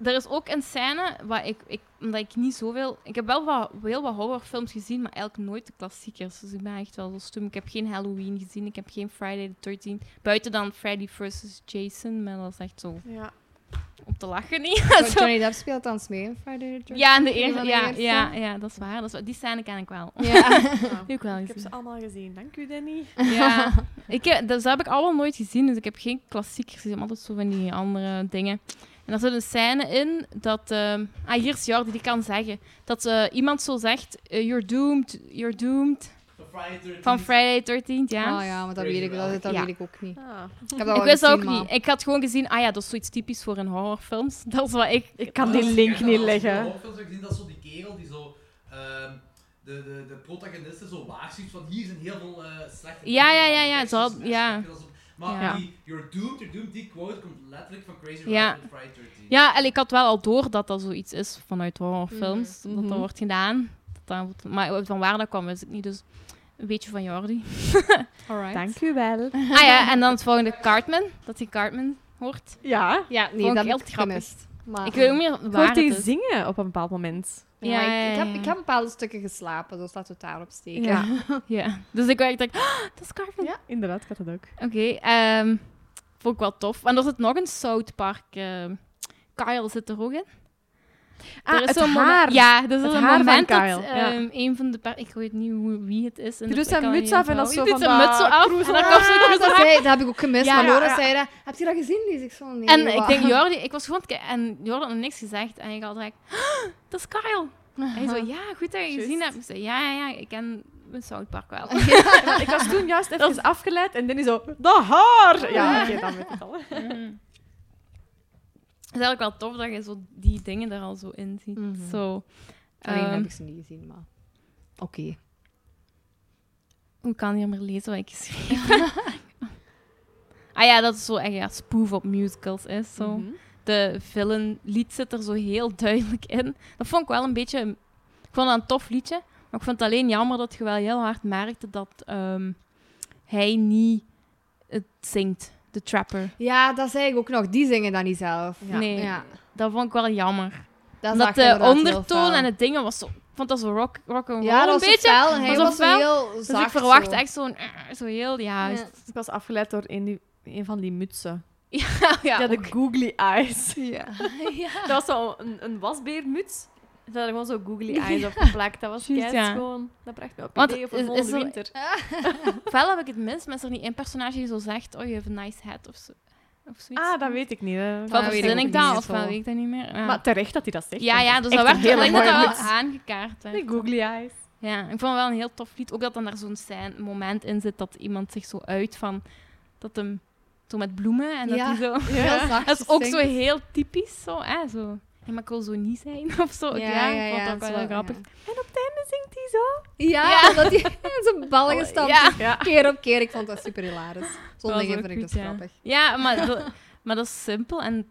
Speaker 4: er is ook een scène waar ik, ik, omdat ik niet zoveel... Ik heb wel wat, heel wat horrorfilms gezien, maar eigenlijk nooit de klassiekers. Dus ik ben echt wel zo stom. Ik heb geen Halloween gezien, ik heb geen Friday the 13th. Buiten dan Freddy vs. Jason, maar dat is echt zo
Speaker 8: Ja.
Speaker 4: om te lachen niet.
Speaker 7: Want
Speaker 4: Zo-
Speaker 7: Johnny Depp speelt dan mee in Friday the 13th.
Speaker 4: Ja, in de
Speaker 7: Een
Speaker 4: eer-
Speaker 7: van de
Speaker 4: ja,
Speaker 7: eerste.
Speaker 4: ja, ja, dat is waar. Dat is waar. Die scène ken ik wel.
Speaker 7: Ja.
Speaker 8: Nou,
Speaker 4: Die heb ik wel
Speaker 8: ik heb
Speaker 4: gezien.
Speaker 8: ze allemaal gezien. Dank u, Danny.
Speaker 4: Ja, ik heb, dus dat heb ik allemaal nooit gezien, dus ik heb geen klassiekers gezien, maar altijd zo van die andere dingen. En daar zit een scène in dat... ehm, ah, hier is Jordi, die kan zeggen. Dat eh, iemand zo zegt, eh, you're doomed, you're doomed. Van Friday 13th, ja.
Speaker 7: Ah Mhm. ja, maar dat weet ik, dat, dat
Speaker 4: Ja.
Speaker 7: weet ik ook niet.
Speaker 8: Ah.
Speaker 7: Ik, heb dat
Speaker 4: ik
Speaker 7: wel
Speaker 4: wist dat ook
Speaker 7: gezien,
Speaker 4: niet.
Speaker 7: maar-
Speaker 4: Ik had gewoon gezien, ah ja, dat is zoiets typisch voor een horrorfilms. Dat is wat ik...
Speaker 8: Ik kan die link niet leggen.
Speaker 2: Ik heb gezien dat zo die kerel die zo... ehm, de, de, de protagonisten zo waarschuwt van hier zijn heel veel eh slechte
Speaker 4: Ja,
Speaker 2: dingen
Speaker 4: ja,
Speaker 2: aan
Speaker 4: ja,
Speaker 2: de
Speaker 4: ja,
Speaker 2: tekst,
Speaker 4: zo had-
Speaker 2: dus echt
Speaker 4: ja.
Speaker 2: slechte dingen, dat is- Maar
Speaker 4: Ja.
Speaker 2: die You're doomed, you're doomed, die quote komt letterlijk van Crazy
Speaker 4: Ja.
Speaker 2: Ralph en Friday 13.
Speaker 4: Ja, en ik had wel al door dat dat zoiets is vanuit horrorfilms.
Speaker 8: Mhm.
Speaker 4: Dat dat wordt gedaan. Dat dat, maar van waar dat kwam, wist ik niet. Dus een beetje van Jordi.
Speaker 7: Alright.
Speaker 8: Dank u wel.
Speaker 4: Ah ja, en dan het volgende Cartman, dat hij Cartman hoort.
Speaker 8: Ja.
Speaker 4: Ja,
Speaker 7: Nee, dat
Speaker 4: heel
Speaker 7: heb ik
Speaker 4: grappig.
Speaker 7: gemist. Maar...
Speaker 4: Ik weet ook niet meer
Speaker 8: Ik
Speaker 4: waar
Speaker 8: hoorde
Speaker 4: het
Speaker 8: die
Speaker 4: is.
Speaker 8: zingen op een bepaald moment.
Speaker 7: Ja, maar
Speaker 4: Ja,
Speaker 7: ik, ik,
Speaker 4: ja,
Speaker 7: heb,
Speaker 4: ja.
Speaker 7: ik heb bepaalde stukken geslapen, dus laten we het daarop steken.
Speaker 4: Ja. Dus ik dacht, oh, dat is Cartman.
Speaker 8: ja, inderdaad, ik had dat ook.
Speaker 4: Oké, ehm vond ik wel tof. En er zit nog een South Park. ehm, Kyle zit er ook in.
Speaker 8: Ah,
Speaker 4: er is
Speaker 8: het
Speaker 4: zo'n moment-
Speaker 8: haar.
Speaker 4: Ja, dus
Speaker 8: Het
Speaker 4: er is een
Speaker 8: haar van
Speaker 4: moment dat
Speaker 8: Kyle, ja.
Speaker 4: ehm, een van de... par- Ik weet niet hoe, wie het is. en
Speaker 8: Die
Speaker 4: dat-
Speaker 8: doet
Speaker 4: ik
Speaker 8: zijn
Speaker 4: kan
Speaker 8: muts
Speaker 4: niet
Speaker 8: af en dat is zo
Speaker 4: onthouden. Die doet
Speaker 8: van
Speaker 4: zijn muts
Speaker 8: dat
Speaker 4: zo af en dan komt zo'n
Speaker 7: Ah,
Speaker 4: cruise
Speaker 7: dat,
Speaker 4: af.
Speaker 7: zei, dat heb ik ook gemist.
Speaker 4: Ja,
Speaker 7: maar Laura
Speaker 8: ja.
Speaker 7: zei dat. Heb je dat gezien? Die is ik zo nee.
Speaker 4: En
Speaker 7: wat?"
Speaker 4: ik denk, Jordi, ik was gewoon aan het kijken en Jordi had nog niks gezegd. En ik had direct, "Ah, dat is Kyle. En hij zo, ja, goed dat je
Speaker 8: Juist.
Speaker 4: gezien hebt. Ik zei, ja, ja, ja, ik ken mijn South Park wel.
Speaker 8: Maar ik was toen juist even afgeleid en Danny zo, dat haar! Ja, oké, dan weet ik het al.
Speaker 4: Het is eigenlijk wel tof dat je zo die dingen er al zo in ziet.
Speaker 7: Mhm.
Speaker 4: Zo,
Speaker 7: Alleen
Speaker 4: ehm,
Speaker 7: heb ik ze niet gezien, maar. Oké.
Speaker 4: hoe kan hier maar lezen wat ik geschreven heb? Ah ja, dat is zo echt ja, spoof op musicals is. Zo.
Speaker 8: Mhm.
Speaker 4: De villain lied zit er zo heel duidelijk in. Dat vond ik wel een beetje... Ik vond dat een tof liedje. Maar ik vond het alleen jammer dat je wel heel hard merkte dat ehm, hij niet het zingt. De trapper.
Speaker 7: Ja, dat zei ik ook nog. Die zingen dat niet zelf.
Speaker 8: Ja.
Speaker 4: Nee,
Speaker 7: Ja.
Speaker 4: dat vond ik wel jammer.
Speaker 7: Dat,
Speaker 4: Omdat
Speaker 7: zag je
Speaker 4: de
Speaker 7: inderdaad heel
Speaker 4: ondertoon
Speaker 7: fel.
Speaker 4: en het dingen was zo... Ik vond dat zo rock, rock and roll
Speaker 7: Ja, dat
Speaker 4: een
Speaker 7: was zo
Speaker 4: beetje.
Speaker 7: fel. en Hij
Speaker 4: was zo
Speaker 7: was zo
Speaker 4: fel.
Speaker 7: heel
Speaker 4: Dus ik
Speaker 7: zacht.
Speaker 4: verwacht
Speaker 7: zo.
Speaker 4: echt zo'n... Zo heel... Ja,
Speaker 7: Ja.
Speaker 4: ja.
Speaker 8: Dus Ik was afgeleid door een, die- een van die mutsen.
Speaker 4: ja,
Speaker 8: Ja, de googly eyes.
Speaker 4: Ja.
Speaker 8: Dat was zo een, een wasbeermuts. Ze hadden gewoon zo googly eyes op geplakt. Dat was
Speaker 4: Juist,
Speaker 8: kei
Speaker 4: ja.
Speaker 8: schoon. Dat bracht me op
Speaker 4: Want
Speaker 8: ideeën voor
Speaker 4: is- is
Speaker 8: volgende
Speaker 4: er-
Speaker 8: winter.
Speaker 4: Ofwel heb ik het mis, maar is er niet één personage die zo zegt... Oh, je hebt een nice hat of, zo, of zoiets.
Speaker 8: Ah, dat weet ik niet. hè.
Speaker 4: Ofwel
Speaker 7: dat weet ik
Speaker 4: verzin ik
Speaker 7: ook
Speaker 4: dat,
Speaker 7: niet,
Speaker 4: ofwel
Speaker 7: zo.
Speaker 4: weet ik dat niet meer. Ja,
Speaker 8: Maar terecht dat hij dat zegt.
Speaker 4: ja,
Speaker 8: want
Speaker 4: ja,
Speaker 8: dat Ah,
Speaker 4: dus
Speaker 8: is
Speaker 4: dat
Speaker 8: echt
Speaker 4: werd
Speaker 8: een
Speaker 4: ik denk dat dat
Speaker 8: mooie
Speaker 4: wel
Speaker 8: muts.
Speaker 4: aangekaart werd.
Speaker 8: De googly eyes.
Speaker 4: Ja, ik vond het wel een heel tof lied. Ook dat dan daar zo'n scène- moment in zit dat iemand zich zo uit van... Dat hem zo met bloemen en dat
Speaker 7: Ja.
Speaker 4: hij zo...
Speaker 7: Heel zacht.
Speaker 4: Dat is ook zo heel typisch, zo, hè, zo. Ja, maar ik wil zo niet zijn, of zo. Ja, ik vond dat ook wel heel grappig.
Speaker 8: Dan zingt hij zo.
Speaker 7: Ja,
Speaker 4: Ja. Oh,
Speaker 7: dat die in zijn ballen gestampt
Speaker 4: Ja.
Speaker 7: is. Dus Keer op keer. Ik vond dat super hilarisch. Zo'n
Speaker 4: Dat was
Speaker 7: dingen
Speaker 4: ook
Speaker 7: vind ik
Speaker 4: goed,
Speaker 7: dus
Speaker 4: ja.
Speaker 7: grappig.
Speaker 4: Ja, maar, dat- maar dat is simpel en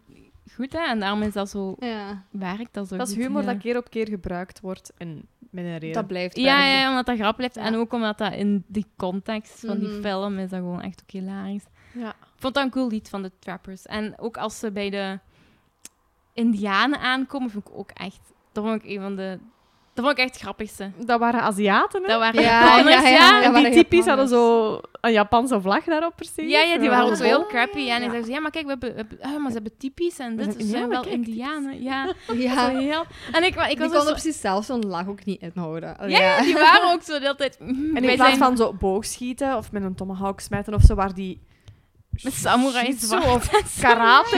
Speaker 4: goed, hè. En daarom is dat zo...
Speaker 7: Ja,
Speaker 4: Werkt dat zo
Speaker 8: Dat is
Speaker 4: goed,
Speaker 8: humor
Speaker 4: ja.
Speaker 8: dat keer op keer gebruikt wordt. En met een reden.
Speaker 7: dat blijft
Speaker 4: Ja,
Speaker 7: bij me.
Speaker 4: ja, omdat dat grappig blijft.
Speaker 7: Ja.
Speaker 4: En ook omdat dat in die context van die
Speaker 7: Mhm.
Speaker 4: film is dat gewoon echt ook hilarisch.
Speaker 8: Ja.
Speaker 4: Ik vond dat een cool lied van de Trappers. En ook als ze bij de Indianen aankomen, vond ik ook echt... Dat vond ik een van de Dat vond ik echt het grappigste.
Speaker 8: Dat waren Aziaten, hè?
Speaker 4: Dat waren
Speaker 7: Ja,
Speaker 4: Japanners,
Speaker 7: ja,
Speaker 4: ja.
Speaker 7: ja,
Speaker 4: Ah, Ja,
Speaker 7: ja.
Speaker 4: ja.
Speaker 8: en die
Speaker 7: waren
Speaker 8: typisch
Speaker 7: Japanners.
Speaker 8: hadden zo een Japanse vlag daarop, precies.
Speaker 4: die waren ook zo heel
Speaker 7: Oh,
Speaker 4: crappy. En
Speaker 8: ja.
Speaker 4: ik zei, ja, maar kijk, we hebben, we hebben- ah, maar ze hebben typisch en
Speaker 8: We
Speaker 4: dit
Speaker 8: zijn
Speaker 4: ze zijn
Speaker 8: Indianen,
Speaker 4: wel
Speaker 8: kijk,
Speaker 4: indianen. Ja,
Speaker 7: Ja.
Speaker 4: zo heel... En ik, wa- ik
Speaker 7: Ik
Speaker 4: was
Speaker 7: kon
Speaker 4: dus zo...
Speaker 7: precies zelf zo'n lach ook niet inhouden.
Speaker 4: Oh, Ja, ja, die waren ook zo de hele tijd... mm,
Speaker 8: En in
Speaker 4: wij zijn
Speaker 8: plaats van zo boogschieten of met een tomahawk smijten of zo, waar die
Speaker 4: met samurai
Speaker 8: shitsu
Speaker 4: zwaard.
Speaker 8: of karate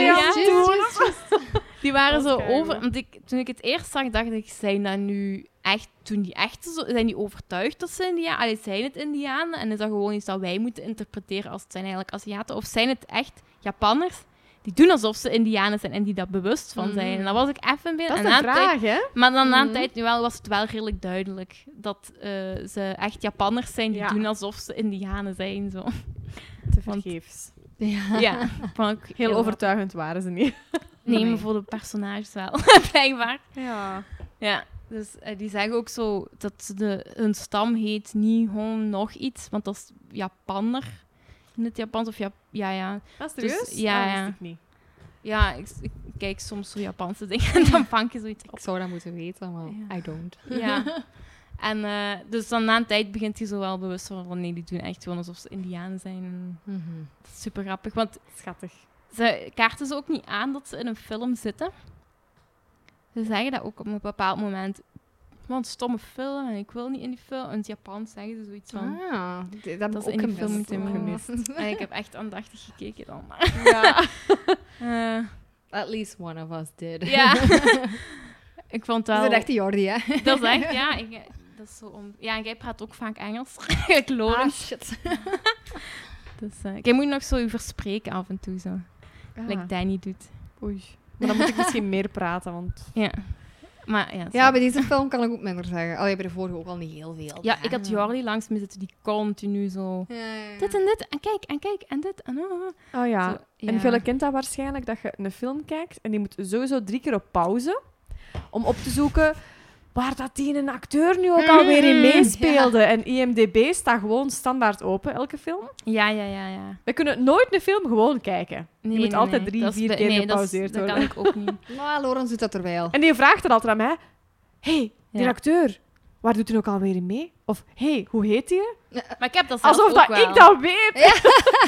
Speaker 4: Ja.
Speaker 8: aan
Speaker 7: Jezus,
Speaker 8: doen.
Speaker 7: jezus, jezus.
Speaker 4: Die waren
Speaker 8: Dat
Speaker 4: zo
Speaker 8: is keigoed.
Speaker 4: over. Want ik, toen ik het eerst zag, dacht ik: zijn dat nu echt. Toen die echt zo, zijn die overtuigd dat ze Indianen Allee, zijn het Indianen? En is dat gewoon iets dat wij moeten interpreteren als het zijn eigenlijk Aziaten? Of zijn het echt Japanners die doen alsof ze Indianen zijn en die daar bewust van zijn?
Speaker 8: Mhm.
Speaker 4: En dat was ik even binnen.
Speaker 8: Dat
Speaker 4: en
Speaker 8: is de
Speaker 4: na een tijd-
Speaker 8: vraag, hè?
Speaker 4: maar dan na een
Speaker 7: Mhm.
Speaker 4: tijd nu wel, was het wel redelijk duidelijk dat eh, ze echt Japanners zijn die
Speaker 8: Ja.
Speaker 4: doen alsof ze Indianen zijn. Zo.
Speaker 8: Te
Speaker 4: Want-
Speaker 8: vergeefs.
Speaker 7: Ja.
Speaker 4: Ja, dat vond ik
Speaker 8: Heel overtuigend waren ze niet.
Speaker 4: Nemen voor de personages wel, blijkbaar.
Speaker 8: Ja.
Speaker 4: Ja, dus eh, die zeggen ook zo dat ze de, hun stam heet Nihon nog iets, want dat is Japanner in het Japans. Of Jap ja, ja.
Speaker 8: Dat is
Speaker 4: Dus-
Speaker 8: serieus?
Speaker 4: ja,
Speaker 8: Ah,
Speaker 4: ja.
Speaker 8: wist ik niet.
Speaker 4: Ja, ik, ik kijk soms zo Japanse dingen en dan vang je zoiets op.
Speaker 7: Ik zou dat moeten weten, maar
Speaker 4: Ja.
Speaker 7: I don't.
Speaker 4: Ja. En eh, dus dan na een tijd begint hij zo wel bewust van, van nee, die doen echt gewoon alsof ze indianen zijn. En
Speaker 7: Mhm.
Speaker 4: dat is super grappig, want
Speaker 8: Schattig.
Speaker 4: ze kaarten ze ook niet aan dat ze in een film zitten. Ze zeggen dat ook op een bepaald moment. Want stomme film en ik wil niet in die film. In het Japans zeggen ze zoiets van...
Speaker 7: Ah, d- dat heb
Speaker 4: Dat
Speaker 7: ik
Speaker 4: is
Speaker 7: ook
Speaker 4: in die film
Speaker 7: gemist.
Speaker 4: meteen
Speaker 7: Oh.
Speaker 4: gemist. En ik heb echt aandachtig gekeken dan. Maar.
Speaker 8: Ja.
Speaker 4: eh,
Speaker 7: At least one of us did.
Speaker 4: ja. ik vond
Speaker 7: Dat
Speaker 4: wel...
Speaker 7: is echt Jordi, hè?
Speaker 4: dat is echt, ja. Ik, dat is zo on... Ja, en jij praat ook vaak Engels. ik
Speaker 7: Ah,
Speaker 4: Loren.
Speaker 7: shit.
Speaker 4: Dus, eh, jij moet nog zo je verspreken af en toe. Zo. Like Danny doet.
Speaker 8: Ah, Oei. Maar dan moet ik misschien meer praten, want...
Speaker 4: Ja. Maar ja,
Speaker 7: Ja,
Speaker 4: zo.
Speaker 7: bij deze film kan ik ook minder zeggen. Allee, bij de vorige ook al niet heel veel. Ah.
Speaker 4: ja, ik had Jordi langs me zitten die continu zo...
Speaker 7: Ja, ja, ja.
Speaker 4: Ah. Dit en dit, en kijk, en kijk, en dit, en... ah, ah, ah.
Speaker 8: Oh ja.
Speaker 4: Zo, ja.
Speaker 8: En Velle kent dat waarschijnlijk, dat je een film kijkt en die moet sowieso drie keer op pauze om op te zoeken waar dat die een acteur nu ook
Speaker 4: Mhm,
Speaker 8: alweer in meespeelde. En IMDB staat gewoon standaard open, elke film.
Speaker 4: Ja, ja, ja, ja.
Speaker 8: We kunnen nooit een film gewoon kijken.
Speaker 4: Nee,
Speaker 8: moet altijd drie,
Speaker 4: Dat is
Speaker 8: vier
Speaker 4: be-
Speaker 8: keer
Speaker 4: nee, dat is-
Speaker 8: gepauzeerd
Speaker 4: Dat kan ik ook niet.
Speaker 7: Maar Lorenz doet dat er wel.
Speaker 8: En die vraagt er altijd aan mij, hey, die
Speaker 4: Ja.
Speaker 8: acteur, waar doet hij ook alweer in mee? Of, hey, hoe heet die?
Speaker 4: Maar ik heb dat zelf
Speaker 8: Alsof
Speaker 4: ook
Speaker 8: dat
Speaker 4: wel.
Speaker 8: ik dat weet!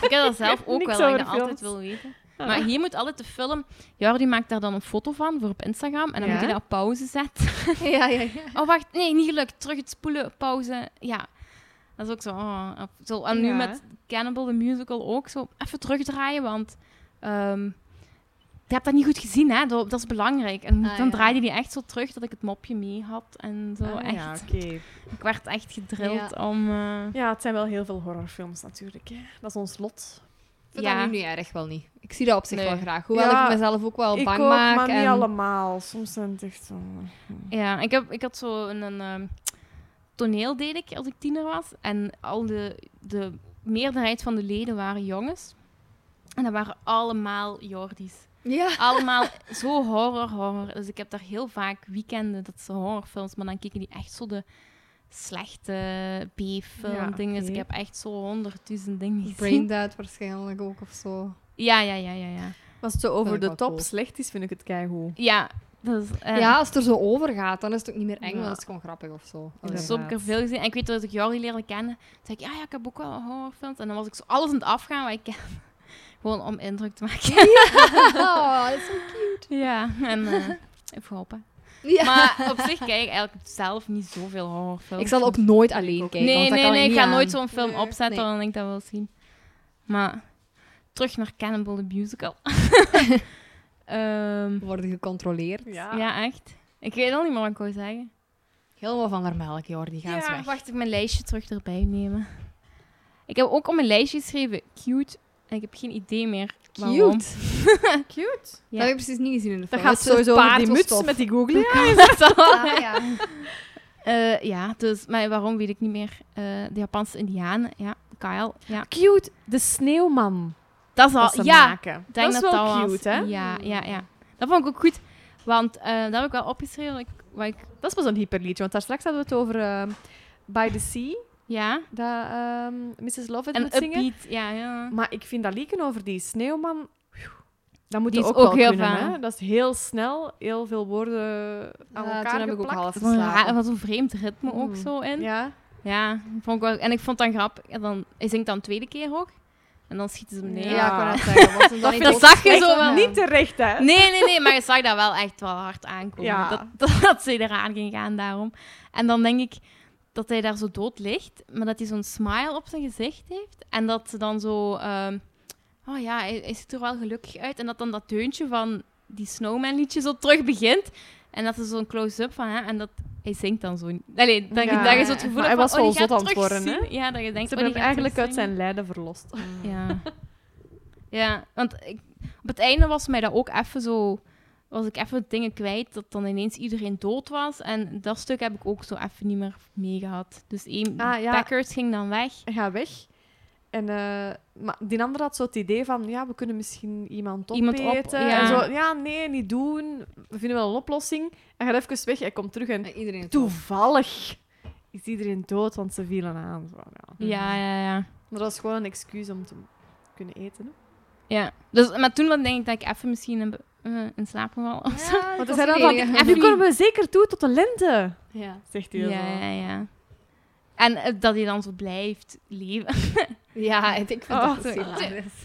Speaker 4: Ik heb dat zelf ook
Speaker 8: Niks
Speaker 4: wel, dat ik
Speaker 8: over
Speaker 4: dat altijd
Speaker 8: films. Ah.
Speaker 4: wil weten. Maar hier moet altijd de film... Jordi maakt daar dan een foto van voor op Instagram. En dan
Speaker 8: Ja.
Speaker 4: moet je dat op pauze zetten.
Speaker 7: Ja, ja, ja.
Speaker 4: Oh, wacht. Nee, niet gelukt. Terug het spoelen. Pauze. Ja. Dat is ook zo. oh, op- zo. En nu
Speaker 8: Ja.
Speaker 4: met Cannibal the Musical ook zo. Even terugdraaien, want... ehm, je hebt dat niet goed gezien, hè? Dat, dat is belangrijk. En
Speaker 7: Ah,
Speaker 4: dan
Speaker 7: ja.
Speaker 4: draaide die echt zo terug dat ik het mopje mee had. En zo
Speaker 8: Ah,
Speaker 4: Oh, echt.
Speaker 8: Ja, oké.
Speaker 4: Ik werd echt gedrild om... eh,
Speaker 8: Ja, het zijn wel heel veel horrorfilms natuurlijk. Hè. Dat is ons lot.
Speaker 7: Ik vind dat nu niet erg wel niet. Ik zie dat op zich
Speaker 4: Nee.
Speaker 7: wel graag. Hoewel
Speaker 8: Ja,
Speaker 7: ik mezelf ook wel
Speaker 8: ik
Speaker 7: bang
Speaker 8: ook,
Speaker 7: maak.
Speaker 8: maar niet
Speaker 7: en...
Speaker 8: allemaal. Soms zijn het echt zo...
Speaker 4: Ja, ik, heb, ik had zo een, een ehm, toneel deed ik als ik tiener was. En al de, de meerderheid van de leden waren jongens. En dat waren allemaal Jordi's.
Speaker 7: Ja.
Speaker 4: Allemaal zo horror, horror. Dus ik heb daar heel vaak weekenden dat ze horrorfilms, maar dan keken die echt zo de slechte B-film
Speaker 8: Ja,
Speaker 4: dingen. Dus
Speaker 8: oké.
Speaker 4: ik heb echt zo honderdduizend dingen gezien.
Speaker 7: Braindead waarschijnlijk ook of zo.
Speaker 4: Ja, ja, ja, ja, ja.
Speaker 8: Als het zo
Speaker 7: Vind
Speaker 8: over
Speaker 7: ik
Speaker 8: de
Speaker 7: wel
Speaker 8: top
Speaker 7: cool.
Speaker 8: slecht is, vind ik het keigoed.
Speaker 4: Ja, dat is... eh,
Speaker 7: Ja, als het er zo over gaat, dan is het ook niet meer eng,
Speaker 8: Ja.
Speaker 7: maar dat is gewoon grappig of zo. Allee.
Speaker 8: Ja.
Speaker 4: Dus zo heb ik er veel gezien. En ik weet dat ik Jordi leerde kennen. Toen zei ik, ja, ja, ik heb ook wel horrorfilms. En dan was ik zo alles aan het afgaan wat ik ken. Gewoon om indruk te maken. Ja,
Speaker 7: Oh, dat is zo cute.
Speaker 4: en eh even helpen.
Speaker 7: Ja.
Speaker 4: Maar op zich kijk ik eigenlijk zelf niet zoveel horrorfilms.
Speaker 7: ik zal ook nooit alleen kijken. want
Speaker 4: nee,
Speaker 7: dat
Speaker 4: nee,
Speaker 7: kan
Speaker 4: nee, ik
Speaker 7: niet
Speaker 4: ga
Speaker 7: aan.
Speaker 4: nooit zo'n film
Speaker 7: Nee.
Speaker 4: opzetten,
Speaker 7: Nee.
Speaker 4: dan ik dat wil zien. Maar terug naar Cannibal the Musical. Ehm,
Speaker 7: Worden gecontroleerd.
Speaker 8: Ja.
Speaker 4: ja, echt. Ik weet al niet meer wat ik wou zeggen.
Speaker 7: Helemaal van haar melk, Jordi. Ga eens weg.
Speaker 4: wacht, ik mijn lijstje terug erbij nemen. Ik heb ook op mijn lijstje geschreven cute. En ik heb geen idee meer
Speaker 7: Cute.
Speaker 4: waarom.
Speaker 8: Cute.
Speaker 4: Ja.
Speaker 7: Dat heb ik precies niet gezien in de
Speaker 8: Dat
Speaker 7: film.
Speaker 8: gaat
Speaker 7: Het is
Speaker 8: sowieso over die muts
Speaker 7: paardstof.
Speaker 8: met die googly
Speaker 7: Ah, ja.
Speaker 4: Eh, ja, dus, maar waarom weet ik niet meer. Eh, de Japanse indianen, ja, Kyle. Ja,
Speaker 8: Cute, de sneeuwman.
Speaker 4: dat is al,
Speaker 8: Dat ze
Speaker 4: ja,
Speaker 8: maken.
Speaker 4: ik denk
Speaker 8: dat Mm. is
Speaker 4: dat
Speaker 8: wel
Speaker 4: dat was.
Speaker 8: cute, hè? Hmm.
Speaker 4: Ja, ja, ja. Dat vond ik ook goed, want eh dat heb ik wel opgeschreven. wat ik- wat ik,
Speaker 8: Dat is wel zo'n hyperliedje, want daar straks hadden we het over ehm, By the Sea,
Speaker 4: ja,
Speaker 8: dat ehm, Mrs. Lovett
Speaker 4: en
Speaker 8: moet zingen.
Speaker 4: upbeat, ja, ja.
Speaker 8: Maar ik vind dat liedje over die sneeuwman... Dat moet
Speaker 4: Die
Speaker 8: je
Speaker 4: is
Speaker 8: ook, wel
Speaker 4: ook heel
Speaker 8: kunnen,
Speaker 4: vaag.
Speaker 8: hè. Dat is heel snel, heel veel woorden aan
Speaker 7: Ja,
Speaker 8: elkaar
Speaker 7: toen heb ik ook
Speaker 8: geplakt.
Speaker 7: half
Speaker 4: Wat een raar-
Speaker 7: geslapen.
Speaker 4: Wat een vreemd ritme ook
Speaker 8: Mm.
Speaker 4: zo in. Ja,
Speaker 8: Ja.
Speaker 4: vond ik wel, en ik vond dat grappig. En dan, hij zingt dan een tweede keer ook. En dan schieten ze hem neer.
Speaker 7: Ja,
Speaker 8: Ja.
Speaker 7: ik wou net zeggen. was hem dan niet
Speaker 4: Dat
Speaker 7: ook-
Speaker 4: zag je zo
Speaker 7: Echt,
Speaker 4: wel.
Speaker 7: ja.
Speaker 8: Niet terecht, hè.
Speaker 4: Nee, nee, nee, maar je zag dat wel echt wel hard aankomen.
Speaker 8: Ja.
Speaker 4: Dat, dat, dat ze eraan ging gaan daarom. En dan denk ik dat hij daar zo dood ligt, maar dat hij zo'n smile op zijn gezicht heeft. En dat ze dan zo... ehm, oh ja, hij, hij ziet er wel gelukkig uit. En dat dan dat deuntje van die Snowman-liedje zo terug begint. En dat is zo'n close-up van hè, En dat hij zingt dan zo... Allee, dat, je-
Speaker 8: Ja.
Speaker 4: dat je zo het gevoel
Speaker 8: Maar hij
Speaker 4: hebt
Speaker 8: was
Speaker 4: van... Oh,
Speaker 8: wel
Speaker 4: die
Speaker 8: zot
Speaker 4: gaat
Speaker 8: aan het worden,
Speaker 4: terugzien. Ja, dat je denkt...
Speaker 8: Ze
Speaker 4: oh, die
Speaker 8: hebben hem
Speaker 4: gaat
Speaker 8: eigenlijk uit
Speaker 4: terugzingen.
Speaker 8: zijn lijden verlost.
Speaker 4: Ja. ja, want ik, op het einde was mij dat ook even zo... Was ik even dingen kwijt, dat dan ineens iedereen dood was. En dat stuk heb ik ook zo even niet meer meegehad. Dus één,
Speaker 8: Ah, ja.
Speaker 4: Packers ging dan weg.
Speaker 8: Hij gaat weg. En, eh, maar die andere had zo het idee van, ja, we kunnen misschien iemand
Speaker 4: Iemand
Speaker 8: opeten.
Speaker 4: op-
Speaker 8: en
Speaker 4: ja.
Speaker 8: zo, ja, nee, niet doen. We vinden wel een oplossing. Hij gaat even weg, hij komt terug en
Speaker 7: Ja, Iedereen heeft wel.
Speaker 8: toevallig is iedereen dood, want ze vielen aan. Zo, ja.
Speaker 7: Mhm.
Speaker 4: Ja, ja, ja.
Speaker 8: Maar dat is gewoon een excuus om te kunnen eten. Hè?
Speaker 4: ja. Dus, maar toen dan denk ik dat ik even misschien in, be- eh, in slaap gevallen was.
Speaker 7: Ja,
Speaker 8: Want
Speaker 7: dat was
Speaker 8: hij zei dan
Speaker 7: het
Speaker 8: van,
Speaker 7: enige.
Speaker 8: en nu kunnen we zeker toe tot de lente,
Speaker 7: Ja.
Speaker 8: zegt hij
Speaker 4: Ja,
Speaker 8: dan.
Speaker 4: ja, ja. En eh, dat hij dan zo blijft leven.
Speaker 7: Ja, ik vind
Speaker 8: Oh,
Speaker 7: dat heel hilarisch.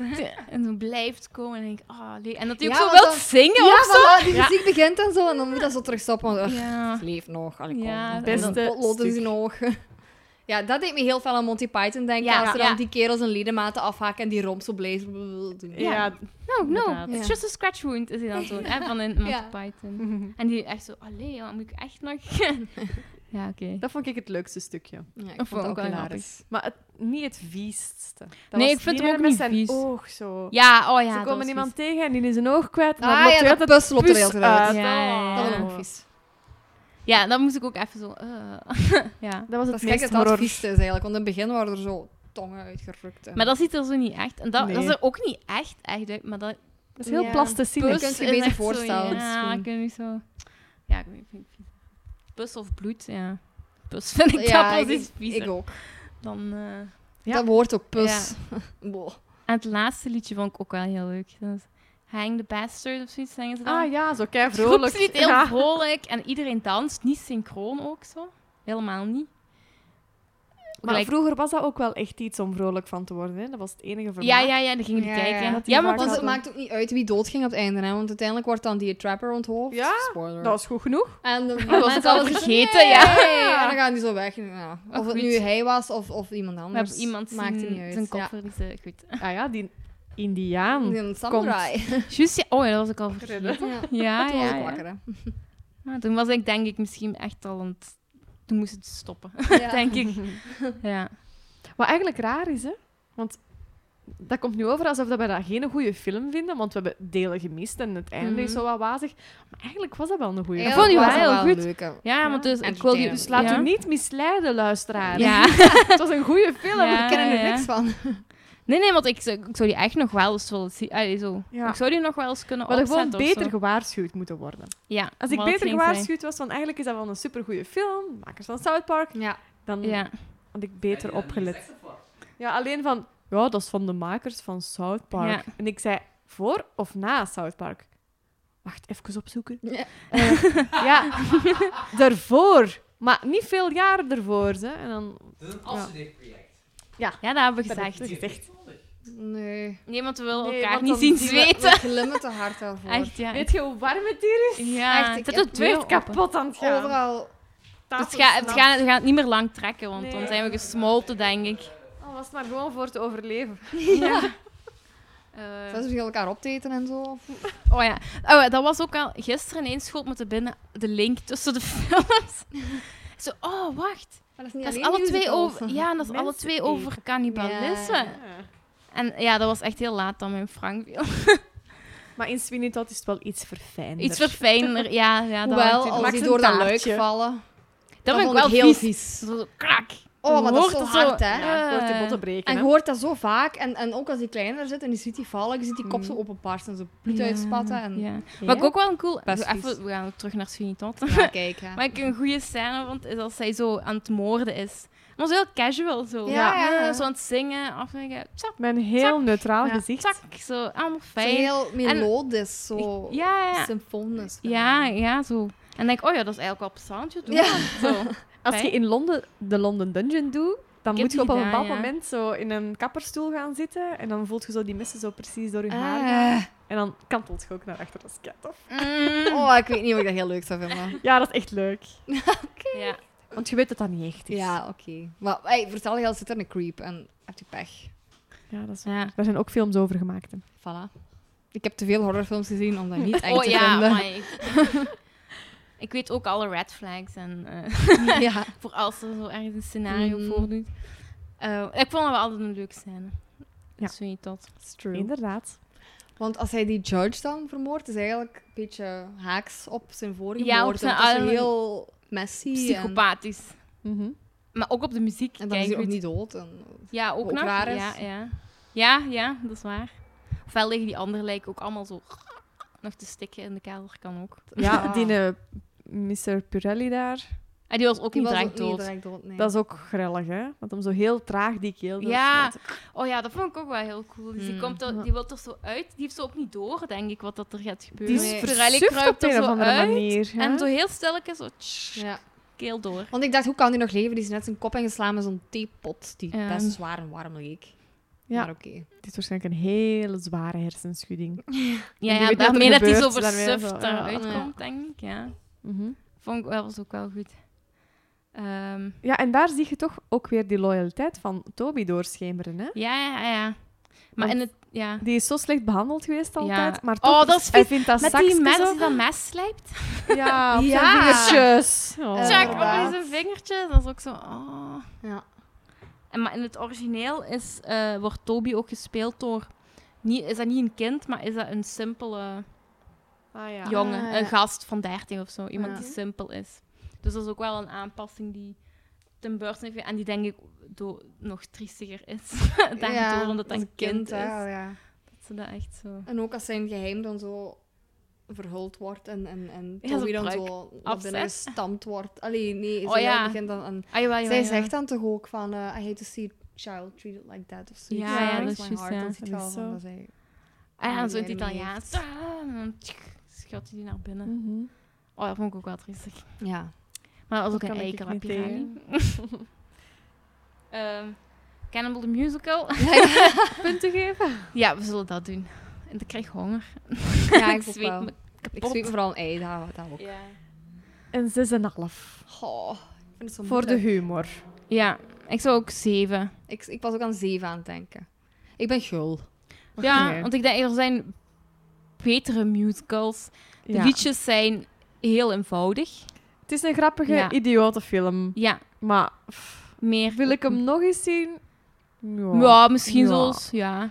Speaker 4: en zo blijft komen. En denk ik, ah, nee. En dat hij ook
Speaker 7: Ja,
Speaker 4: zo
Speaker 7: want
Speaker 4: wil
Speaker 7: dan-
Speaker 4: zingen
Speaker 7: Ja,
Speaker 4: of zo.
Speaker 7: voilà, die muziek begint en zo, en dan moet dat zo terug stoppen. want, ugh,
Speaker 4: Ja.
Speaker 7: het leeft nog. Allee, kom.
Speaker 4: Ja,
Speaker 7: En
Speaker 8: beste
Speaker 7: dan potloden ze
Speaker 8: stuk.
Speaker 7: nog. Ja, dat deed me heel veel aan Monty Python denken.
Speaker 4: Ja,
Speaker 7: als ze
Speaker 4: ja.
Speaker 7: dan die kerels hun ledematen afhaken en die romp zo blazen. doen.
Speaker 8: Ja.
Speaker 4: Ja. Oh, No, no,
Speaker 8: Inderdaad.
Speaker 4: it's
Speaker 7: Ja.
Speaker 4: just a scratch wound, is hij dan zo. hè, van in Monty
Speaker 7: Ja.
Speaker 4: Python. En die echt zo, allee, joh, moet ik echt nog... ja, oké.
Speaker 8: Dat vond ik het leukste stukje.
Speaker 7: Ja, ik vond
Speaker 4: Dat vond
Speaker 7: dat
Speaker 4: ik
Speaker 7: ook
Speaker 4: wel
Speaker 7: hilarisch.
Speaker 8: Maar het, niet het viesste. Dat
Speaker 4: Nee,
Speaker 8: was
Speaker 4: ik vind
Speaker 8: die
Speaker 4: hem
Speaker 8: ene
Speaker 4: ook
Speaker 8: met
Speaker 4: niet
Speaker 8: zijn
Speaker 4: vies.
Speaker 8: oog zo.
Speaker 4: Ja, oh ja,
Speaker 8: Ze
Speaker 4: dat
Speaker 8: komen
Speaker 4: was
Speaker 8: iemand tegen en die is een oog kwijt. En dan
Speaker 7: Ah
Speaker 8: loopt hij
Speaker 7: ja, dat
Speaker 8: uit het
Speaker 7: pus loopt er
Speaker 8: pus
Speaker 7: heel eruit.
Speaker 8: uit.
Speaker 4: Ja, ja, ja.
Speaker 7: Dat vond ik
Speaker 8: Oh.
Speaker 7: ook vies.
Speaker 4: vies. Ja, dat moest ik ook even zo... eh, ja.
Speaker 8: Dat
Speaker 7: Dat
Speaker 8: was het
Speaker 7: is gek
Speaker 8: meest
Speaker 7: dat dat het
Speaker 8: horror.
Speaker 7: vieste is eigenlijk. Want in het begin waren er zo tongen uitgerukt. En...
Speaker 4: Maar dat ziet er zo niet echt. En dat, dat
Speaker 8: Nee.
Speaker 4: is er ook niet echt, echt uit, maar dat...
Speaker 8: Dat is heel
Speaker 7: Ja.
Speaker 8: plasticine.
Speaker 7: Pus. kunt je
Speaker 4: is
Speaker 7: beter
Speaker 4: echt zo,
Speaker 7: voorstellen,
Speaker 4: Ja,
Speaker 7: misschien.
Speaker 4: ik weet niet zo... Ja, ik weet ik vind het vies. Pus of bloed, ja. Pus vind ik dat
Speaker 7: ik,
Speaker 4: pas iets viezer
Speaker 7: ik ook.
Speaker 4: dan... eh,
Speaker 8: Ja.
Speaker 7: Dat woord ook, pus. Boah.
Speaker 4: En het laatste liedje vond ik ook wel heel leuk. Dat is Hang the Bastard of zoiets, zeggen ze dan.
Speaker 8: Ah ja, zo kei
Speaker 4: vrolijk.
Speaker 8: vrolijk.
Speaker 4: Het groepslied heel
Speaker 8: Ja.
Speaker 4: vrolijk en iedereen danst, niet synchroon ook zo. Helemaal niet.
Speaker 8: Maar
Speaker 4: Gelijk-
Speaker 8: vroeger was dat ook wel echt iets om vrolijk van te worden. Hè? Dat was het enige voor
Speaker 4: ja,
Speaker 8: mij.
Speaker 4: ja, ja, dan gingen die
Speaker 7: Ja,
Speaker 4: kijken.
Speaker 7: ja.
Speaker 4: Ja,
Speaker 8: Dat die
Speaker 4: maar
Speaker 8: vaak
Speaker 7: Want
Speaker 4: pas
Speaker 7: het maakt ook niet uit wie doodging op het einde, hè? want uiteindelijk wordt dan die trapper onthoofd.
Speaker 8: Ja,
Speaker 7: Spoiler.
Speaker 8: Dat was goed genoeg.
Speaker 7: En dan
Speaker 4: was het al vergeten, ja.
Speaker 7: En dan gaan die zo weg. Ja. Of
Speaker 4: Oh,
Speaker 7: het
Speaker 4: goed.
Speaker 7: nu hij was of, of iemand
Speaker 4: we hebben
Speaker 7: anders.
Speaker 4: iemand
Speaker 7: Maakt
Speaker 4: zijn,
Speaker 7: het niet uit.
Speaker 4: zijn kop
Speaker 7: ja.
Speaker 4: verliezen. Goed.
Speaker 8: Ah ja, die indiaan.
Speaker 7: Die een samurai.
Speaker 4: Juist, ja. Oh, ja, dat was ik al vergeten.
Speaker 7: Ja.
Speaker 4: Ja,
Speaker 7: Toen was
Speaker 4: ja,
Speaker 7: ik
Speaker 4: ja.
Speaker 7: wakker, hè.
Speaker 4: Maar toen was ik denk ik misschien echt al aan het... Toen moest het stoppen,
Speaker 7: Ja.
Speaker 4: denk ik. Ja.
Speaker 8: Wat eigenlijk raar is, hè? Want dat komt nu over alsof dat wij dat geen goede film vinden, want we hebben delen gemist en het einde is
Speaker 4: Mhm.
Speaker 8: zo wat wazig. Maar eigenlijk was dat wel een goede
Speaker 7: Eigenlijk
Speaker 4: vond die
Speaker 7: was
Speaker 4: wel
Speaker 7: dat
Speaker 4: heel goed.
Speaker 7: een leuke.
Speaker 4: Ja, want dus... Ik wil die,
Speaker 8: Dus laat
Speaker 4: ja.
Speaker 8: u niet misleiden, luisteraar.
Speaker 4: Ja.
Speaker 8: het was een goede film.
Speaker 4: Ja.
Speaker 7: Ik ken er
Speaker 4: ja.
Speaker 7: niks van.
Speaker 4: Nee, nee, want ik, zou- ik zou die echt nog wel eens willen zien. Allee, zo.
Speaker 8: Ja.
Speaker 4: Ik zou die nog wel eens kunnen
Speaker 8: We hadden gewoon
Speaker 4: opzetten of
Speaker 8: beter
Speaker 4: zo.
Speaker 8: gewaarschuwd moeten worden.
Speaker 4: Ja,
Speaker 8: Als ik
Speaker 4: maar dat
Speaker 8: beter
Speaker 4: ging zijn.
Speaker 8: gewaarschuwd was, want eigenlijk is dat wel een supergoeie film, makers van South Park,
Speaker 7: Ja.
Speaker 8: dan
Speaker 4: Ja.
Speaker 8: had ik beter opgelet. Ja, alleen van, ja, dat is van de makers van South Park.
Speaker 4: Ja.
Speaker 8: En ik zei, voor of na South Park? Wacht, even opzoeken.
Speaker 7: Ja.
Speaker 8: Eh, ja, daarvoor. Maar niet veel jaren daarvoor. Hè. En dan,
Speaker 2: Het is een project.
Speaker 4: ja, dat hebben we
Speaker 8: Dat
Speaker 4: gezegd.
Speaker 8: heb ik gezegd.
Speaker 7: Nee.
Speaker 4: Nee, want we willen
Speaker 8: Nee,
Speaker 4: elkaar
Speaker 8: want
Speaker 4: niet
Speaker 8: dan
Speaker 4: zien
Speaker 8: zien
Speaker 7: We-
Speaker 4: zweten.
Speaker 7: We glimmen te hard daarvoor.
Speaker 4: Echt, ja.
Speaker 8: Weet je hoe warm het hier is?
Speaker 4: ja.
Speaker 7: echt, ik
Speaker 4: het
Speaker 7: heb
Speaker 4: is het
Speaker 8: Het
Speaker 4: weer
Speaker 8: is
Speaker 4: kapot.
Speaker 8: kapot aan het gaan.
Speaker 7: Overal.
Speaker 8: Oh, Tafels
Speaker 4: Het gaat het,
Speaker 8: nat.
Speaker 4: gaat- het gaat niet meer lang trekken, want dan
Speaker 8: Nee.
Speaker 4: zijn we gesmolten, denk ik.
Speaker 8: Al was het maar gewoon voor te overleven.
Speaker 4: Eh,
Speaker 7: Dat is misschien elkaar opteten en zo.
Speaker 4: oh ja, oh, dat was ook al gisteren ineens schoot me te binnen de link tussen de films. Zo, oh wacht,
Speaker 7: Maar dat is niet
Speaker 4: dat is
Speaker 7: alleen
Speaker 4: alle twee
Speaker 7: musicals.
Speaker 4: over, ja, en dat is alle
Speaker 8: Mensen
Speaker 4: twee
Speaker 8: eten.
Speaker 4: over cannibalisme. En ja, dat was echt heel laat dan mijn Frank viel.
Speaker 8: Maar in Sweeney Todd is het wel iets verfijnder.
Speaker 4: Iets verfijnder, ja, ja dat
Speaker 7: Hoewel,
Speaker 4: hangt in-
Speaker 7: als
Speaker 8: maakt
Speaker 7: die
Speaker 8: een
Speaker 7: door dat luik
Speaker 8: taartje.
Speaker 7: vallen.
Speaker 4: dat
Speaker 7: vond
Speaker 4: vind ik wel
Speaker 7: ik heel
Speaker 4: vies. Zo, zo, krak.
Speaker 7: Oh, maar dat is
Speaker 4: Hoort
Speaker 7: zo
Speaker 4: het
Speaker 7: hard, hè?
Speaker 8: Ja, je hoort die botten
Speaker 7: En
Speaker 8: breken.
Speaker 7: je
Speaker 8: hè.
Speaker 7: hoort dat zo vaak. En, en ook als die kleiner zit en je ziet die vallen, je ziet die kop zo openbarsten en zo bloed uitspatten. En...
Speaker 4: Mm. Ja. Wat ik ook wel een cool...
Speaker 7: Best
Speaker 4: Even-
Speaker 7: vies.
Speaker 4: we gaan terug naar Sweeney Todd.
Speaker 7: Ja, kijk, hè.
Speaker 4: Wat ik een goede scène vond, is als zij zo aan het moorden is. was heel casual zo. Ah,
Speaker 7: Ja, ja, ja.
Speaker 4: Zo aan het zingen, afvinken. Zak,
Speaker 8: Met een heel
Speaker 4: Zak.
Speaker 8: neutraal
Speaker 7: Ja.
Speaker 8: gezicht.
Speaker 4: zak. Zo, allemaal fijn.
Speaker 7: Heel melodisch, zo.
Speaker 4: ja, ja.
Speaker 7: Symfonisch.
Speaker 4: Ja, ja, zo. En dan denk ik, oh ja, dat is eigenlijk al plezant. je doet
Speaker 7: Ja.
Speaker 4: dat. Zo.
Speaker 8: Als je in Londen de London Dungeon doet, dan
Speaker 4: heb
Speaker 8: moet
Speaker 4: die
Speaker 8: je op een
Speaker 4: gedaan,
Speaker 8: bepaald
Speaker 4: ja.
Speaker 8: moment zo in een kapperstoel gaan zitten. En dan voelt je zo die messen zo precies door je haar gaan.
Speaker 7: Ah.
Speaker 8: En dan kantelt je ook naar achter. Dat is ketof.
Speaker 4: Mm.
Speaker 7: Oh, ik weet niet of ik dat heel leuk zou vinden.
Speaker 8: Ja, dat is echt leuk.
Speaker 4: Ja.
Speaker 8: Want je weet dat dat niet echt is.
Speaker 7: Ja, oké. Maar hey, vertel je al, zit er een creep en heb je pech.
Speaker 8: Ja, dat is
Speaker 4: ja.
Speaker 8: Daar zijn ook films over gemaakt. hè.
Speaker 7: Voilà. Ik heb te veel horrorfilms gezien om dat niet eng
Speaker 4: Oh
Speaker 7: te
Speaker 4: ja,
Speaker 7: vinden.
Speaker 4: maar ik, ik weet ook alle red flags en eh,
Speaker 7: ja.
Speaker 4: voor als er zo ergens een scenario
Speaker 7: Mm.
Speaker 4: voordoet. Eh, ik vond dat wel altijd een leuk scène.
Speaker 8: Ja.
Speaker 4: Ja. Zo niet dat.
Speaker 7: It's true.
Speaker 8: Inderdaad.
Speaker 7: Want als hij die judge dan vermoordt, is eigenlijk een beetje haaks op zijn vorige
Speaker 4: Ja, op
Speaker 7: moord.
Speaker 4: zijn
Speaker 7: Want het is
Speaker 4: oude-
Speaker 7: heel messy. En,
Speaker 4: Psychopathisch.
Speaker 8: Mhm.
Speaker 4: Maar ook op de muziek.
Speaker 7: en dan
Speaker 4: kijk,
Speaker 7: is hij ook
Speaker 4: goed.
Speaker 7: niet dood. En,
Speaker 4: Ja, ook,
Speaker 7: ook
Speaker 4: nog.
Speaker 7: raar is.
Speaker 4: Ja, ja. ja, ja, dat is waar. Ofwel liggen die anderen lijken ook allemaal zo nog te stikken in de kelder, kan ook.
Speaker 8: Ja,
Speaker 7: Ah.
Speaker 8: die eh, Mr. Purelli daar.
Speaker 4: En die was ook
Speaker 7: Die
Speaker 4: niet
Speaker 7: was
Speaker 4: direct
Speaker 7: ook niet
Speaker 4: dood.
Speaker 7: direct dood, nee.
Speaker 8: Dat is ook grillig, hè? Want hem zo heel traag die keel
Speaker 4: Ja.
Speaker 8: doorsnijdt.
Speaker 4: Oh ja, dat vond ik ook wel heel cool. Dus die,
Speaker 7: Mm.
Speaker 4: komt er, die wil er zo uit. Die heeft zo ook niet door, denk ik, wat dat er gaat gebeuren.
Speaker 8: Die
Speaker 7: Nee.
Speaker 8: is
Speaker 4: Pirelli
Speaker 8: versuft op
Speaker 4: kruipt er
Speaker 8: een of
Speaker 4: zo
Speaker 8: andere
Speaker 4: uit
Speaker 8: manier. hè?
Speaker 4: En zo heel stilletjes, zo tsch,
Speaker 7: Ja.
Speaker 4: keel door.
Speaker 7: Want ik dacht, hoe kan die nog leven? Die is net zijn kop ingeslagen met zo'n theepot die
Speaker 4: Ja.
Speaker 7: best zwaar en warm leek.
Speaker 8: Ja.
Speaker 7: Maar oké.
Speaker 8: Dit is waarschijnlijk een hele zware hersenschudding.
Speaker 4: Ja,
Speaker 8: die
Speaker 4: ja
Speaker 8: weet niet wat er
Speaker 4: daarmee dat hij zo
Speaker 8: gebeurt, daarmee
Speaker 4: versuft
Speaker 8: zo, ja.
Speaker 4: eruit
Speaker 7: Ja.
Speaker 4: komt, eh, denk ik. Ja.
Speaker 8: Mhm.
Speaker 4: Vond ik wel, was ook wel goed. Ehm,
Speaker 8: Ja, en daar zie je toch ook weer die loyaliteit van Toby doorschemeren, hè?
Speaker 4: ja, ja, ja, ja. Maar in
Speaker 8: Want
Speaker 4: het... Ja.
Speaker 8: Die is zo slecht behandeld geweest altijd, maar
Speaker 4: Oh,
Speaker 8: toch
Speaker 4: dat is
Speaker 8: hij
Speaker 4: vies.
Speaker 8: vindt dat
Speaker 4: Met
Speaker 8: zakje
Speaker 4: die mes,
Speaker 8: zo-
Speaker 4: die dat mes slijpt.
Speaker 8: Ja, op zijn
Speaker 7: Ja.
Speaker 8: vingertjes. Oh.
Speaker 7: Ja,
Speaker 4: Check,
Speaker 7: inderdaad.
Speaker 4: op zijn vingertjes. Dat is ook zo... Oh.
Speaker 7: Ja.
Speaker 4: En, maar in het origineel is, eh, wordt Toby ook gespeeld door... Niet, is dat niet een kind, maar is dat een simpele
Speaker 8: Ah, ja.
Speaker 4: jongen.
Speaker 7: Ah, ja.
Speaker 4: Een gast van 13 of zo. Iemand
Speaker 7: Ja.
Speaker 4: die simpel is. Dus dat is ook wel een aanpassing die ten beurte heeft. En die denk ik do- nog triestiger is. Daardoor, omdat dat
Speaker 7: als
Speaker 4: een kind, is.
Speaker 7: hè, ja.
Speaker 4: Dat ze dat echt zo...
Speaker 7: En ook als zijn geheim dan zo verhuld wordt en, en, en
Speaker 4: Ja, zo'n
Speaker 7: Toby dan
Speaker 4: pruik
Speaker 7: zo naar
Speaker 4: afzet.
Speaker 7: binnen gestampt wordt. Allee, nee,
Speaker 4: Oh,
Speaker 7: zij
Speaker 4: ja.
Speaker 7: begint dan aan...
Speaker 4: Ah, jawel, jawel,
Speaker 7: zij
Speaker 4: jawel.
Speaker 7: zegt dan toch ook van, eh, I hate to see a child treated like that of zoiets.
Speaker 4: Ja,
Speaker 8: ja,
Speaker 7: Breaks
Speaker 8: dat
Speaker 4: is
Speaker 7: my
Speaker 4: juist,
Speaker 7: heart.
Speaker 4: ja.
Speaker 7: Dan zit je
Speaker 8: Dat
Speaker 7: wel
Speaker 8: is
Speaker 7: van
Speaker 8: zo.
Speaker 7: dat zij...
Speaker 4: Ah, en zo in het
Speaker 7: die ermee
Speaker 4: Italiaans.
Speaker 7: heeft.
Speaker 4: Ah, en dan tsk, schuilt hij die naar binnen.
Speaker 8: Mhm.
Speaker 4: Oh, dat vond ik ook wel triestig.
Speaker 7: Ja.
Speaker 4: Maar dat was ook
Speaker 8: kan
Speaker 4: een
Speaker 8: ik
Speaker 4: eikel,
Speaker 8: niet
Speaker 4: heb je daar
Speaker 8: tegen.
Speaker 4: niet? Ehm, Cannibal the Musical.
Speaker 8: Punten geven.
Speaker 4: ja, we zullen dat doen. En dan krijg ik honger.
Speaker 7: ja, ik
Speaker 4: ik
Speaker 7: zweet
Speaker 4: zweet
Speaker 7: wel.
Speaker 4: me
Speaker 7: Ik
Speaker 4: kapot.
Speaker 7: zweet me vooral een ei, dat, dat ook.
Speaker 4: ja.
Speaker 8: Een 6,5.
Speaker 7: Goh, ik vind het zo
Speaker 8: Voor de
Speaker 7: moeilijk.
Speaker 8: humor.
Speaker 4: ja, ik zou ook zeven.
Speaker 7: ik, ik was ook aan zeven aan het denken. Ik ben gul.
Speaker 4: Ja,
Speaker 8: Oké.
Speaker 4: want ik denk, er zijn betere musicals. De
Speaker 8: Ja.
Speaker 4: liedjes zijn heel eenvoudig.
Speaker 8: Het is een grappige,
Speaker 4: Ja.
Speaker 8: idiote film.
Speaker 4: Ja,
Speaker 8: Maar pff,
Speaker 4: meer...
Speaker 8: wil ik hem nog eens zien?
Speaker 4: Ja, misschien
Speaker 8: Ja.
Speaker 4: zoals... Ja.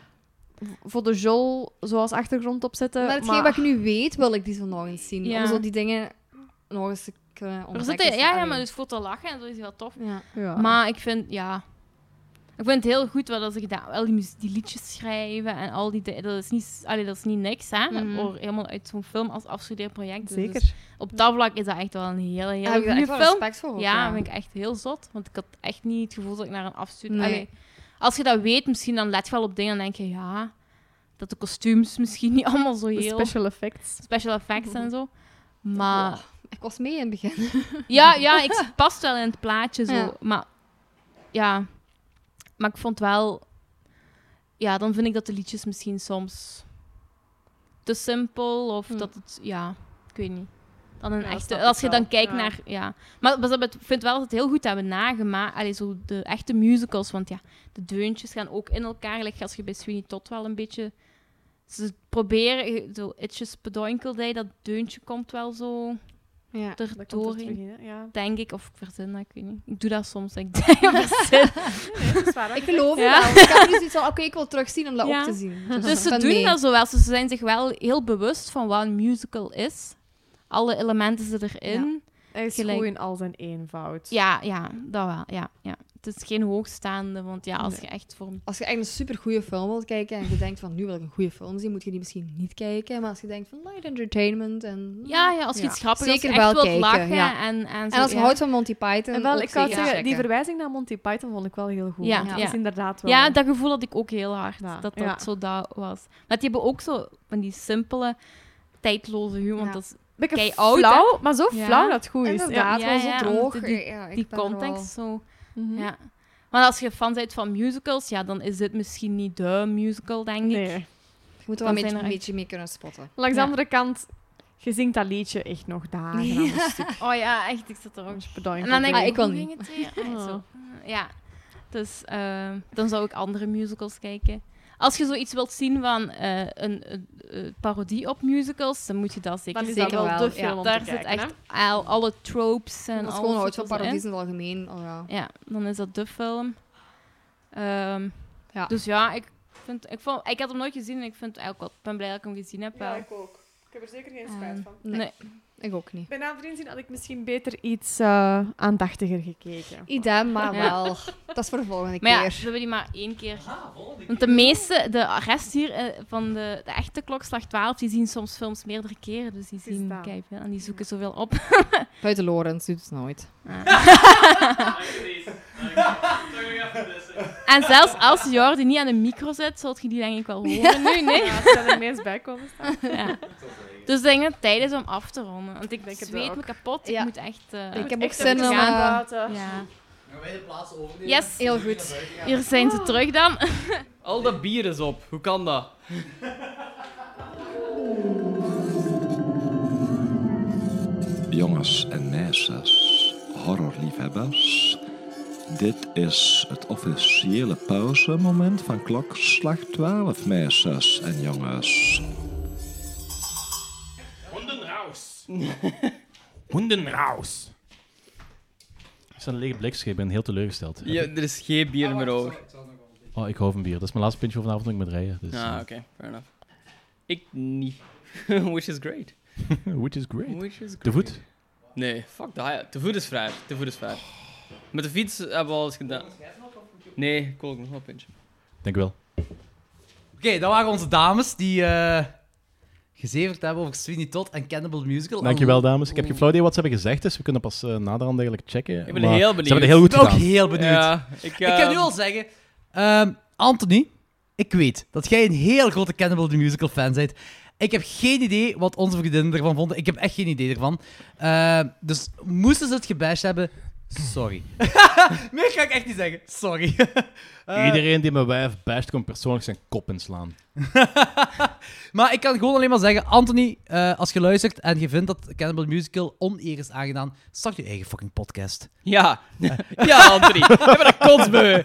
Speaker 8: Voor de jol zoals achtergrond opzetten.
Speaker 7: Eh, maar hetgeen wat ik nu weet, wil ik die zo nog eens zien.
Speaker 4: Ja.
Speaker 7: Om zo die dingen nog eens te kunnen
Speaker 4: Er
Speaker 7: ontdekken.
Speaker 4: zitten, ja, ja,
Speaker 7: Allee.
Speaker 4: maar dus voor te lachen en zo is wel tof.
Speaker 7: Ja.
Speaker 8: Ja.
Speaker 4: Maar ik vind, ja... Ik vind het heel goed wat dat ze gedaan Al die, muzie- die liedjes schrijven en al die... di- Dat is niet, allee, dat is niet niks, hè.
Speaker 7: Mhm.
Speaker 4: Voor helemaal uit zo'n film als afstudeerproject. Dus
Speaker 8: Zeker.
Speaker 4: op dat vlak is dat echt wel een hele, hele
Speaker 7: Daar heb ik daar
Speaker 4: goede
Speaker 7: echt wel
Speaker 4: film.
Speaker 7: respect voor. ook,
Speaker 4: Ja, vind ik echt heel zot. Want ik had echt niet het gevoel dat ik naar een afstudie...
Speaker 7: Nee.
Speaker 4: Allee, Als je dat weet, misschien dan let je wel op dingen en denk je... Ja, dat de kostuums misschien niet allemaal zo
Speaker 8: De
Speaker 4: heel...
Speaker 8: special effects.
Speaker 4: special effects en zo. Maar...
Speaker 7: Ik was mee in het begin.
Speaker 4: Ja, ja, ik past wel in het plaatje zo.
Speaker 7: Ja.
Speaker 4: Maar ja, maar ik vond wel. Ja, dan vind ik dat de liedjes misschien soms te simpel of
Speaker 7: Hm.
Speaker 4: dat het ja, ik weet niet. Dan een
Speaker 8: Ja, dat snap
Speaker 4: echte.
Speaker 8: ik
Speaker 4: Als je dan
Speaker 8: wel,
Speaker 4: kijkt
Speaker 8: ja.
Speaker 4: naar ja, maar maar ze hebben het- ik vind wel dat ze het heel goed hebben nagemaakt. Allee, zo de echte musicals, want ja, de deuntjes gaan ook in elkaar liggen. Als je bij Sweeney Todd wel een beetje ze proberen eh, zo Itches Pedoinkeldij, dat deuntje komt wel zo
Speaker 7: Ja.
Speaker 4: er
Speaker 8: Dat komt er
Speaker 4: doorheen
Speaker 8: terug in, hè? Ja.
Speaker 4: denk ik, of ik verzin dat, ik weet niet. Ik doe dat soms, dat ik denk ik verzin.
Speaker 7: Ik geloof
Speaker 4: Ja.
Speaker 7: het wel. Ik heb nu zoiets van, oké, ik wil terugzien om dat
Speaker 4: Ja.
Speaker 7: op te zien.
Speaker 4: Dus
Speaker 7: ik
Speaker 4: ze
Speaker 7: ben
Speaker 4: doen
Speaker 7: mee.
Speaker 4: dat zo wel. Ze zijn zich wel heel bewust van wat een musical is. Alle elementen zitten erin.
Speaker 8: Hij is
Speaker 4: Gelijk.
Speaker 8: goed in al zijn eenvoud.
Speaker 4: Ja, ja, dat wel. Ja, ja. het is geen hoogstaande. Want ja, als
Speaker 7: Nee.
Speaker 4: je echt voor...
Speaker 7: Als je echt een supergoeie film wilt kijken en je denkt van nu wil ik een goede film zien, moet je die misschien niet kijken. Maar als je denkt van light entertainment en...
Speaker 4: Ja, ja als je
Speaker 7: Ja.
Speaker 4: iets grappigs
Speaker 7: Zeker
Speaker 4: echt
Speaker 7: wel
Speaker 4: wilt
Speaker 7: kijken,
Speaker 4: lachen.
Speaker 7: ja.
Speaker 4: En, en, zo,
Speaker 7: En als je
Speaker 4: ja.
Speaker 7: houdt van Monty Python,
Speaker 8: En wel,
Speaker 7: ook
Speaker 8: ik kan
Speaker 7: zeker
Speaker 8: zeggen, die
Speaker 7: checken.
Speaker 8: verwijzing naar Monty Python vond ik wel heel goed.
Speaker 4: Ja,
Speaker 8: want die
Speaker 4: ja.
Speaker 8: is inderdaad wel...
Speaker 4: Ja, dat gevoel had ik ook heel hard.
Speaker 8: Ja.
Speaker 4: Dat dat
Speaker 8: Ja.
Speaker 4: zo dat was. Maar die hebben ook zo van die simpele, tijdloze humor. want
Speaker 7: Ja.
Speaker 4: Dat is,
Speaker 8: Beetje
Speaker 4: kei oud,
Speaker 8: flauw, maar zo
Speaker 4: Ja.
Speaker 8: flauw dat het goed is.
Speaker 7: Inderdaad,
Speaker 4: Ja,
Speaker 7: wel
Speaker 4: ja,
Speaker 7: zo
Speaker 4: want
Speaker 7: droog.
Speaker 4: die-
Speaker 7: Ja, ik
Speaker 4: die
Speaker 7: ben er wel-
Speaker 4: context zo...
Speaker 8: Mhm.
Speaker 4: Ja. Maar als je fan bent van musicals, ja, dan is dit misschien niet de musical, denk ik.
Speaker 8: Nee.
Speaker 7: Je moet er wel
Speaker 4: Dan
Speaker 7: een beetje,
Speaker 4: zijn er
Speaker 7: een
Speaker 4: echt-
Speaker 7: beetje mee kunnen spotten.
Speaker 8: Langs
Speaker 4: Ja.
Speaker 8: de andere kant, je zingt dat liedje echt nog dagen
Speaker 7: Ja.
Speaker 8: aan een stuk.
Speaker 4: Oh ja, echt, ik zat er ook.
Speaker 8: Dus bedankt.
Speaker 4: En dan denk ik,
Speaker 7: Ah, ik wel
Speaker 4: hoe
Speaker 7: niet.
Speaker 4: ging het weer? Ah,
Speaker 8: Oh.
Speaker 4: zo. Ja, dus ehm, dan zou ik andere musicals kijken. Als je zoiets wilt zien van eh, een, een, een parodie op musicals, dan moet je dat zeker
Speaker 8: dan is
Speaker 4: zien.
Speaker 8: dat
Speaker 7: zeker
Speaker 8: wel
Speaker 7: wel,
Speaker 8: de
Speaker 7: ja.
Speaker 8: film om
Speaker 4: Daar
Speaker 8: te
Speaker 4: zit
Speaker 8: kijken, hè?
Speaker 4: echt al, alle tropes en
Speaker 7: Als je
Speaker 4: alles
Speaker 7: gewoon houdt
Speaker 4: zit
Speaker 7: van
Speaker 4: er zo in.
Speaker 7: paradies in het algemeen. Oh, ja.
Speaker 4: Ja, dan is dat de film. Ehm,
Speaker 7: Ja.
Speaker 4: Dus ja, ik, vind, ik, vond, ik had hem nooit gezien en ik vind, eigenlijk wel, ik ben blij dat ik hem gezien heb. wel.
Speaker 8: ook. Ik heb er zeker geen
Speaker 4: spijt van.
Speaker 7: Nee.
Speaker 4: Nee.
Speaker 7: Ik ook niet.
Speaker 8: Bij naam zien had ik misschien beter iets eh, aandachtiger gekeken.
Speaker 7: Idem, maar
Speaker 4: Ja.
Speaker 7: wel. Dat is voor de volgende
Speaker 4: Maar ja, dus- we
Speaker 7: keer.
Speaker 4: hebben die maar één keer. Want de meeste, de rest hier eh, van de, de echte klokslag 12, die zien soms films meerdere keren. Dus die
Speaker 8: Het is
Speaker 4: zien
Speaker 8: dat.
Speaker 4: kijk, en die zoeken zoveel op.
Speaker 7: Buiten Lorenz doet het nooit.
Speaker 4: Ah. en zelfs als Jordi niet aan de micro zit, zult je die denk ik wel horen nu, nee?
Speaker 8: Ja, ze zijn er meest bij komen staan.
Speaker 4: Ja. Dus ik denk dat het tijd is om af te ronden. Want ik
Speaker 8: denk het
Speaker 4: zweet
Speaker 8: ook.
Speaker 4: me kapot. Ik
Speaker 7: Ja.
Speaker 4: moet echt... eh,
Speaker 7: Ik heb ook
Speaker 8: Echt
Speaker 7: zin
Speaker 8: even
Speaker 7: om...
Speaker 4: gaan
Speaker 7: eh,
Speaker 4: ja.
Speaker 2: Gaan wij de plaats overnemen?
Speaker 4: Yes,
Speaker 7: Heel goed.
Speaker 4: hier zijn ze terug dan.
Speaker 1: Al dat bier is op. Hoe kan dat?
Speaker 9: Jongens en meisjes, horrorliefhebbers. Dit is het officiële pauzemoment van klokslag 12, meisjes en jongens.
Speaker 3: Hondenraus. Hondenraus. Het is een lege blikschip. Ik ben heel teleurgesteld.
Speaker 1: Ja, er is geen bier meer over.
Speaker 3: Oh, ik hou van bier. Dat is mijn laatste pintje vanavond toen ik met rijden. Dus,
Speaker 1: Ah, oké. Fair enough. Ik niet. Which is great.
Speaker 3: eh, which is great.
Speaker 1: Which is great.
Speaker 3: De voet?
Speaker 1: Nee, fuck dat. ja. Te voet is vrij. Te voet is vrij. Met de fiets hebben we alles gedaan. Nee, ik wil ook nog wel een pintje.
Speaker 3: Denk wel.
Speaker 2: Oké, dat waren onze dames die eh, gezeverd hebben over Sweeney Todd en Cannibal Musical.
Speaker 3: Dankjewel, dames. Ik heb geen flauw idee wat ze hebben gezegd, dus we kunnen pas eh naderhand eigenlijk checken.
Speaker 1: Ik ben
Speaker 3: maar
Speaker 1: heel
Speaker 3: Ze
Speaker 1: benieuwd.
Speaker 3: hebben het heel
Speaker 2: Ik ben
Speaker 3: goed
Speaker 2: ook
Speaker 3: gedaan.
Speaker 2: heel benieuwd.
Speaker 1: Ja, ik,
Speaker 2: Ik kan
Speaker 1: eh,
Speaker 2: nu al zeggen, ehm, Anthony, ik weet dat jij een heel grote Cannibal the Musical fan bent. Ik heb geen idee wat onze vriendinnen ervan vonden. Ik heb echt geen idee ervan. Ehm, dus moesten ze het gebashed hebben, sorry. Meer ga ik echt niet zeggen, sorry.
Speaker 1: Ah.
Speaker 2: Eh,
Speaker 3: Iedereen die mijn wijf basht, komt persoonlijk zijn kop inslaan.
Speaker 2: maar ik kan gewoon alleen maar zeggen, Anthony, eh, als je luistert en je vindt dat Cannibal Musical oneer is aangedaan, start je eigen fucking podcast.
Speaker 1: Ja. ja, Anthony. Ik ben een kotsbeu.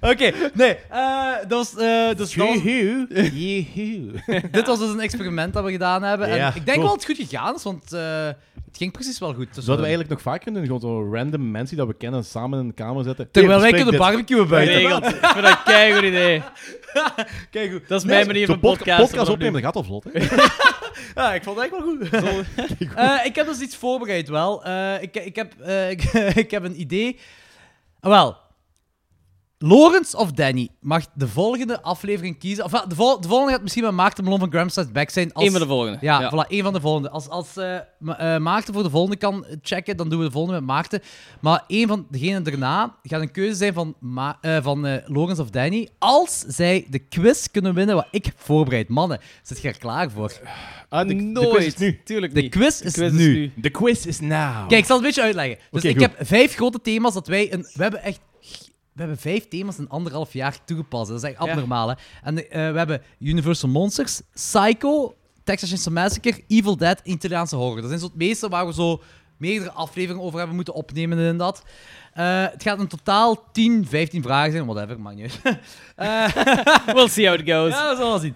Speaker 2: Oké, nee, eh, dat was... eh, dus dat was-
Speaker 3: Joehoe. Joehoe.
Speaker 2: Dit was dus een experiment dat we gedaan hebben. En
Speaker 3: Ja,
Speaker 2: ik denk
Speaker 3: cool.
Speaker 2: wel dat het goed gegaan is, want eh, het ging precies wel goed. Dus
Speaker 3: Zouden we eigenlijk nog vaak kunnen doen? Gewoon zo random mensen die dat we kennen samen in een kamer zetten.
Speaker 2: Terwijl wij
Speaker 3: Hier,
Speaker 2: kunnen
Speaker 3: bespreek
Speaker 2: barbecuen buiten.
Speaker 1: Geregeld. Ik vind dat een keigoed idee.
Speaker 2: Kijk goed.
Speaker 1: Dat is
Speaker 3: dit.
Speaker 1: mijn manier
Speaker 3: Zo'n
Speaker 1: van
Speaker 3: podca-
Speaker 1: podcasten
Speaker 3: podcast
Speaker 1: vanaf
Speaker 3: opnemen, dat gaat al vlot. hè?
Speaker 2: Ja, ik vond het eigenlijk wel goed. Eh, ik heb dus iets voorbereid wel. Eh, ik, ik, heb, eh, ik, ik heb een idee. Ah, Wel, Lawrence of Danny mag de volgende aflevering kiezen. Of wel, de, vol- de volgende gaat misschien met Maarten Melon van Gramstad Back zijn. Als,
Speaker 1: Eén van de volgende.
Speaker 2: Ja, Voilà, één van de volgende. Als, als eh, Ma- eh, Maarten voor de volgende kan checken, dan doen we de volgende met Maarten. Maar één van degenen daarna gaat een keuze zijn van, Ma eh, van eh Lawrence of Danny. Als zij de quiz kunnen winnen wat ik heb voorbereid. Mannen, zit je er klaar voor?
Speaker 3: Ah, de, de
Speaker 1: Nooit.
Speaker 3: quiz is nu.
Speaker 1: Tuurlijk
Speaker 2: De
Speaker 1: niet.
Speaker 2: quiz is,
Speaker 1: quiz is
Speaker 2: nu.
Speaker 1: nu.
Speaker 3: De quiz is now.
Speaker 2: Kijk, ik zal het een beetje uitleggen. Dus
Speaker 3: Oké,
Speaker 2: ik
Speaker 3: goed.
Speaker 2: heb vijf grote thema's dat wij... Een, we hebben echt... We hebben vijf thema's in anderhalf jaar toegepast. Dat is echt
Speaker 1: Ja.
Speaker 2: abnormaal, hè. En eh, we hebben Universal Monsters, Psycho, Texas Chainsaw Massacre, Evil Dead en Italiaanse horror. Dat zijn zo het meeste waar we zo meerdere afleveringen over hebben moeten opnemen en dat. Eh, het gaat in totaal 10, 15 vragen zijn, whatever, maakt niet uit. Eh,
Speaker 1: We'll see how it goes.
Speaker 2: ja, we zullen wel zien.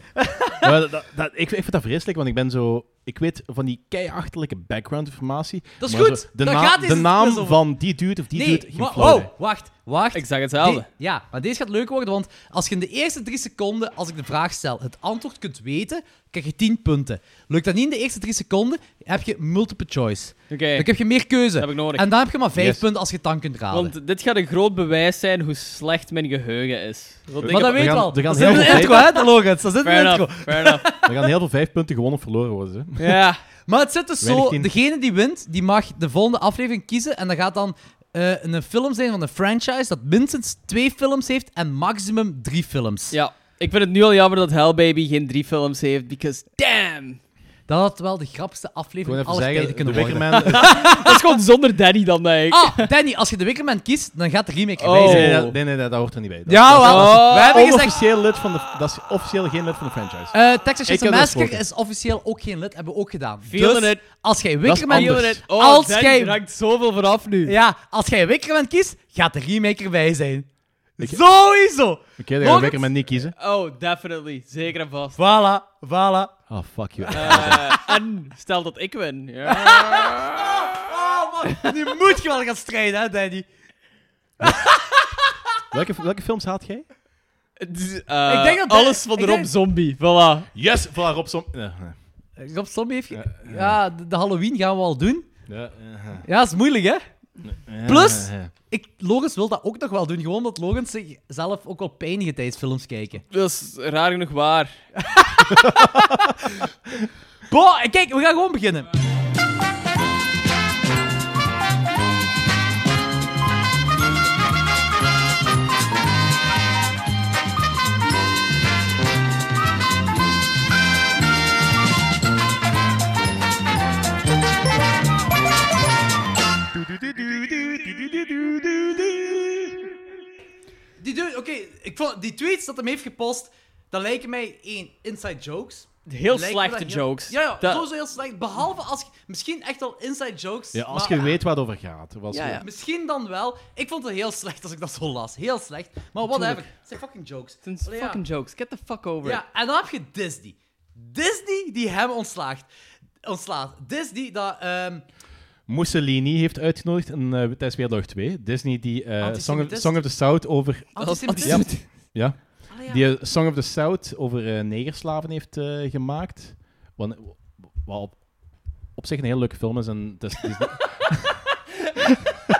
Speaker 3: Maar dat, dat- dat- ik, ik vind dat vreselijk, want ik ben zo... Ik weet van die keiachterlijke background-informatie.
Speaker 2: Dat is
Speaker 3: maar
Speaker 2: goed.
Speaker 3: zo De,
Speaker 2: Daar
Speaker 3: na-
Speaker 2: gaat
Speaker 3: de
Speaker 2: deze
Speaker 3: naam
Speaker 2: quiz over.
Speaker 3: van die dude of die
Speaker 2: nee, Oh.
Speaker 3: dude... Geen
Speaker 2: wa-
Speaker 3: flauw
Speaker 2: wow,
Speaker 3: idee.
Speaker 2: wacht, wacht.
Speaker 1: Ik zeg hetzelfde.
Speaker 2: Die- ja, maar deze gaat leuk worden, want als je in de eerste drie seconden, als ik de vraag stel, het antwoord kunt weten, krijg je 10 punten. Lukt dat niet in de eerste drie seconden, heb je multiple choice.
Speaker 1: Oké,
Speaker 2: Dan heb je meer keuze.
Speaker 1: dat heb ik nodig.
Speaker 2: En dan heb je maar 5
Speaker 3: Yes.
Speaker 2: punten als je het dan kunt raden. aanraden.
Speaker 1: Want dit gaat een groot bewijs zijn hoe slecht mijn geheugen is. Want ik
Speaker 2: maar dat
Speaker 1: heb-
Speaker 2: weet
Speaker 3: gaan-
Speaker 2: je al.
Speaker 3: we gaan
Speaker 2: dat zit in
Speaker 3: heel
Speaker 2: de
Speaker 3: veel
Speaker 2: intro, hè, Lorenz? Dat zit in de
Speaker 1: Fair
Speaker 2: intro.
Speaker 1: enough, fair enough.
Speaker 3: Er gaan heel veel vijf punten gewonnen of verloren worden. Hè.
Speaker 1: Ja.
Speaker 2: Maar het zit dus
Speaker 3: Weinig
Speaker 2: zo:
Speaker 3: in.
Speaker 2: degene die wint, die mag de volgende aflevering kiezen. En dat gaat dan eh, een film zijn van een franchise dat minstens twee films heeft en maximum drie films.
Speaker 1: ja. Ik vind het nu al jammer dat Hellbaby geen drie films heeft, because damn!
Speaker 2: Dat had wel de grappigste
Speaker 3: Gewoon
Speaker 2: aflevering
Speaker 3: even
Speaker 2: aller tijden
Speaker 3: zeggen, de
Speaker 2: kunnen worden.
Speaker 3: Wickerman... Nee,
Speaker 1: Dat is gewoon zonder Danny dan, denk ik.
Speaker 2: Ah, Danny, als je de Wickerman kiest, dan gaat de remake
Speaker 1: Oh.
Speaker 2: erbij zijn.
Speaker 3: nee, nee, nee, nee, dat hoort er niet bij. Dat,
Speaker 2: Ja, wel.
Speaker 1: Oh.
Speaker 2: we hebben
Speaker 3: dat is
Speaker 2: gezegd...
Speaker 3: officieel lid van de... Dat is officieel geen lid van de franchise.
Speaker 2: eh Texas
Speaker 3: Ik
Speaker 2: Chainsaw
Speaker 3: heb dat
Speaker 2: Massacre
Speaker 3: gesproken.
Speaker 2: is officieel ook geen lid, hebben we ook gedaan.
Speaker 1: Feeling
Speaker 2: dus
Speaker 1: it.
Speaker 2: als jij
Speaker 3: is
Speaker 2: Wickerman...
Speaker 3: anders.
Speaker 1: Feeling it. Oh,
Speaker 2: Als
Speaker 1: Danny
Speaker 2: jij-
Speaker 1: raakt zoveel vanaf nu.
Speaker 2: Ja, als jij Wickerman kiest, gaat de remake erbij zijn.
Speaker 3: Ik-
Speaker 2: Sowieso!
Speaker 3: Oké, dan ga ik
Speaker 2: Lorenz?
Speaker 3: Wickerman niet kiezen.
Speaker 1: Oh, definitely. Zeker en vast.
Speaker 2: Voilà, voilà.
Speaker 3: Oh, fuck you.
Speaker 1: Eh, en stel dat ik win. Ja.
Speaker 2: Oh man, nu moet je wel gaan strijden, hè, Danny.
Speaker 3: welke, welke films haat jij?
Speaker 1: Eh,
Speaker 2: Ik denk dat-
Speaker 1: alles van de
Speaker 2: ik
Speaker 1: Rob
Speaker 2: denk-
Speaker 1: Zombie. Voilà.
Speaker 3: Yes, voilà, Rob Som... Nee, nee.
Speaker 2: Eh, Rob Zombie heeft... ge-
Speaker 3: Ja, ja.
Speaker 2: Ja, de de Halloween gaan we al doen.
Speaker 3: Ja, ja,
Speaker 2: Ja, is moeilijk, hè?
Speaker 3: ja.
Speaker 2: Plus?
Speaker 3: Ja, ja.
Speaker 2: Ik, Logans wil dat ook nog wel doen, gewoon omdat Logans zichzelf ook wel pijnige tijdens films kijken.
Speaker 1: Dat is raar genoeg waar.
Speaker 2: Boah, en kijk, we gaan gewoon beginnen. Die dude, oké, ik vond die tweets dat hem heeft gepost, dat lijken mij één inside jokes.
Speaker 1: Heel
Speaker 2: Lijken me
Speaker 1: slechte
Speaker 2: dat heel-
Speaker 1: jokes.
Speaker 2: Ja, ja
Speaker 1: Dat-
Speaker 2: sowieso heel slecht. Behalve als je... Misschien echt wel inside jokes.
Speaker 3: Ja, als
Speaker 2: maar-
Speaker 3: je weet waar het over gaat. Was
Speaker 1: Ja, ja.
Speaker 2: Misschien dan wel. Ik vond het heel slecht als ik dat zo las. Heel slecht. Maar whatever. Het zijn fucking jokes.
Speaker 1: Het zijn
Speaker 2: Allee, ja.
Speaker 1: fucking jokes. Get the fuck over it.
Speaker 2: Ja, en dan heb je Disney. Disney die hem ontslaagt. Ontslaat. Disney dat... ehm,
Speaker 3: Mussolini heeft uitgenodigd in eh Tijdens Wereldoorlog 2. Disney die eh, Song, of,
Speaker 2: Antisemitist.
Speaker 3: Song of the South over...
Speaker 2: antisemitisme.
Speaker 3: Ja, ja.
Speaker 2: Allee, ja.
Speaker 3: Die eh, Song of the South over eh, negerslaven heeft eh, gemaakt. Wat, wat op, op zich een heel leuke film is. En het is, het is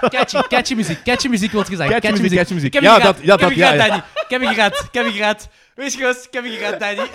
Speaker 2: Catchy, catchy muziek. Catchy muziek wordt gezegd. Catchy, muziek.
Speaker 3: catchy muziek.
Speaker 2: Ik heb
Speaker 3: Ja,
Speaker 2: je gered.
Speaker 3: dat, ja,
Speaker 2: ik heb
Speaker 3: dat,
Speaker 2: je
Speaker 3: ja,
Speaker 2: gered,
Speaker 3: ja.
Speaker 2: Danny. Ik heb je gered. Ik heb je gered. Wees gerust. Ik heb je gered, Danny.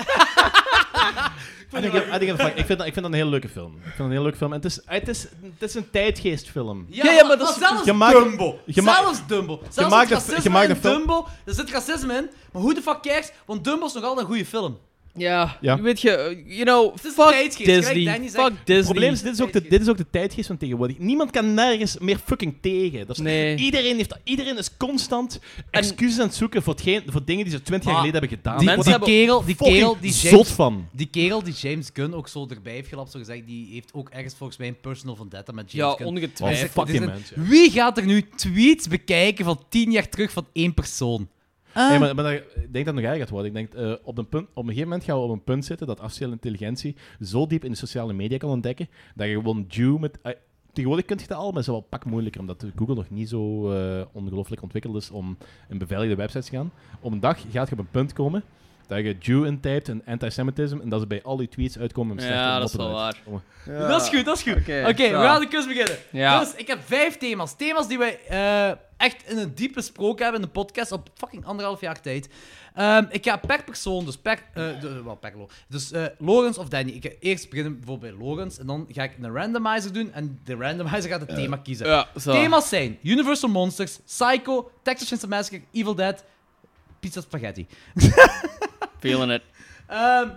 Speaker 3: I think it- I think it's fine. Ah, Ik vind dat- ik vind dat een heel leuke film. Ik vind dat een heel leuke film. En het is, het is, het is een tijdgeestfilm.
Speaker 2: Ja,
Speaker 1: Ja, ja, maar dat is-
Speaker 2: zelfs
Speaker 3: je maakt-
Speaker 2: Dumbo.
Speaker 3: je maakt-
Speaker 2: zelfs Dumbo. Zelfs het
Speaker 3: maakt een-
Speaker 2: racisme
Speaker 3: je maakt een
Speaker 2: in
Speaker 3: film-
Speaker 2: Dumbo. Er zit racisme in. Maar hoe de fuck cares? Want Dumbo is nog altijd een goede film.
Speaker 1: Ja.
Speaker 3: Ja.
Speaker 1: Weet je, eh, you know,
Speaker 2: is
Speaker 1: fuck
Speaker 2: tijdgeest, gelijk
Speaker 1: Disney.
Speaker 2: Danny zegt.
Speaker 1: Fuck Disney.
Speaker 3: Het probleem is, dit is, ook de, dit is ook de tijdgeest van tegenwoordig. Niemand kan nergens meer fucking tegen. Dat is,
Speaker 1: Nee.
Speaker 3: iedereen, heeft, iedereen is constant excuses aan het zoeken voor, hetgeen, voor dingen die ze twintig jaar
Speaker 2: Maar
Speaker 3: geleden hebben gedaan.
Speaker 2: Die,
Speaker 1: mensen
Speaker 2: die
Speaker 1: hebben
Speaker 2: kerel, die
Speaker 3: Fucking
Speaker 2: kerel, die
Speaker 3: zot
Speaker 2: James,
Speaker 3: van.
Speaker 2: die kerel die James Gunn ook zo erbij heeft gelapt, zo gezegd, die heeft ook ergens volgens mij een personal vendetta met James
Speaker 1: Ja,
Speaker 2: Gunn.
Speaker 3: Wow,
Speaker 1: ongetwijfeld.
Speaker 2: fuck
Speaker 3: fucking
Speaker 2: dit is
Speaker 3: mens. ja.
Speaker 2: Wie gaat er nu tweets bekijken van tien jaar terug van één persoon?
Speaker 3: Nee, maar, maar dat- ik denk dat het nog erger gaat worden. Ik denk, eh, op, een punt, op een gegeven moment gaan we op een punt zitten dat artificiële intelligentie zo diep in de sociale media kan ontdekken dat je gewoon Jew met... eh, tegenwoordig kun je dat al, maar het is wel een pak moeilijker omdat Google nog niet zo eh, ongelooflijk ontwikkeld is om in beveiligde websites te gaan. Op een dag gaat je op een punt komen dat je Jew intypt en antisemitisme en dat ze bij al die tweets uitkomen. met
Speaker 1: Ja,
Speaker 3: slechte
Speaker 1: dat is wel
Speaker 3: moppen uit.
Speaker 2: Dat is goed, dat is goed. Oké,
Speaker 1: Oké,
Speaker 2: we
Speaker 1: zo.
Speaker 2: gaan de kus beginnen.
Speaker 1: Ja.
Speaker 2: Dus ik heb vijf thema's. Thema's die wij eh, echt in een diepe sprook hebben in de podcast op fucking anderhalf jaar tijd. Ehm, ik ga per persoon, dus per... eh de, wel, per lo- Dus eh Logans of Danny. Ik ga eerst beginnen bijvoorbeeld bij Logans en dan ga ik een randomizer doen en de randomizer gaat het thema kiezen.
Speaker 1: Ja, zo.
Speaker 2: Thema's zijn Universal Monsters, Psycho, Texas Chainsaw Massacre, Evil Dead, Pizza Spaghetti.
Speaker 1: Feeling it.
Speaker 2: Ehm,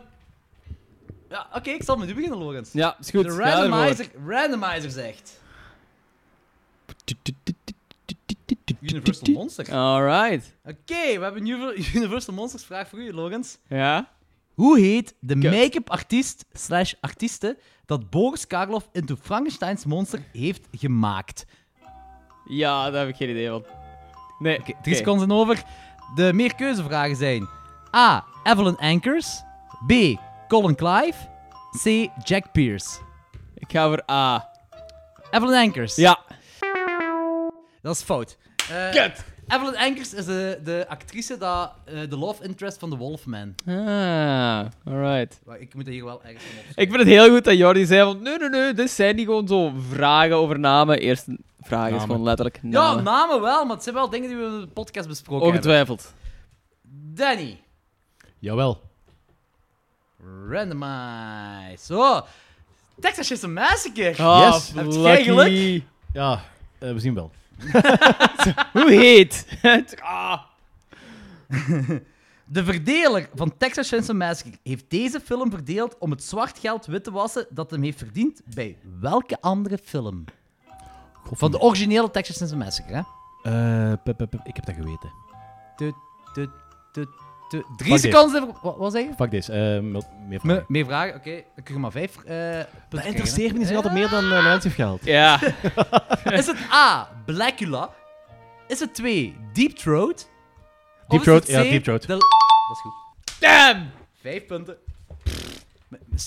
Speaker 2: ja, oké, ik zal met u beginnen, Logans.
Speaker 1: Ja, is goed.
Speaker 2: de
Speaker 1: Ga ervoor.
Speaker 2: randomizer, randomizer zegt... Universal Monsters.
Speaker 1: Alright.
Speaker 2: Oké, we hebben een Univer- Universal Monsters vraag voor u, Logans.
Speaker 1: Ja.
Speaker 2: Hoe heet de
Speaker 1: Kut.
Speaker 2: make-up artiest slash artieste dat Boris Karloff into Frankensteins monster heeft gemaakt?
Speaker 1: Ja, daar heb ik geen idee van. Nee.
Speaker 2: Oké, drie seconden over. De meerkeuzevragen zijn A. Evelyn Ankers B. Colin Clive C. Jack Pierce
Speaker 1: Ik ga voor A.
Speaker 2: Evelyn Ankers.
Speaker 1: Ja.
Speaker 2: Dat is fout. Eh,
Speaker 1: Kut.
Speaker 2: Evelyn Enkers is de, de actrice, dat, eh, de love interest van The Wolfman.
Speaker 1: Ah, alright.
Speaker 2: Wacht, Ik moet dat hier wel ergens van opzoeken.
Speaker 1: Ik vind het heel goed dat Jordi zei van, nee, nee, nee, dit zijn niet gewoon zo vragen over namen. Eerst een vraag is
Speaker 3: Namen.
Speaker 1: gewoon letterlijk
Speaker 2: Ja,
Speaker 1: namen.
Speaker 2: namen wel, maar het zijn wel dingen die we in de podcast besproken hebben.
Speaker 1: Ongetwijfeld.
Speaker 2: Danny.
Speaker 3: Jawel.
Speaker 2: Randomize. Zo. Texas Chainsaw Massacre.
Speaker 1: Ah,
Speaker 3: Yes.
Speaker 1: lucky.
Speaker 2: Heb jij geluk?
Speaker 3: Ja, eh, we zien wel.
Speaker 1: Hoe heet? ah.
Speaker 2: De verdeler van Texas Chainsaw Massacre heeft deze film verdeeld om het zwart geld wit te wassen dat hem heeft verdiend bij welke andere film? Van de originele Texas Chainsaw Massacre, hè?
Speaker 3: Eh, pup, pup, pup, ik heb dat geweten.
Speaker 2: Tu, tu, tu, tu. Drie
Speaker 3: Fuck
Speaker 2: seconden. even- Wat, wat zeg je?
Speaker 3: Fuck this. eh, mel- meer
Speaker 2: Me-
Speaker 3: vragen.
Speaker 2: meer vragen? Oké, dan kun je maar vijf eh, punten
Speaker 3: Dat
Speaker 2: krijgen, hè.
Speaker 3: interesseert me niet. Ze altijd meer dan eh, Lorenz heeft gehaald.
Speaker 1: Ja.
Speaker 2: Is het A, Blackula? Is het 2, Deep Throat? Of
Speaker 3: Deep
Speaker 2: is
Speaker 3: Throat,
Speaker 2: het
Speaker 3: ja,
Speaker 2: C,
Speaker 3: Deep Throat.
Speaker 2: de- Dat is goed.
Speaker 1: Damn!
Speaker 2: Vijf punten.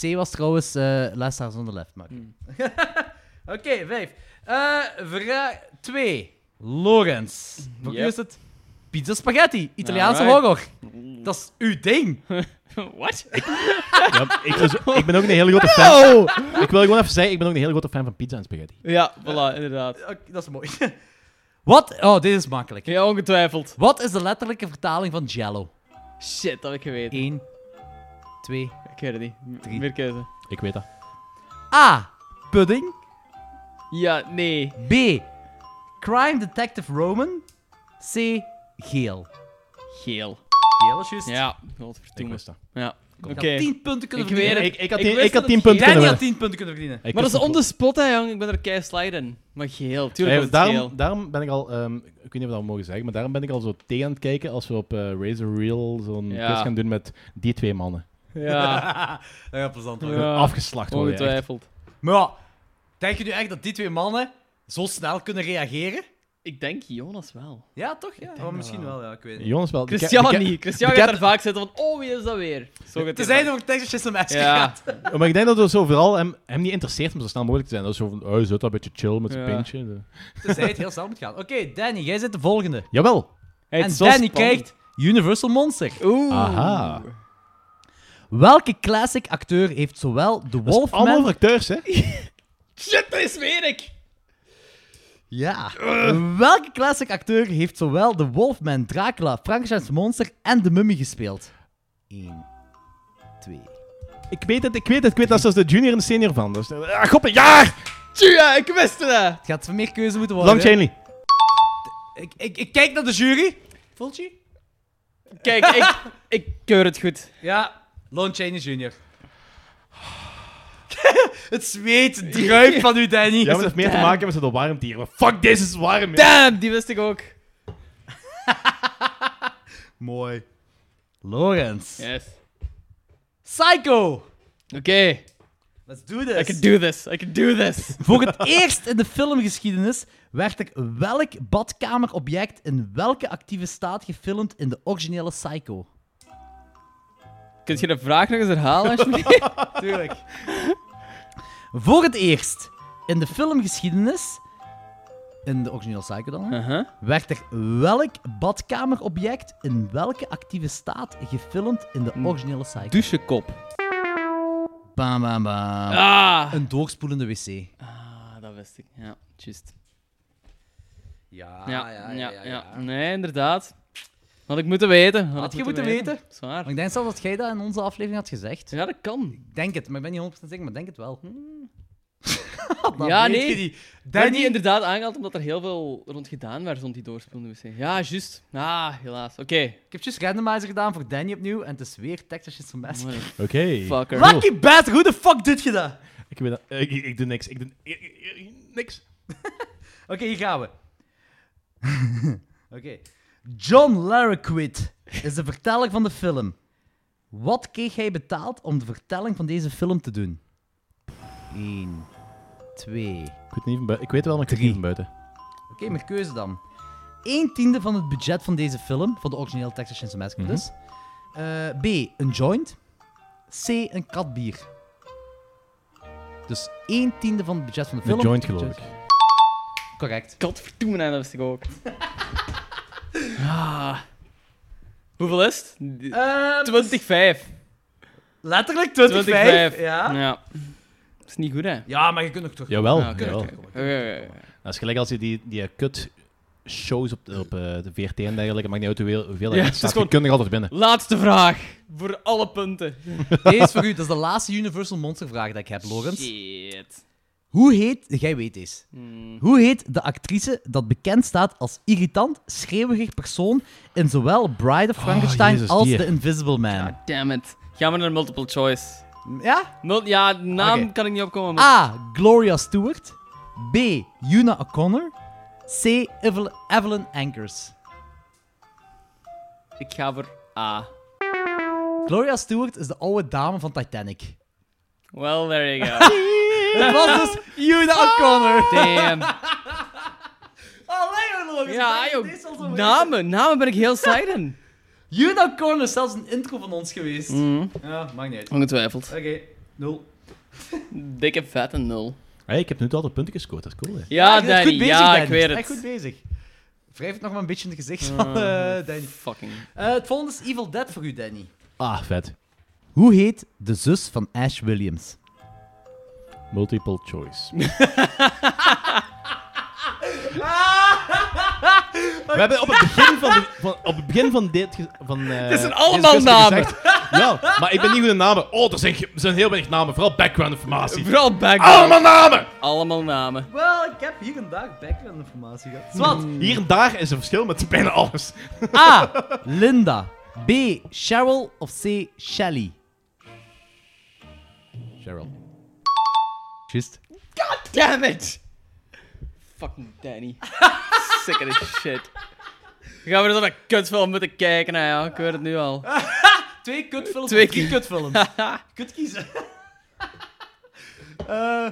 Speaker 2: C was trouwens eh Last House on the Left, maar... Hmm. Oké, vijf. Eh vraag 2. Lorenz. Voor
Speaker 1: Yep.
Speaker 2: u is het pizza spaghetti, Italiaanse
Speaker 1: Alright.
Speaker 2: horror. Dat is uw ding.
Speaker 1: What?
Speaker 3: Ja, ik, dus- ik ben ook een hele grote fan. Ik wil gewoon even zeggen, ik ben ook een hele grote fan van pizza en spaghetti.
Speaker 1: Ja, voilà, inderdaad.
Speaker 2: Oké, dat is mooi. Wat? Oh, dit is makkelijk.
Speaker 1: Ja, ongetwijfeld.
Speaker 2: Wat is de letterlijke vertaling van Jello?
Speaker 1: Shit, dat heb ik geweten.
Speaker 2: 1, 2,
Speaker 1: Ik weet het niet. M-
Speaker 2: Drie.
Speaker 1: Meer keuze.
Speaker 3: Ik weet dat.
Speaker 2: A. Pudding.
Speaker 1: Ja, nee.
Speaker 2: B. Crime Detective Roman. C. Geel.
Speaker 1: Geel.
Speaker 2: Geel is juist.
Speaker 1: Ja,
Speaker 3: Ik
Speaker 1: godverdomme.
Speaker 3: wist dat.
Speaker 1: Ja, oké.
Speaker 2: Ik had 10 punten kunnen
Speaker 1: Ik
Speaker 2: verdienen.
Speaker 1: weet
Speaker 3: Ik, ik had
Speaker 1: Ik
Speaker 3: tien-
Speaker 1: wist
Speaker 3: ik had
Speaker 1: dat
Speaker 3: 10
Speaker 1: het
Speaker 3: punten
Speaker 2: Danny
Speaker 3: kunnen
Speaker 2: had
Speaker 3: winnen.
Speaker 2: 10 punten kunnen verdienen.
Speaker 3: Ik
Speaker 1: Maar dat
Speaker 3: wist
Speaker 1: is on
Speaker 3: het
Speaker 1: the
Speaker 3: wel.
Speaker 1: spot, hè, jong. Ik ben er kei slide in. Maar geel, tuurlijk
Speaker 3: Eh,
Speaker 1: was het geel.
Speaker 3: daarom, daarom ben ik al, ehm, ik weet niet of we dat mogen zeggen, maar daarom ben ik al zo tegen aan het kijken als we op eh, Razor Reel zo'n
Speaker 1: Ja.
Speaker 3: quiz gaan doen met die twee mannen.
Speaker 1: Ja,
Speaker 2: dat gaat plezant worden.
Speaker 1: Ja.
Speaker 3: Afgeslacht worden. echt.
Speaker 1: ongetwijfeld.
Speaker 2: Maar ja, denk je nu echt dat die twee mannen zo snel kunnen reageren?
Speaker 1: Ik denk Jonas wel.
Speaker 2: Ja, toch? Ja, Oh,
Speaker 1: dat
Speaker 2: misschien
Speaker 1: wel.
Speaker 2: wel. ja, ik weet het niet.
Speaker 3: Jonas wel. de ke-
Speaker 1: Christian
Speaker 3: de ke-
Speaker 1: niet. Christian
Speaker 3: de
Speaker 1: gaat
Speaker 3: cat-
Speaker 1: er vaak zitten van, oh, wie is dat weer? Zo gaat
Speaker 2: Te
Speaker 1: hij
Speaker 2: zijn
Speaker 1: wel.
Speaker 2: over Texas Chainsaw Massacre
Speaker 1: Ja.
Speaker 2: gaat.
Speaker 3: Maar ik denk dat het zo vooral hem, hem niet interesseert om zo snel mogelijk te zijn. Dat is zo van, oh, je zult dat een beetje chill met zijn
Speaker 1: Ja.
Speaker 3: pintje. Zo.
Speaker 2: Tenzij het heel snel moet gaan. Oké, Danny, jij zit de volgende.
Speaker 3: Jawel.
Speaker 1: Hey, het
Speaker 2: en
Speaker 1: is zo
Speaker 2: Danny
Speaker 1: spannend.
Speaker 2: kijkt Universal Monster.
Speaker 1: Oeh.
Speaker 3: Aha.
Speaker 2: Welke classic acteur heeft zowel The
Speaker 3: Dat is allemaal
Speaker 2: Wolfman...
Speaker 3: voor acteurs, hè?
Speaker 1: Shit, dat is weer ik.
Speaker 2: Ja. Welke classic acteur heeft zowel The Wolfman, Dracula, Frankenstein's Monster en The Mummy gespeeld? 1, 2.
Speaker 3: Ik weet het, ik weet het, ik weet dat. Dat is de junior en de senior van. Dus, ah, goppen, ja!
Speaker 1: Tja, ik wist het.
Speaker 2: Het gaat voor meer keuze moeten
Speaker 1: Oh,
Speaker 2: worden.
Speaker 3: Long Chainley.
Speaker 2: Ik, ik, ik kijk naar de jury. Fulci?
Speaker 1: Kijk, ik, ik keur het goed.
Speaker 2: Ja, Lon Chaney Jr. Het zweet druipt van u, Danny.
Speaker 3: Ja, maar dat heeft meer te maken hebben met zo'n warmte hier. Maar fuck, deze is warm. ja.
Speaker 1: Damn, die wist ik ook.
Speaker 2: Mooi. Lawrence.
Speaker 1: Yes.
Speaker 2: Psycho.
Speaker 1: Oké,
Speaker 2: Let's do
Speaker 1: I
Speaker 2: this.
Speaker 1: can do this. I can do this.
Speaker 2: Voor het eerst in de filmgeschiedenis werd ik welk badkamerobject in welke actieve staat gefilmd in de originele Psycho?
Speaker 1: Kun je de vraag nog eens herhalen, alsjeblieft?
Speaker 2: Tuurlijk. Voor het eerst in de filmgeschiedenis, in de originele Psycho dan, hè,
Speaker 1: Uh-huh.
Speaker 2: werd er welk badkamerobject in welke actieve staat gefilmd in
Speaker 1: Hm.
Speaker 2: de originele Psycho?
Speaker 1: Douchekop.
Speaker 2: Bam, bam, bam.
Speaker 1: Ah.
Speaker 2: Een doorspoelende wc.
Speaker 1: Ah, dat wist ik. Ja, juist.
Speaker 2: Ja,
Speaker 1: Ja, Ah, ja, ja, Nee, inderdaad. Had ik moeten weten. Had,
Speaker 2: Had
Speaker 1: ik
Speaker 2: je moeten
Speaker 1: Zwaar.
Speaker 2: Maar ik denk zelfs dat jij dat in onze aflevering had gezegd.
Speaker 1: Ja, dat kan.
Speaker 2: Ik denk het, maar ik ben niet 100% zeker, maar ik denk het wel. Hmm.
Speaker 1: Ja, nee. Danny...
Speaker 2: Danny,
Speaker 1: die inderdaad aangehaald omdat er heel veel rond gedaan werd rond die doorspoelende wc. Ja, juist. Ah, helaas. Oké.
Speaker 2: Ik heb juist randomizer gedaan voor Danny opnieuw en het is weer Texas Chainsaw Massacre.
Speaker 3: Oké.
Speaker 1: Fucker.
Speaker 2: Lucky bastard, hoe de fuck doet je dat?
Speaker 3: Ik weet dat. Ik, ik- ik doe niks. Ik doe ik- ik- ik- niks.
Speaker 2: Oké, hier gaan we. Oké. John Larroquid is de verteller van de film. Wat kreeg hij betaald om de vertelling van deze film te doen? 1, 2,
Speaker 3: Ik weet, niet van bui- ik weet wel, maar ik weet
Speaker 2: Drie.
Speaker 3: niet van buiten.
Speaker 2: Oké, meer keuze dan. 1 tiende van het budget van deze film, van de originele Texas Chainsaw Massacre
Speaker 3: Mhm.
Speaker 2: dus. Eh, B, een joint. C, een katbier. Dus 1 tiende van het budget van de
Speaker 3: Een
Speaker 2: film.
Speaker 3: joint, geloof ik.
Speaker 2: Correct.
Speaker 1: Godverdomme, nee, dat wist ik ook.
Speaker 2: Ah.
Speaker 1: Hoeveel is het? Die-
Speaker 2: Ehm,
Speaker 1: 25.
Speaker 2: letterlijk 25.
Speaker 1: 25.
Speaker 2: Ja?
Speaker 1: Ja. Dat is niet goed, hè?
Speaker 2: ja, maar je kunt nog toch...
Speaker 3: Jawel,
Speaker 1: Ja, Ah, oké,
Speaker 3: jawel.
Speaker 1: oké, oké, oké, oké.
Speaker 3: Dat is gelijk als je die, die kut shows op, de- op eh, de VRT en dergelijke, maakt niet uit hoeveel, hoeveel
Speaker 1: Ja,
Speaker 3: er
Speaker 1: het is
Speaker 3: staat, je
Speaker 1: gewoon-
Speaker 3: kunt er altijd binnen.
Speaker 1: Laatste vraag. Voor alle punten.
Speaker 2: Deze is voor u. Dat is de laatste Universal Monster vraag dat ik heb, Lorens.
Speaker 1: Shit.
Speaker 2: Hoe heet... Jij weet deze.
Speaker 1: Hmm.
Speaker 2: Hoe heet de actrice dat bekend staat als irritant, schreeuwig persoon in zowel Bride of Frankenstein
Speaker 3: Jezus,
Speaker 2: als
Speaker 3: die.
Speaker 2: The Invisible Man?
Speaker 1: God Ah, damn it. Gaan we naar multiple choice?
Speaker 2: Ja?
Speaker 1: Mul- ja, de naam
Speaker 2: Oké. Ah.
Speaker 1: kan ik niet opkomen. Maar...
Speaker 2: A. Gloria Stewart. B. Una O'Connor. C. Evel- Evelyn Anchors.
Speaker 1: Ik ga voor A.
Speaker 2: Gloria Stewart is de oude dame van Titanic.
Speaker 1: Well, there you go.
Speaker 2: Het was dus Una O'Connor.
Speaker 1: Damn.
Speaker 2: Allee, Logan.
Speaker 1: Ja, joh. Nou? Namen, namen ben ik heel slecht in.
Speaker 2: Una O'Connor is zelfs een intro van ons geweest. Ja, maakt niet uit.
Speaker 1: Ongetwijfeld.
Speaker 2: Oké, nul.
Speaker 1: Dikke vette nul.
Speaker 3: Hey, ik heb nu altijd punten gescoord, dat is cool. Hè.
Speaker 1: Ja,
Speaker 2: je bent
Speaker 1: Danny.
Speaker 2: goed bezig,
Speaker 1: ja,
Speaker 2: Ah, Danny.
Speaker 1: ik weet
Speaker 2: Echt goed
Speaker 1: het.
Speaker 2: bezig. Wrijf het nog maar een beetje in het gezicht van eh, Danny.
Speaker 1: Fucking.
Speaker 2: Eh, het volgende is Evil Dead voor u, Danny.
Speaker 3: Ah, vet.
Speaker 2: Hoe heet de zus van Ash Williams?
Speaker 3: Multiple choice. We hebben op het begin van, de- van- op het begin van dit... ge- Van, eh,
Speaker 1: Het zijn
Speaker 3: deze
Speaker 1: allemaal
Speaker 3: kwestie
Speaker 1: namen.
Speaker 3: gezegd- Ja, maar ik ben niet goed in namen. Oh, er zijn, ge- er zijn heel weinig namen, vooral background informatie.
Speaker 1: Vooral background.
Speaker 3: Allemaal namen!
Speaker 1: Allemaal namen.
Speaker 2: Wel, ik heb hier en daar background-informatie gehad. Zwat.
Speaker 3: Hier en daar is een verschil met bijna alles.
Speaker 2: A. Linda. B. Cheryl. Of C. Shelly.
Speaker 3: Cheryl.
Speaker 2: Juist.
Speaker 1: Damn it! Fucking Danny. Sick of this shit. We gaan weer zo'n kutfilm moeten kijken, nou ja. Ik weet het nu al.
Speaker 2: Twee kutfilms.
Speaker 1: Twee
Speaker 2: of drie kutfilms. Kut kiezen. Eh,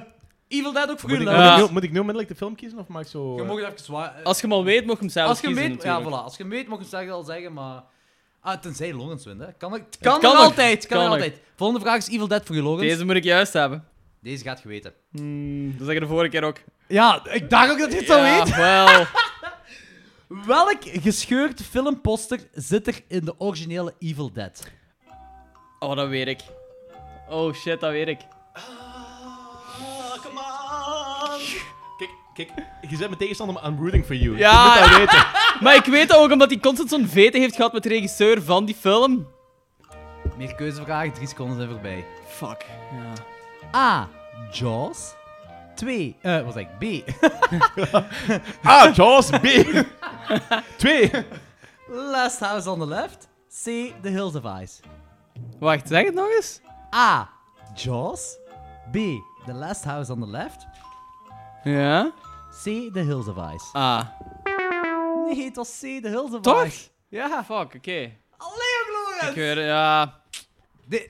Speaker 2: Evil Dead ook voor
Speaker 3: Moet
Speaker 2: u,
Speaker 3: ik,
Speaker 1: Ja.
Speaker 2: Laura.
Speaker 3: moet ik nu, moet ik nu onmiddellijk de film kiezen of mag ik zo...
Speaker 2: eh, Je
Speaker 3: eh,
Speaker 2: mag het even zwaar... eh,
Speaker 1: Als je hem al weet, mag je hem zelf
Speaker 2: Als je hem
Speaker 1: kiezen,
Speaker 2: weet, ja, voilà.
Speaker 1: natuurlijk.
Speaker 2: Als je hem weet, mag je het zeggen- al zeggen, maar... Ah, tenzij Logans wint, hè. Kan, het kan,
Speaker 1: kan
Speaker 2: er
Speaker 1: nog,
Speaker 2: altijd, kan,
Speaker 1: kan
Speaker 2: er
Speaker 1: nog.
Speaker 2: altijd. Volgende vraag is Evil Dead voor je, Logans. Deze,
Speaker 1: Deze moet ik juist hebben.
Speaker 2: gaat geweten.
Speaker 1: Hmm, dat zeg ik de vorige keer ook.
Speaker 2: Ja, ik dacht ook dat je het zou weten.
Speaker 1: wel.
Speaker 2: Welk gescheurd filmposter zit er in de originele Evil Dead?
Speaker 1: Oh, dat weet ik. Oh shit, dat weet ik.
Speaker 3: Kijk, kijk, je zet mijn tegenstander maar I'm rooting for you.
Speaker 1: Ja.
Speaker 3: Je moet dat weten.
Speaker 1: Maar ik weet dat ook omdat hij constant zo'n vete heeft gehad met de regisseur van die film.
Speaker 2: Meer keuzevragen, drie seconden zijn voorbij.
Speaker 1: Fuck. Ja.
Speaker 2: A. Jaws. 2. Eh, wat zeg ik? B.
Speaker 3: Ah, Jaws, B. Twee.
Speaker 2: Last House on the Left. C. The Hills of Ice.
Speaker 1: Wacht, zeg het nog eens?
Speaker 2: A. Jaws. B. The Last House on the Left.
Speaker 1: Ja?
Speaker 2: C. The Hills of Ice.
Speaker 1: Ah.
Speaker 2: Nee, het was C. The Hills of
Speaker 1: Toch?
Speaker 2: Ice. Ja.
Speaker 1: Fuck, oké.
Speaker 2: Allee, ook
Speaker 1: Ik weet het, ja.
Speaker 2: De- eh,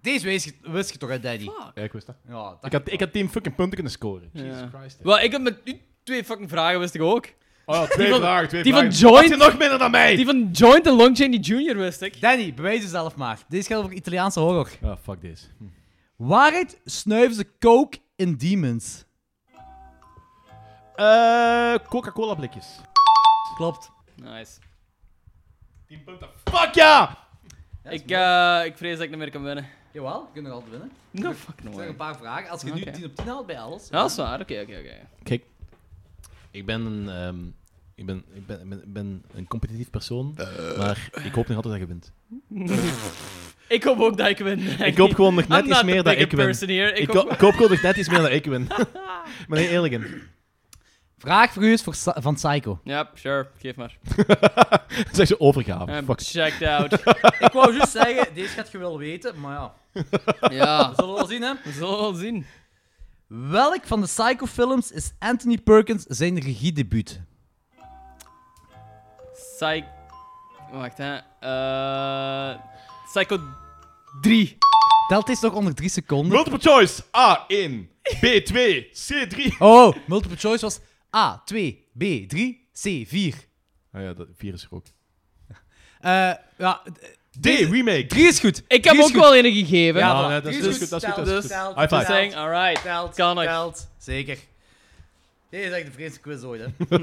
Speaker 2: Deze wist je, wist je toch, hè, Danny?
Speaker 3: Ja, ik wist dat.
Speaker 2: Ja, dat
Speaker 3: Ik had, ik had team fucking punten kunnen scoren.
Speaker 1: Ja.
Speaker 3: Jesus Christ.
Speaker 1: Wel, ik heb met u twee fucking vragen, wist ik ook.
Speaker 3: Oh, ja, twee
Speaker 1: Die van-
Speaker 3: vragen, twee
Speaker 1: die van
Speaker 3: vragen.
Speaker 1: Joint-
Speaker 3: Had je nog minder dan mij?
Speaker 1: Die van Joint en Long Chaney Jr. wist ik.
Speaker 2: Danny, bewijs jezelf maar. Deze gaat over Italiaanse horror.
Speaker 3: Oh, fuck this.
Speaker 2: Waaruit snuiven ze coke in Demons?
Speaker 3: Eh, Coca-Cola blikjes.
Speaker 2: Klopt.
Speaker 1: Nice.
Speaker 3: Tien punten. Fuck ja!
Speaker 1: ik, eh, ik vrees dat ik niet meer kan winnen.
Speaker 2: Jawel, je kunt nog altijd winnen. Er
Speaker 1: No fucking
Speaker 2: zijn nog een
Speaker 1: way.
Speaker 2: paar vragen. Als je nu
Speaker 1: Oké.
Speaker 2: 10 op 10 haalt bij alles.
Speaker 1: Ja, dat is waar. Oké, oké, oké.
Speaker 3: Kijk, ik ben een, ehm, ik ben, ik ben, ik ben, ik ben een competitief persoon, maar ik hoop nog altijd dat je wint.
Speaker 1: Ik hoop ook dat ik win.
Speaker 3: Ik hoop gewoon nog net
Speaker 1: I'm
Speaker 3: iets
Speaker 1: not
Speaker 3: meer
Speaker 1: the
Speaker 3: dat
Speaker 1: bigger
Speaker 3: ik win.
Speaker 1: person here. Ik,
Speaker 3: Ik, ho-
Speaker 1: hoop...
Speaker 3: ik hoop gewoon nog net iets meer dat ik win. Ik ben heel eerlijk in.
Speaker 2: Vraag voor u is voor Sa- van Psycho.
Speaker 1: Ja, sure. Geef maar. Eh,
Speaker 3: Zeg ze overgave.
Speaker 1: I'm
Speaker 3: Oh, Fuck.
Speaker 1: checked out.
Speaker 2: Ik wou juist zeggen, deze gaat je wel weten, maar ja.
Speaker 1: ja,
Speaker 2: Zullen we wel zien, hè?
Speaker 1: we zullen wel zien.
Speaker 2: Welk van de Psycho-films is Anthony Perkins zijn regiedebuut?
Speaker 1: Psych... Wacht, hè. Eh Psycho 3.
Speaker 2: Telt deze nog onder 3 seconden?
Speaker 3: Multiple choice. A1, B2, C3.
Speaker 2: Oh, multiple choice was A, 2, B, 3, C, 4.
Speaker 3: Ah ja, dat virus er ook.
Speaker 2: Eh ja,
Speaker 3: D, remake.
Speaker 2: 3 is goed.
Speaker 1: Ik heb
Speaker 2: Drie
Speaker 1: ook
Speaker 2: is goed.
Speaker 1: wel een gegeven.
Speaker 2: Ja,
Speaker 3: Ah,
Speaker 2: voilà.
Speaker 3: nee, dat is
Speaker 2: Die
Speaker 3: dat
Speaker 2: is
Speaker 3: is goed, dat is
Speaker 2: goed,
Speaker 3: goed, dat is
Speaker 2: dus
Speaker 3: goed.
Speaker 2: telt,
Speaker 3: High
Speaker 2: dus
Speaker 3: five.
Speaker 1: Saying, alright.
Speaker 2: Telt,
Speaker 1: Kan nog.
Speaker 2: telt. Zeker. Dit is echt de vreemdste quiz ooit, hè.
Speaker 3: Dat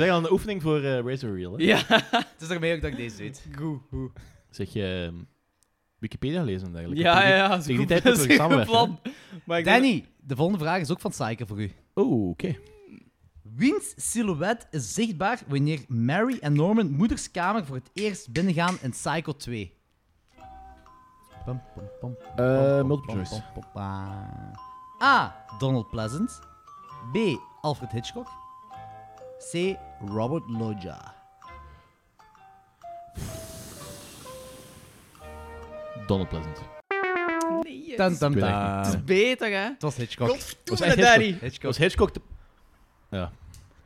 Speaker 3: is eigenlijk al een oefening voor eh, Razor Reel. Hè?
Speaker 2: Ja. het is ermee ook dat ik deze weet. Goe.
Speaker 3: Zeg je ehm, Wikipedia lezen eigenlijk?
Speaker 1: Ja,
Speaker 3: Tegen
Speaker 1: ja, ja.
Speaker 3: die-
Speaker 1: is
Speaker 3: tegen
Speaker 1: goed-
Speaker 3: die tijd moeten
Speaker 1: is
Speaker 3: we
Speaker 1: een
Speaker 3: gaan
Speaker 1: goed
Speaker 3: samenwerken,
Speaker 1: plan. Maar ik denk
Speaker 2: Danny, de volgende vraag is ook van Psyche voor u.
Speaker 3: Oh, oké.
Speaker 2: Wiens silhouet is zichtbaar wanneer Mary en Norman moederskamer voor het eerst binnengaan in Psycho 2? Pam, pam, pam, pam,
Speaker 3: Eh,
Speaker 2: pam,
Speaker 3: multiple
Speaker 2: pam,
Speaker 3: choice.
Speaker 2: pam, pam, pam. A. Donald Pleasant. B. Alfred Hitchcock. C. Robert Loggia.
Speaker 3: Donald Pleasant.
Speaker 2: Tan, tan,
Speaker 3: Ik weet
Speaker 2: tan.
Speaker 3: echt niet.
Speaker 1: dat het beter, hè?
Speaker 2: Het was Hitchcock.
Speaker 3: Was
Speaker 1: Godverdomme,
Speaker 3: echt
Speaker 1: Danny.
Speaker 2: Hitchcock.
Speaker 3: Was Hitchcock te... Ja,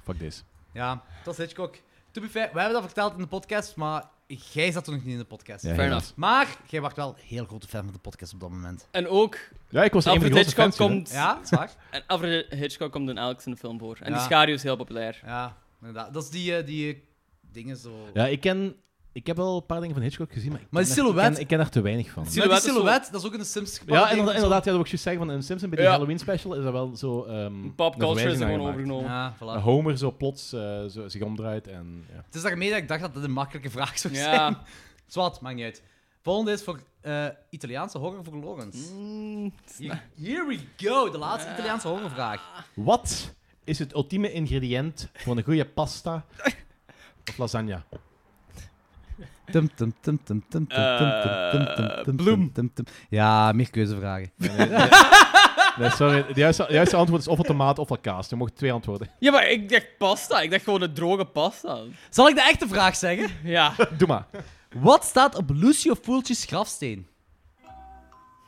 Speaker 3: fuck deze.
Speaker 2: Ja, het was Hitchcock. To be fair, we hebben dat verteld in de podcast, maar jij zat toen nog niet in de podcast.
Speaker 3: Ja,
Speaker 1: Fair
Speaker 3: ja.
Speaker 1: enough.
Speaker 2: Maar jij was wel een heel grote fan van de podcast op dat moment.
Speaker 1: En ook,
Speaker 3: Ja, ik was een van de
Speaker 1: Alfred
Speaker 3: grootste
Speaker 1: Hitchcock
Speaker 3: fans,
Speaker 1: komt...
Speaker 3: hè.
Speaker 2: Ja, dat is waar.
Speaker 1: En Alfred Hitchcock komt in elk zijn film voor. En
Speaker 2: Ja.
Speaker 1: die schaduw is heel populair.
Speaker 2: Ja, inderdaad. Dat is die, eh, die eh, dingen zo.
Speaker 3: Ja, ik ken... Ik heb wel een paar dingen van Hitchcock gezien, maar ik,
Speaker 2: Maar
Speaker 3: ken,
Speaker 2: die
Speaker 3: daar-
Speaker 2: silhouet-
Speaker 3: ik, ken, ik ken daar te weinig van.
Speaker 2: Maar die
Speaker 1: Silhouet is
Speaker 2: silhouet, dat is ook in de Sims gebaseerd.
Speaker 3: Ja, inderdaad, inderdaad ja, dat wil ik juist zeggen. Van in Simpson, bij die
Speaker 1: Ja.
Speaker 3: Halloween special, is dat wel zo... ehm
Speaker 1: Pop
Speaker 3: een
Speaker 1: culture is er
Speaker 3: verwijzing naar
Speaker 1: gewoon
Speaker 3: gemaakt.
Speaker 1: overgenomen.
Speaker 2: Ja,
Speaker 3: Dat
Speaker 2: voilà.
Speaker 3: Homer zo plots eh, zo, zich omdraait en... Ja.
Speaker 2: Het is daarmee dat ik dacht dat dit een makkelijke vraag zou zijn.
Speaker 1: Ja.
Speaker 2: Zwat, maakt niet uit. Volgende is voor eh, Italiaanse horror voor Lawrence.
Speaker 1: Mm,
Speaker 2: Here, here we go, de laatste Italiaanse horrorvraag.
Speaker 3: Wat is het ultieme ingrediënt voor een goede pasta of lasagne?
Speaker 2: Tum, tum, tum, tum, tum, tum, tum, tum, tum, tum, tum, tum, tum, tum. Ja, meer keuzevragen.
Speaker 3: Nee, nee, nee. Nee, sorry. Het juiste, het juiste antwoord is ofwel tomaat ofwel kaas. Je mocht twee antwoorden.
Speaker 1: Ja, maar ik dacht pasta. Ik dacht gewoon een droge pasta.
Speaker 2: Zal ik de echte vraag zeggen?
Speaker 1: Ja.
Speaker 3: Doe maar.
Speaker 2: Wat staat op Lucio Fulci's grafsteen?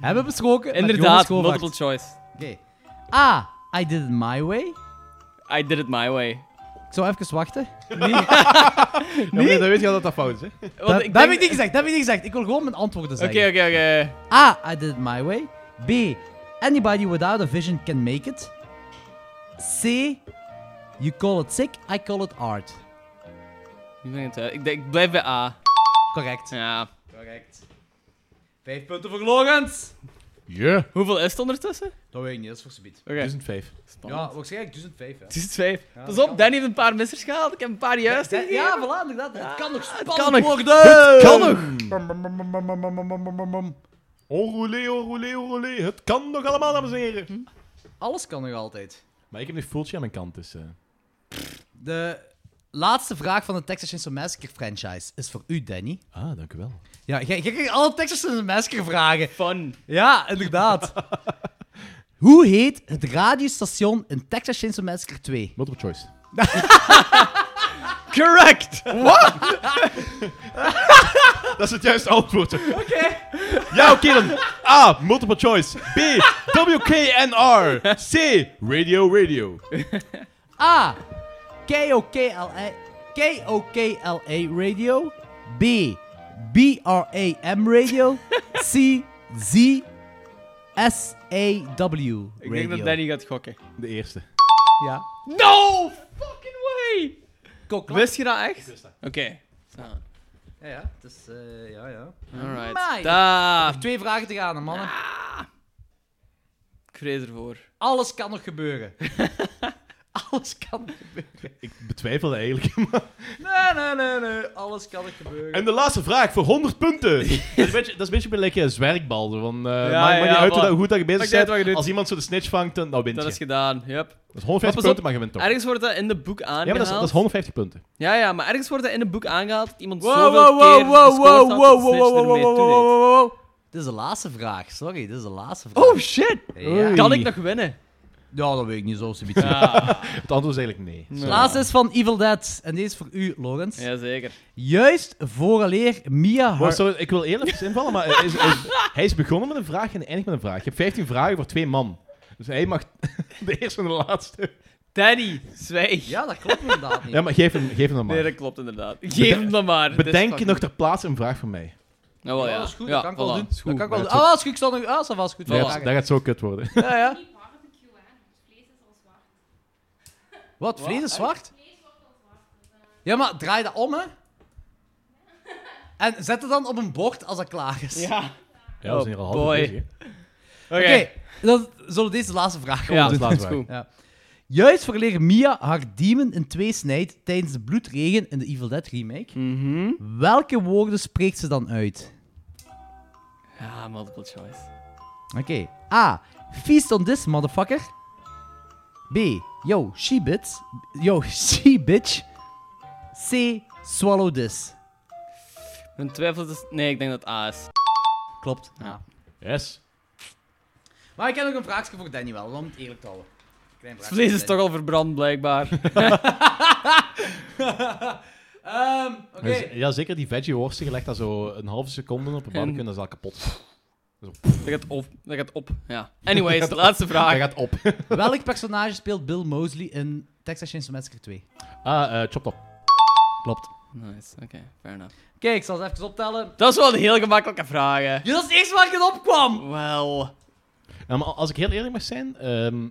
Speaker 2: Hebben we besproken. met Jonas
Speaker 1: Inderdaad,
Speaker 2: Kovacs.
Speaker 1: multiple choice.
Speaker 2: Oké. A. I did it my way.
Speaker 1: I did it my way.
Speaker 2: Ik zou even wachten.
Speaker 3: Ja, maar dan weet je al dat dat fout is. Hè?
Speaker 2: Dat,
Speaker 1: Want ik
Speaker 2: dat heb
Speaker 1: denk-
Speaker 2: ik niet gezegd, dat heb ik niet gezegd. Ik wil gewoon mijn antwoorden
Speaker 1: Oké,
Speaker 2: zeggen.
Speaker 1: oké, oké.
Speaker 2: A. I did it my way. B. Anybody without a vision can make it. C. You call it sick, I call it art.
Speaker 1: Nu ben ik het uit. Ik denk- ik blijf bij A.
Speaker 2: Correct.
Speaker 1: Ja.
Speaker 2: Correct. Vijf punten voor Logans.
Speaker 3: Ja.
Speaker 1: Hoeveel is het ondertussen?
Speaker 2: Dat weet ik niet, dat is voor subiet.
Speaker 1: Oké.
Speaker 3: 2005.
Speaker 1: Spannend.
Speaker 2: waarschijnlijk 1005. Ja.
Speaker 1: Het is vijf.
Speaker 2: Dus- Ja,
Speaker 1: Pas
Speaker 2: dat
Speaker 1: op,
Speaker 2: kan.
Speaker 1: Danny heeft een paar missers gehaald. Ik heb een paar juist.
Speaker 2: Ja,
Speaker 1: gegeven.
Speaker 2: ja, voilà, inderdaad. Het kan nog spannend
Speaker 1: Ah, kan nog.
Speaker 2: worden.
Speaker 3: Kan nog!
Speaker 2: Bam, bam, bam, bam, bam, bam, bam, bam, bam, bam.
Speaker 3: Orolé, orolé, orolé. Het kan nog allemaal, dames en heren.
Speaker 2: Alles kan nog altijd.
Speaker 3: Hm? Maar ik heb nu Fultje aan mijn kant, dus... eh,
Speaker 2: De laatste vraag van de Texas Chainsaw Massacre franchise is voor u, Danny.
Speaker 3: Ah, dank u wel.
Speaker 2: Ja, jij jij krijgt alle Texas Chainsaw Massacre vragen.
Speaker 1: Fun.
Speaker 2: Ja, inderdaad. Hoe heet het radiostation in Texas Chainsaw Massacre 2?
Speaker 3: Multiple choice.
Speaker 1: Correct!
Speaker 3: Dat is het juiste antwoord. Oké. Ja, oké dan. A. Multiple choice. B. WKNR. C. Radio, radio.
Speaker 2: A. KOKLA, KOKLA Radio. B. BRAM Radio. C. Z. SAW
Speaker 1: Ik denk
Speaker 2: Radio.
Speaker 1: dat Danny gaat gokken.
Speaker 3: De eerste.
Speaker 2: Ja.
Speaker 1: No fucking way!
Speaker 2: Kokklak.
Speaker 1: Wist je dat echt? Oké. Nou, Zo.
Speaker 2: Ja, ja. Het is, eh, ja, ja. Amai.
Speaker 1: Alright. Daar.
Speaker 2: Nog twee vragen te gaan, hè, mannen.
Speaker 1: Ik vrees ervoor.
Speaker 2: Alles kan nog gebeuren. Alles kan nog gebeuren.
Speaker 3: Ik betwijfel dat eigenlijk.
Speaker 2: Nee, nee, nee, nee. Alles kan nog gebeuren.
Speaker 3: En de laatste vraag voor 100 punten. dat, is een beetje, dat is een beetje bij like, eh, zwerkbal. zo Van, eh maakt- maakt
Speaker 1: ja,
Speaker 3: niet uit hoe,
Speaker 1: voilà.
Speaker 3: dat- hoe goed dat je bezig
Speaker 1: Maakt niet uit
Speaker 3: bent.
Speaker 1: wat je doet.
Speaker 3: Als iemand zo de snitch vangt, dan nou wint
Speaker 1: Dat
Speaker 3: je.
Speaker 1: is gedaan, yep.
Speaker 3: Dat is
Speaker 1: Maar
Speaker 3: 150
Speaker 1: pas
Speaker 3: punten,
Speaker 1: op,
Speaker 3: maar je wint toch.
Speaker 1: Ergens wordt dat in de boek
Speaker 3: Ja, maar
Speaker 1: aangehaald.
Speaker 3: dat is, dat is 150 punten.
Speaker 1: Ja, ja, maar ergens wordt dat in de boek aangehaald dat iemand
Speaker 2: Wow,
Speaker 1: zoveel
Speaker 2: wow, wow,
Speaker 1: keer
Speaker 2: wow, wow,
Speaker 1: gescoord
Speaker 2: wow,
Speaker 1: had
Speaker 2: wow,
Speaker 1: dat
Speaker 2: wow, wow,
Speaker 1: Snitch ermee
Speaker 2: wow, wow,
Speaker 1: toedeed.
Speaker 2: wow, wow. Dit is de laatste vraag, sorry. Dit is de laatste vraag.
Speaker 1: Oh shit!
Speaker 2: ja.
Speaker 1: Kan ik nog winnen?
Speaker 2: ja, dat weet ik niet zo. ze biedt.
Speaker 1: Ja.
Speaker 3: Het antwoord is eigenlijk nee.
Speaker 2: De laatste is van Evil Dead. En deze is voor u, Logans.
Speaker 1: Jazeker.
Speaker 2: Juist vooraleer Mia
Speaker 3: Maar
Speaker 2: Har...
Speaker 3: sorry, ik wil eerlijk even invallen, maar eh, is, is- hij is begonnen met een vraag en eindigt met een vraag. Je hebt 15 vragen voor twee man. Dus hij mag de eerste en de laatste.
Speaker 1: Danny, zwijg.
Speaker 2: Ja, dat klopt inderdaad niet.
Speaker 3: Ja, maar geef hem, geef hem dan maar.
Speaker 1: Nee, dat klopt inderdaad. Geef hem dan maar. Dit is
Speaker 3: Bedenk je
Speaker 1: fucking-
Speaker 3: nog ter plaatse een vraag voor mij.
Speaker 1: Nou wel, ja.
Speaker 2: Ja, dat Oh, is goed.
Speaker 1: Ja,
Speaker 2: dat kan ik wel
Speaker 1: voilà.
Speaker 2: doen.
Speaker 1: Is goed.
Speaker 2: Dat kan ik wel
Speaker 3: Ja,
Speaker 2: doen. Ah, dat is goed. Ik zal nog... Ah, dat is goed.
Speaker 3: Dat,
Speaker 1: Voilà.
Speaker 3: gaat- dat gaat zo kut worden.
Speaker 2: Ja, ja.
Speaker 4: Niet barbecue, hè? Dus vlees is al zwaar.
Speaker 2: Wat, vlees is zwart? Ja, maar draai dat om, hè. En zet het dan op een bord als dat klaar is.
Speaker 1: Ja.
Speaker 3: Ja, we zijn hier al
Speaker 1: Oh,
Speaker 3: half uur
Speaker 1: boy.
Speaker 3: bezig. hè.
Speaker 1: Oké.
Speaker 2: Oké, dan zullen we deze laatste vraag gewoon
Speaker 3: dus
Speaker 1: Ja,
Speaker 2: doen.
Speaker 1: dat is goed.
Speaker 2: Ja. Juist verlegen Mia haar demon in twee snijdt tijdens de bloedregen in de Evil Dead remake.
Speaker 1: Mhm.
Speaker 2: Welke woorden spreekt ze dan uit?
Speaker 1: Ja, multiple choice.
Speaker 2: Oké. A. Feast on this, motherfucker. B. Yo, she bitch. Yo, she bitch. C. Swallow this.
Speaker 1: Mijn twijfel is... Nee, ik denk dat het A is.
Speaker 2: Klopt.
Speaker 1: Ja.
Speaker 3: Yes.
Speaker 2: Maar ik heb nog een vraagje voor Danny wel, om het eerlijk te houden. Klein
Speaker 1: Het
Speaker 2: vraagje
Speaker 1: vlees
Speaker 2: voor
Speaker 1: is toch al verbrand, blijkbaar.
Speaker 2: Danny. Ehm, Oké.
Speaker 3: Dus, ja, zeker die veggie worsten gelegd daar zo een halve seconde op een barbecue en dat is al kapot.
Speaker 1: dat gaat op. Dat gaat op, ja. Anyways, laatste vraag.
Speaker 3: Hij gaat op.
Speaker 2: Welk personage speelt Bill Mosley in Texas Chainsaw Massacre 2?
Speaker 3: Ah, eh chopped op.
Speaker 2: Klopt.
Speaker 1: Nice, oké. fair enough.
Speaker 2: Kijk, ik zal ze even optellen.
Speaker 1: Dat is wel een heel gemakkelijke vraag, hè.
Speaker 2: Ja, dat is het eerste waar ik het opkwam!
Speaker 1: Wel...
Speaker 3: Ja, maar als ik heel eerlijk mag zijn, ehm,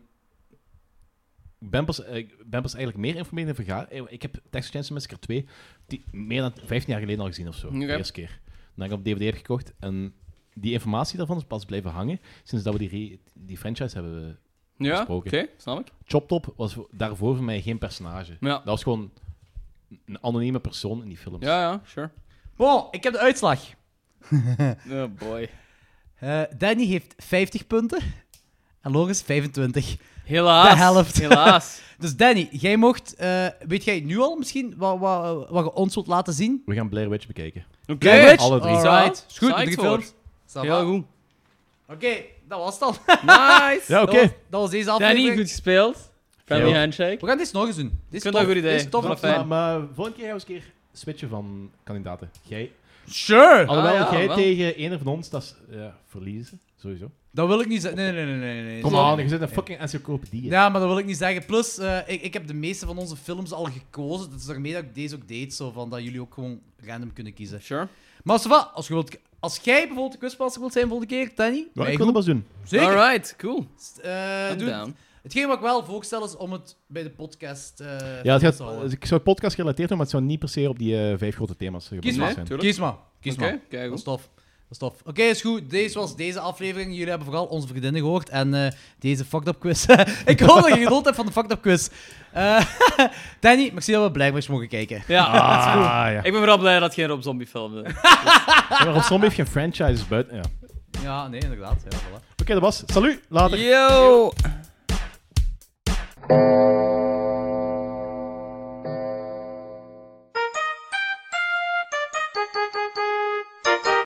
Speaker 3: ik ben pas, eh, ik ben pas eigenlijk meer informeren in vergaar. eh, Ik heb Texas Chainsaw Massacre 2 die, meer dan 15 jaar geleden al gezien of zo.
Speaker 1: Oké.
Speaker 3: De eerste keer. Dan ik op DVD heb gekocht. En die informatie daarvan is pas blijven hangen sinds dat we die, re- die franchise hebben.
Speaker 1: Ja, oké,
Speaker 3: Gesproken.
Speaker 1: snap ik.
Speaker 3: Chopped Top was voor- daarvoor voor mij geen personage.
Speaker 1: Ja.
Speaker 3: Dat was gewoon een anonieme persoon in die films.
Speaker 1: Ja, ja, sure.
Speaker 2: Bon, ik heb de uitslag.
Speaker 1: Oh boy.
Speaker 2: Eh, Danny heeft 50 punten. En Loris 25.
Speaker 1: Helaas.
Speaker 2: De helft.
Speaker 1: Helaas.
Speaker 2: Dus Danny, jij mocht... eh, weet jij nu al misschien wat, wat, wat je ons wilt laten zien?
Speaker 3: We gaan Blair Witch bekijken.
Speaker 1: Oké.
Speaker 2: Blair Witch?
Speaker 3: alle drie.
Speaker 2: Alright. Is goed,
Speaker 1: Psyched
Speaker 2: drie
Speaker 1: voor.
Speaker 2: films. Ça va.
Speaker 1: Heel goed.
Speaker 2: Oké, dat was het al.
Speaker 1: Nice.
Speaker 3: Ja, oké.
Speaker 2: Dat, was, dat was deze aflevering.
Speaker 1: Danny, goed gespeeld. Friendly
Speaker 3: Ja.
Speaker 1: handshake.
Speaker 2: We gaan dit nog eens doen. Dit is
Speaker 1: Ik vind
Speaker 2: tof.
Speaker 1: dat een goed idee.
Speaker 2: Dit is tof.
Speaker 1: Dat is
Speaker 2: fijn.
Speaker 1: fijn.
Speaker 3: Maar, maar eh, volgende keer gaan we eens een keer switchen van kandidaten. Jij
Speaker 2: Sure!
Speaker 3: Alhoewel,
Speaker 1: Ah, ja,
Speaker 3: jij
Speaker 1: wel.
Speaker 3: tegen een van ons, dat is ja, verliezen, sowieso.
Speaker 2: Dat wil ik niet zeggen. Nee, nee, nee, nee. nee.
Speaker 3: Kom aan, je zit een fucking encyclopedie.
Speaker 2: Ja, maar dat wil ik niet zeggen. Plus, eh, ik, ik heb de meeste van onze films al gekozen. Dat is daarmee dat ik deze ook deed. Zo van dat jullie ook gewoon random kunnen kiezen.
Speaker 1: Sure.
Speaker 2: Maar als, als, je wilt, als jij bijvoorbeeld de quizmaster wilt zijn volgende keer, Danny.
Speaker 3: Ja,
Speaker 2: mij
Speaker 3: ik wil
Speaker 2: goed.
Speaker 3: het pas doen.
Speaker 2: Zeker.
Speaker 1: Alright, cool.
Speaker 2: S- eh,
Speaker 1: I'm
Speaker 2: doe-
Speaker 1: down.
Speaker 2: hetgeen wat ik wel voorstel is om het bij de podcast eh
Speaker 3: Ja, het
Speaker 2: te
Speaker 3: gaat,
Speaker 2: houden.
Speaker 3: ik zou het podcast gerelateerd doen, maar het zou niet per se op die eh, vijf grote thema's gebaseerd
Speaker 2: maar.
Speaker 3: zijn.
Speaker 1: Tuurlijk.
Speaker 2: Kies maar. Kies
Speaker 1: Oké,
Speaker 2: maar.
Speaker 1: kijk
Speaker 2: Dat is
Speaker 1: goed.
Speaker 2: tof. Dat is tof. Oké, is goed. Deze was deze aflevering. Jullie hebben vooral onze vriendinnen gehoord en eh, deze fucked up quiz. ik hoop dat je genoten hebt van de fucked up quiz. Eh, Danny, merci dat we Blackbirds mogen kijken.
Speaker 1: Ja, dat is goed.
Speaker 3: Ah, ja.
Speaker 1: Ik ben vooral blij dat het geen Rob Zombie filmde.
Speaker 3: Ja, maar op sommige heeft geen franchises buiten. Ja. Oké,
Speaker 2: Ja, nee, inderdaad. Ja, voilà.
Speaker 3: dat was. Salut, later.
Speaker 1: Yo!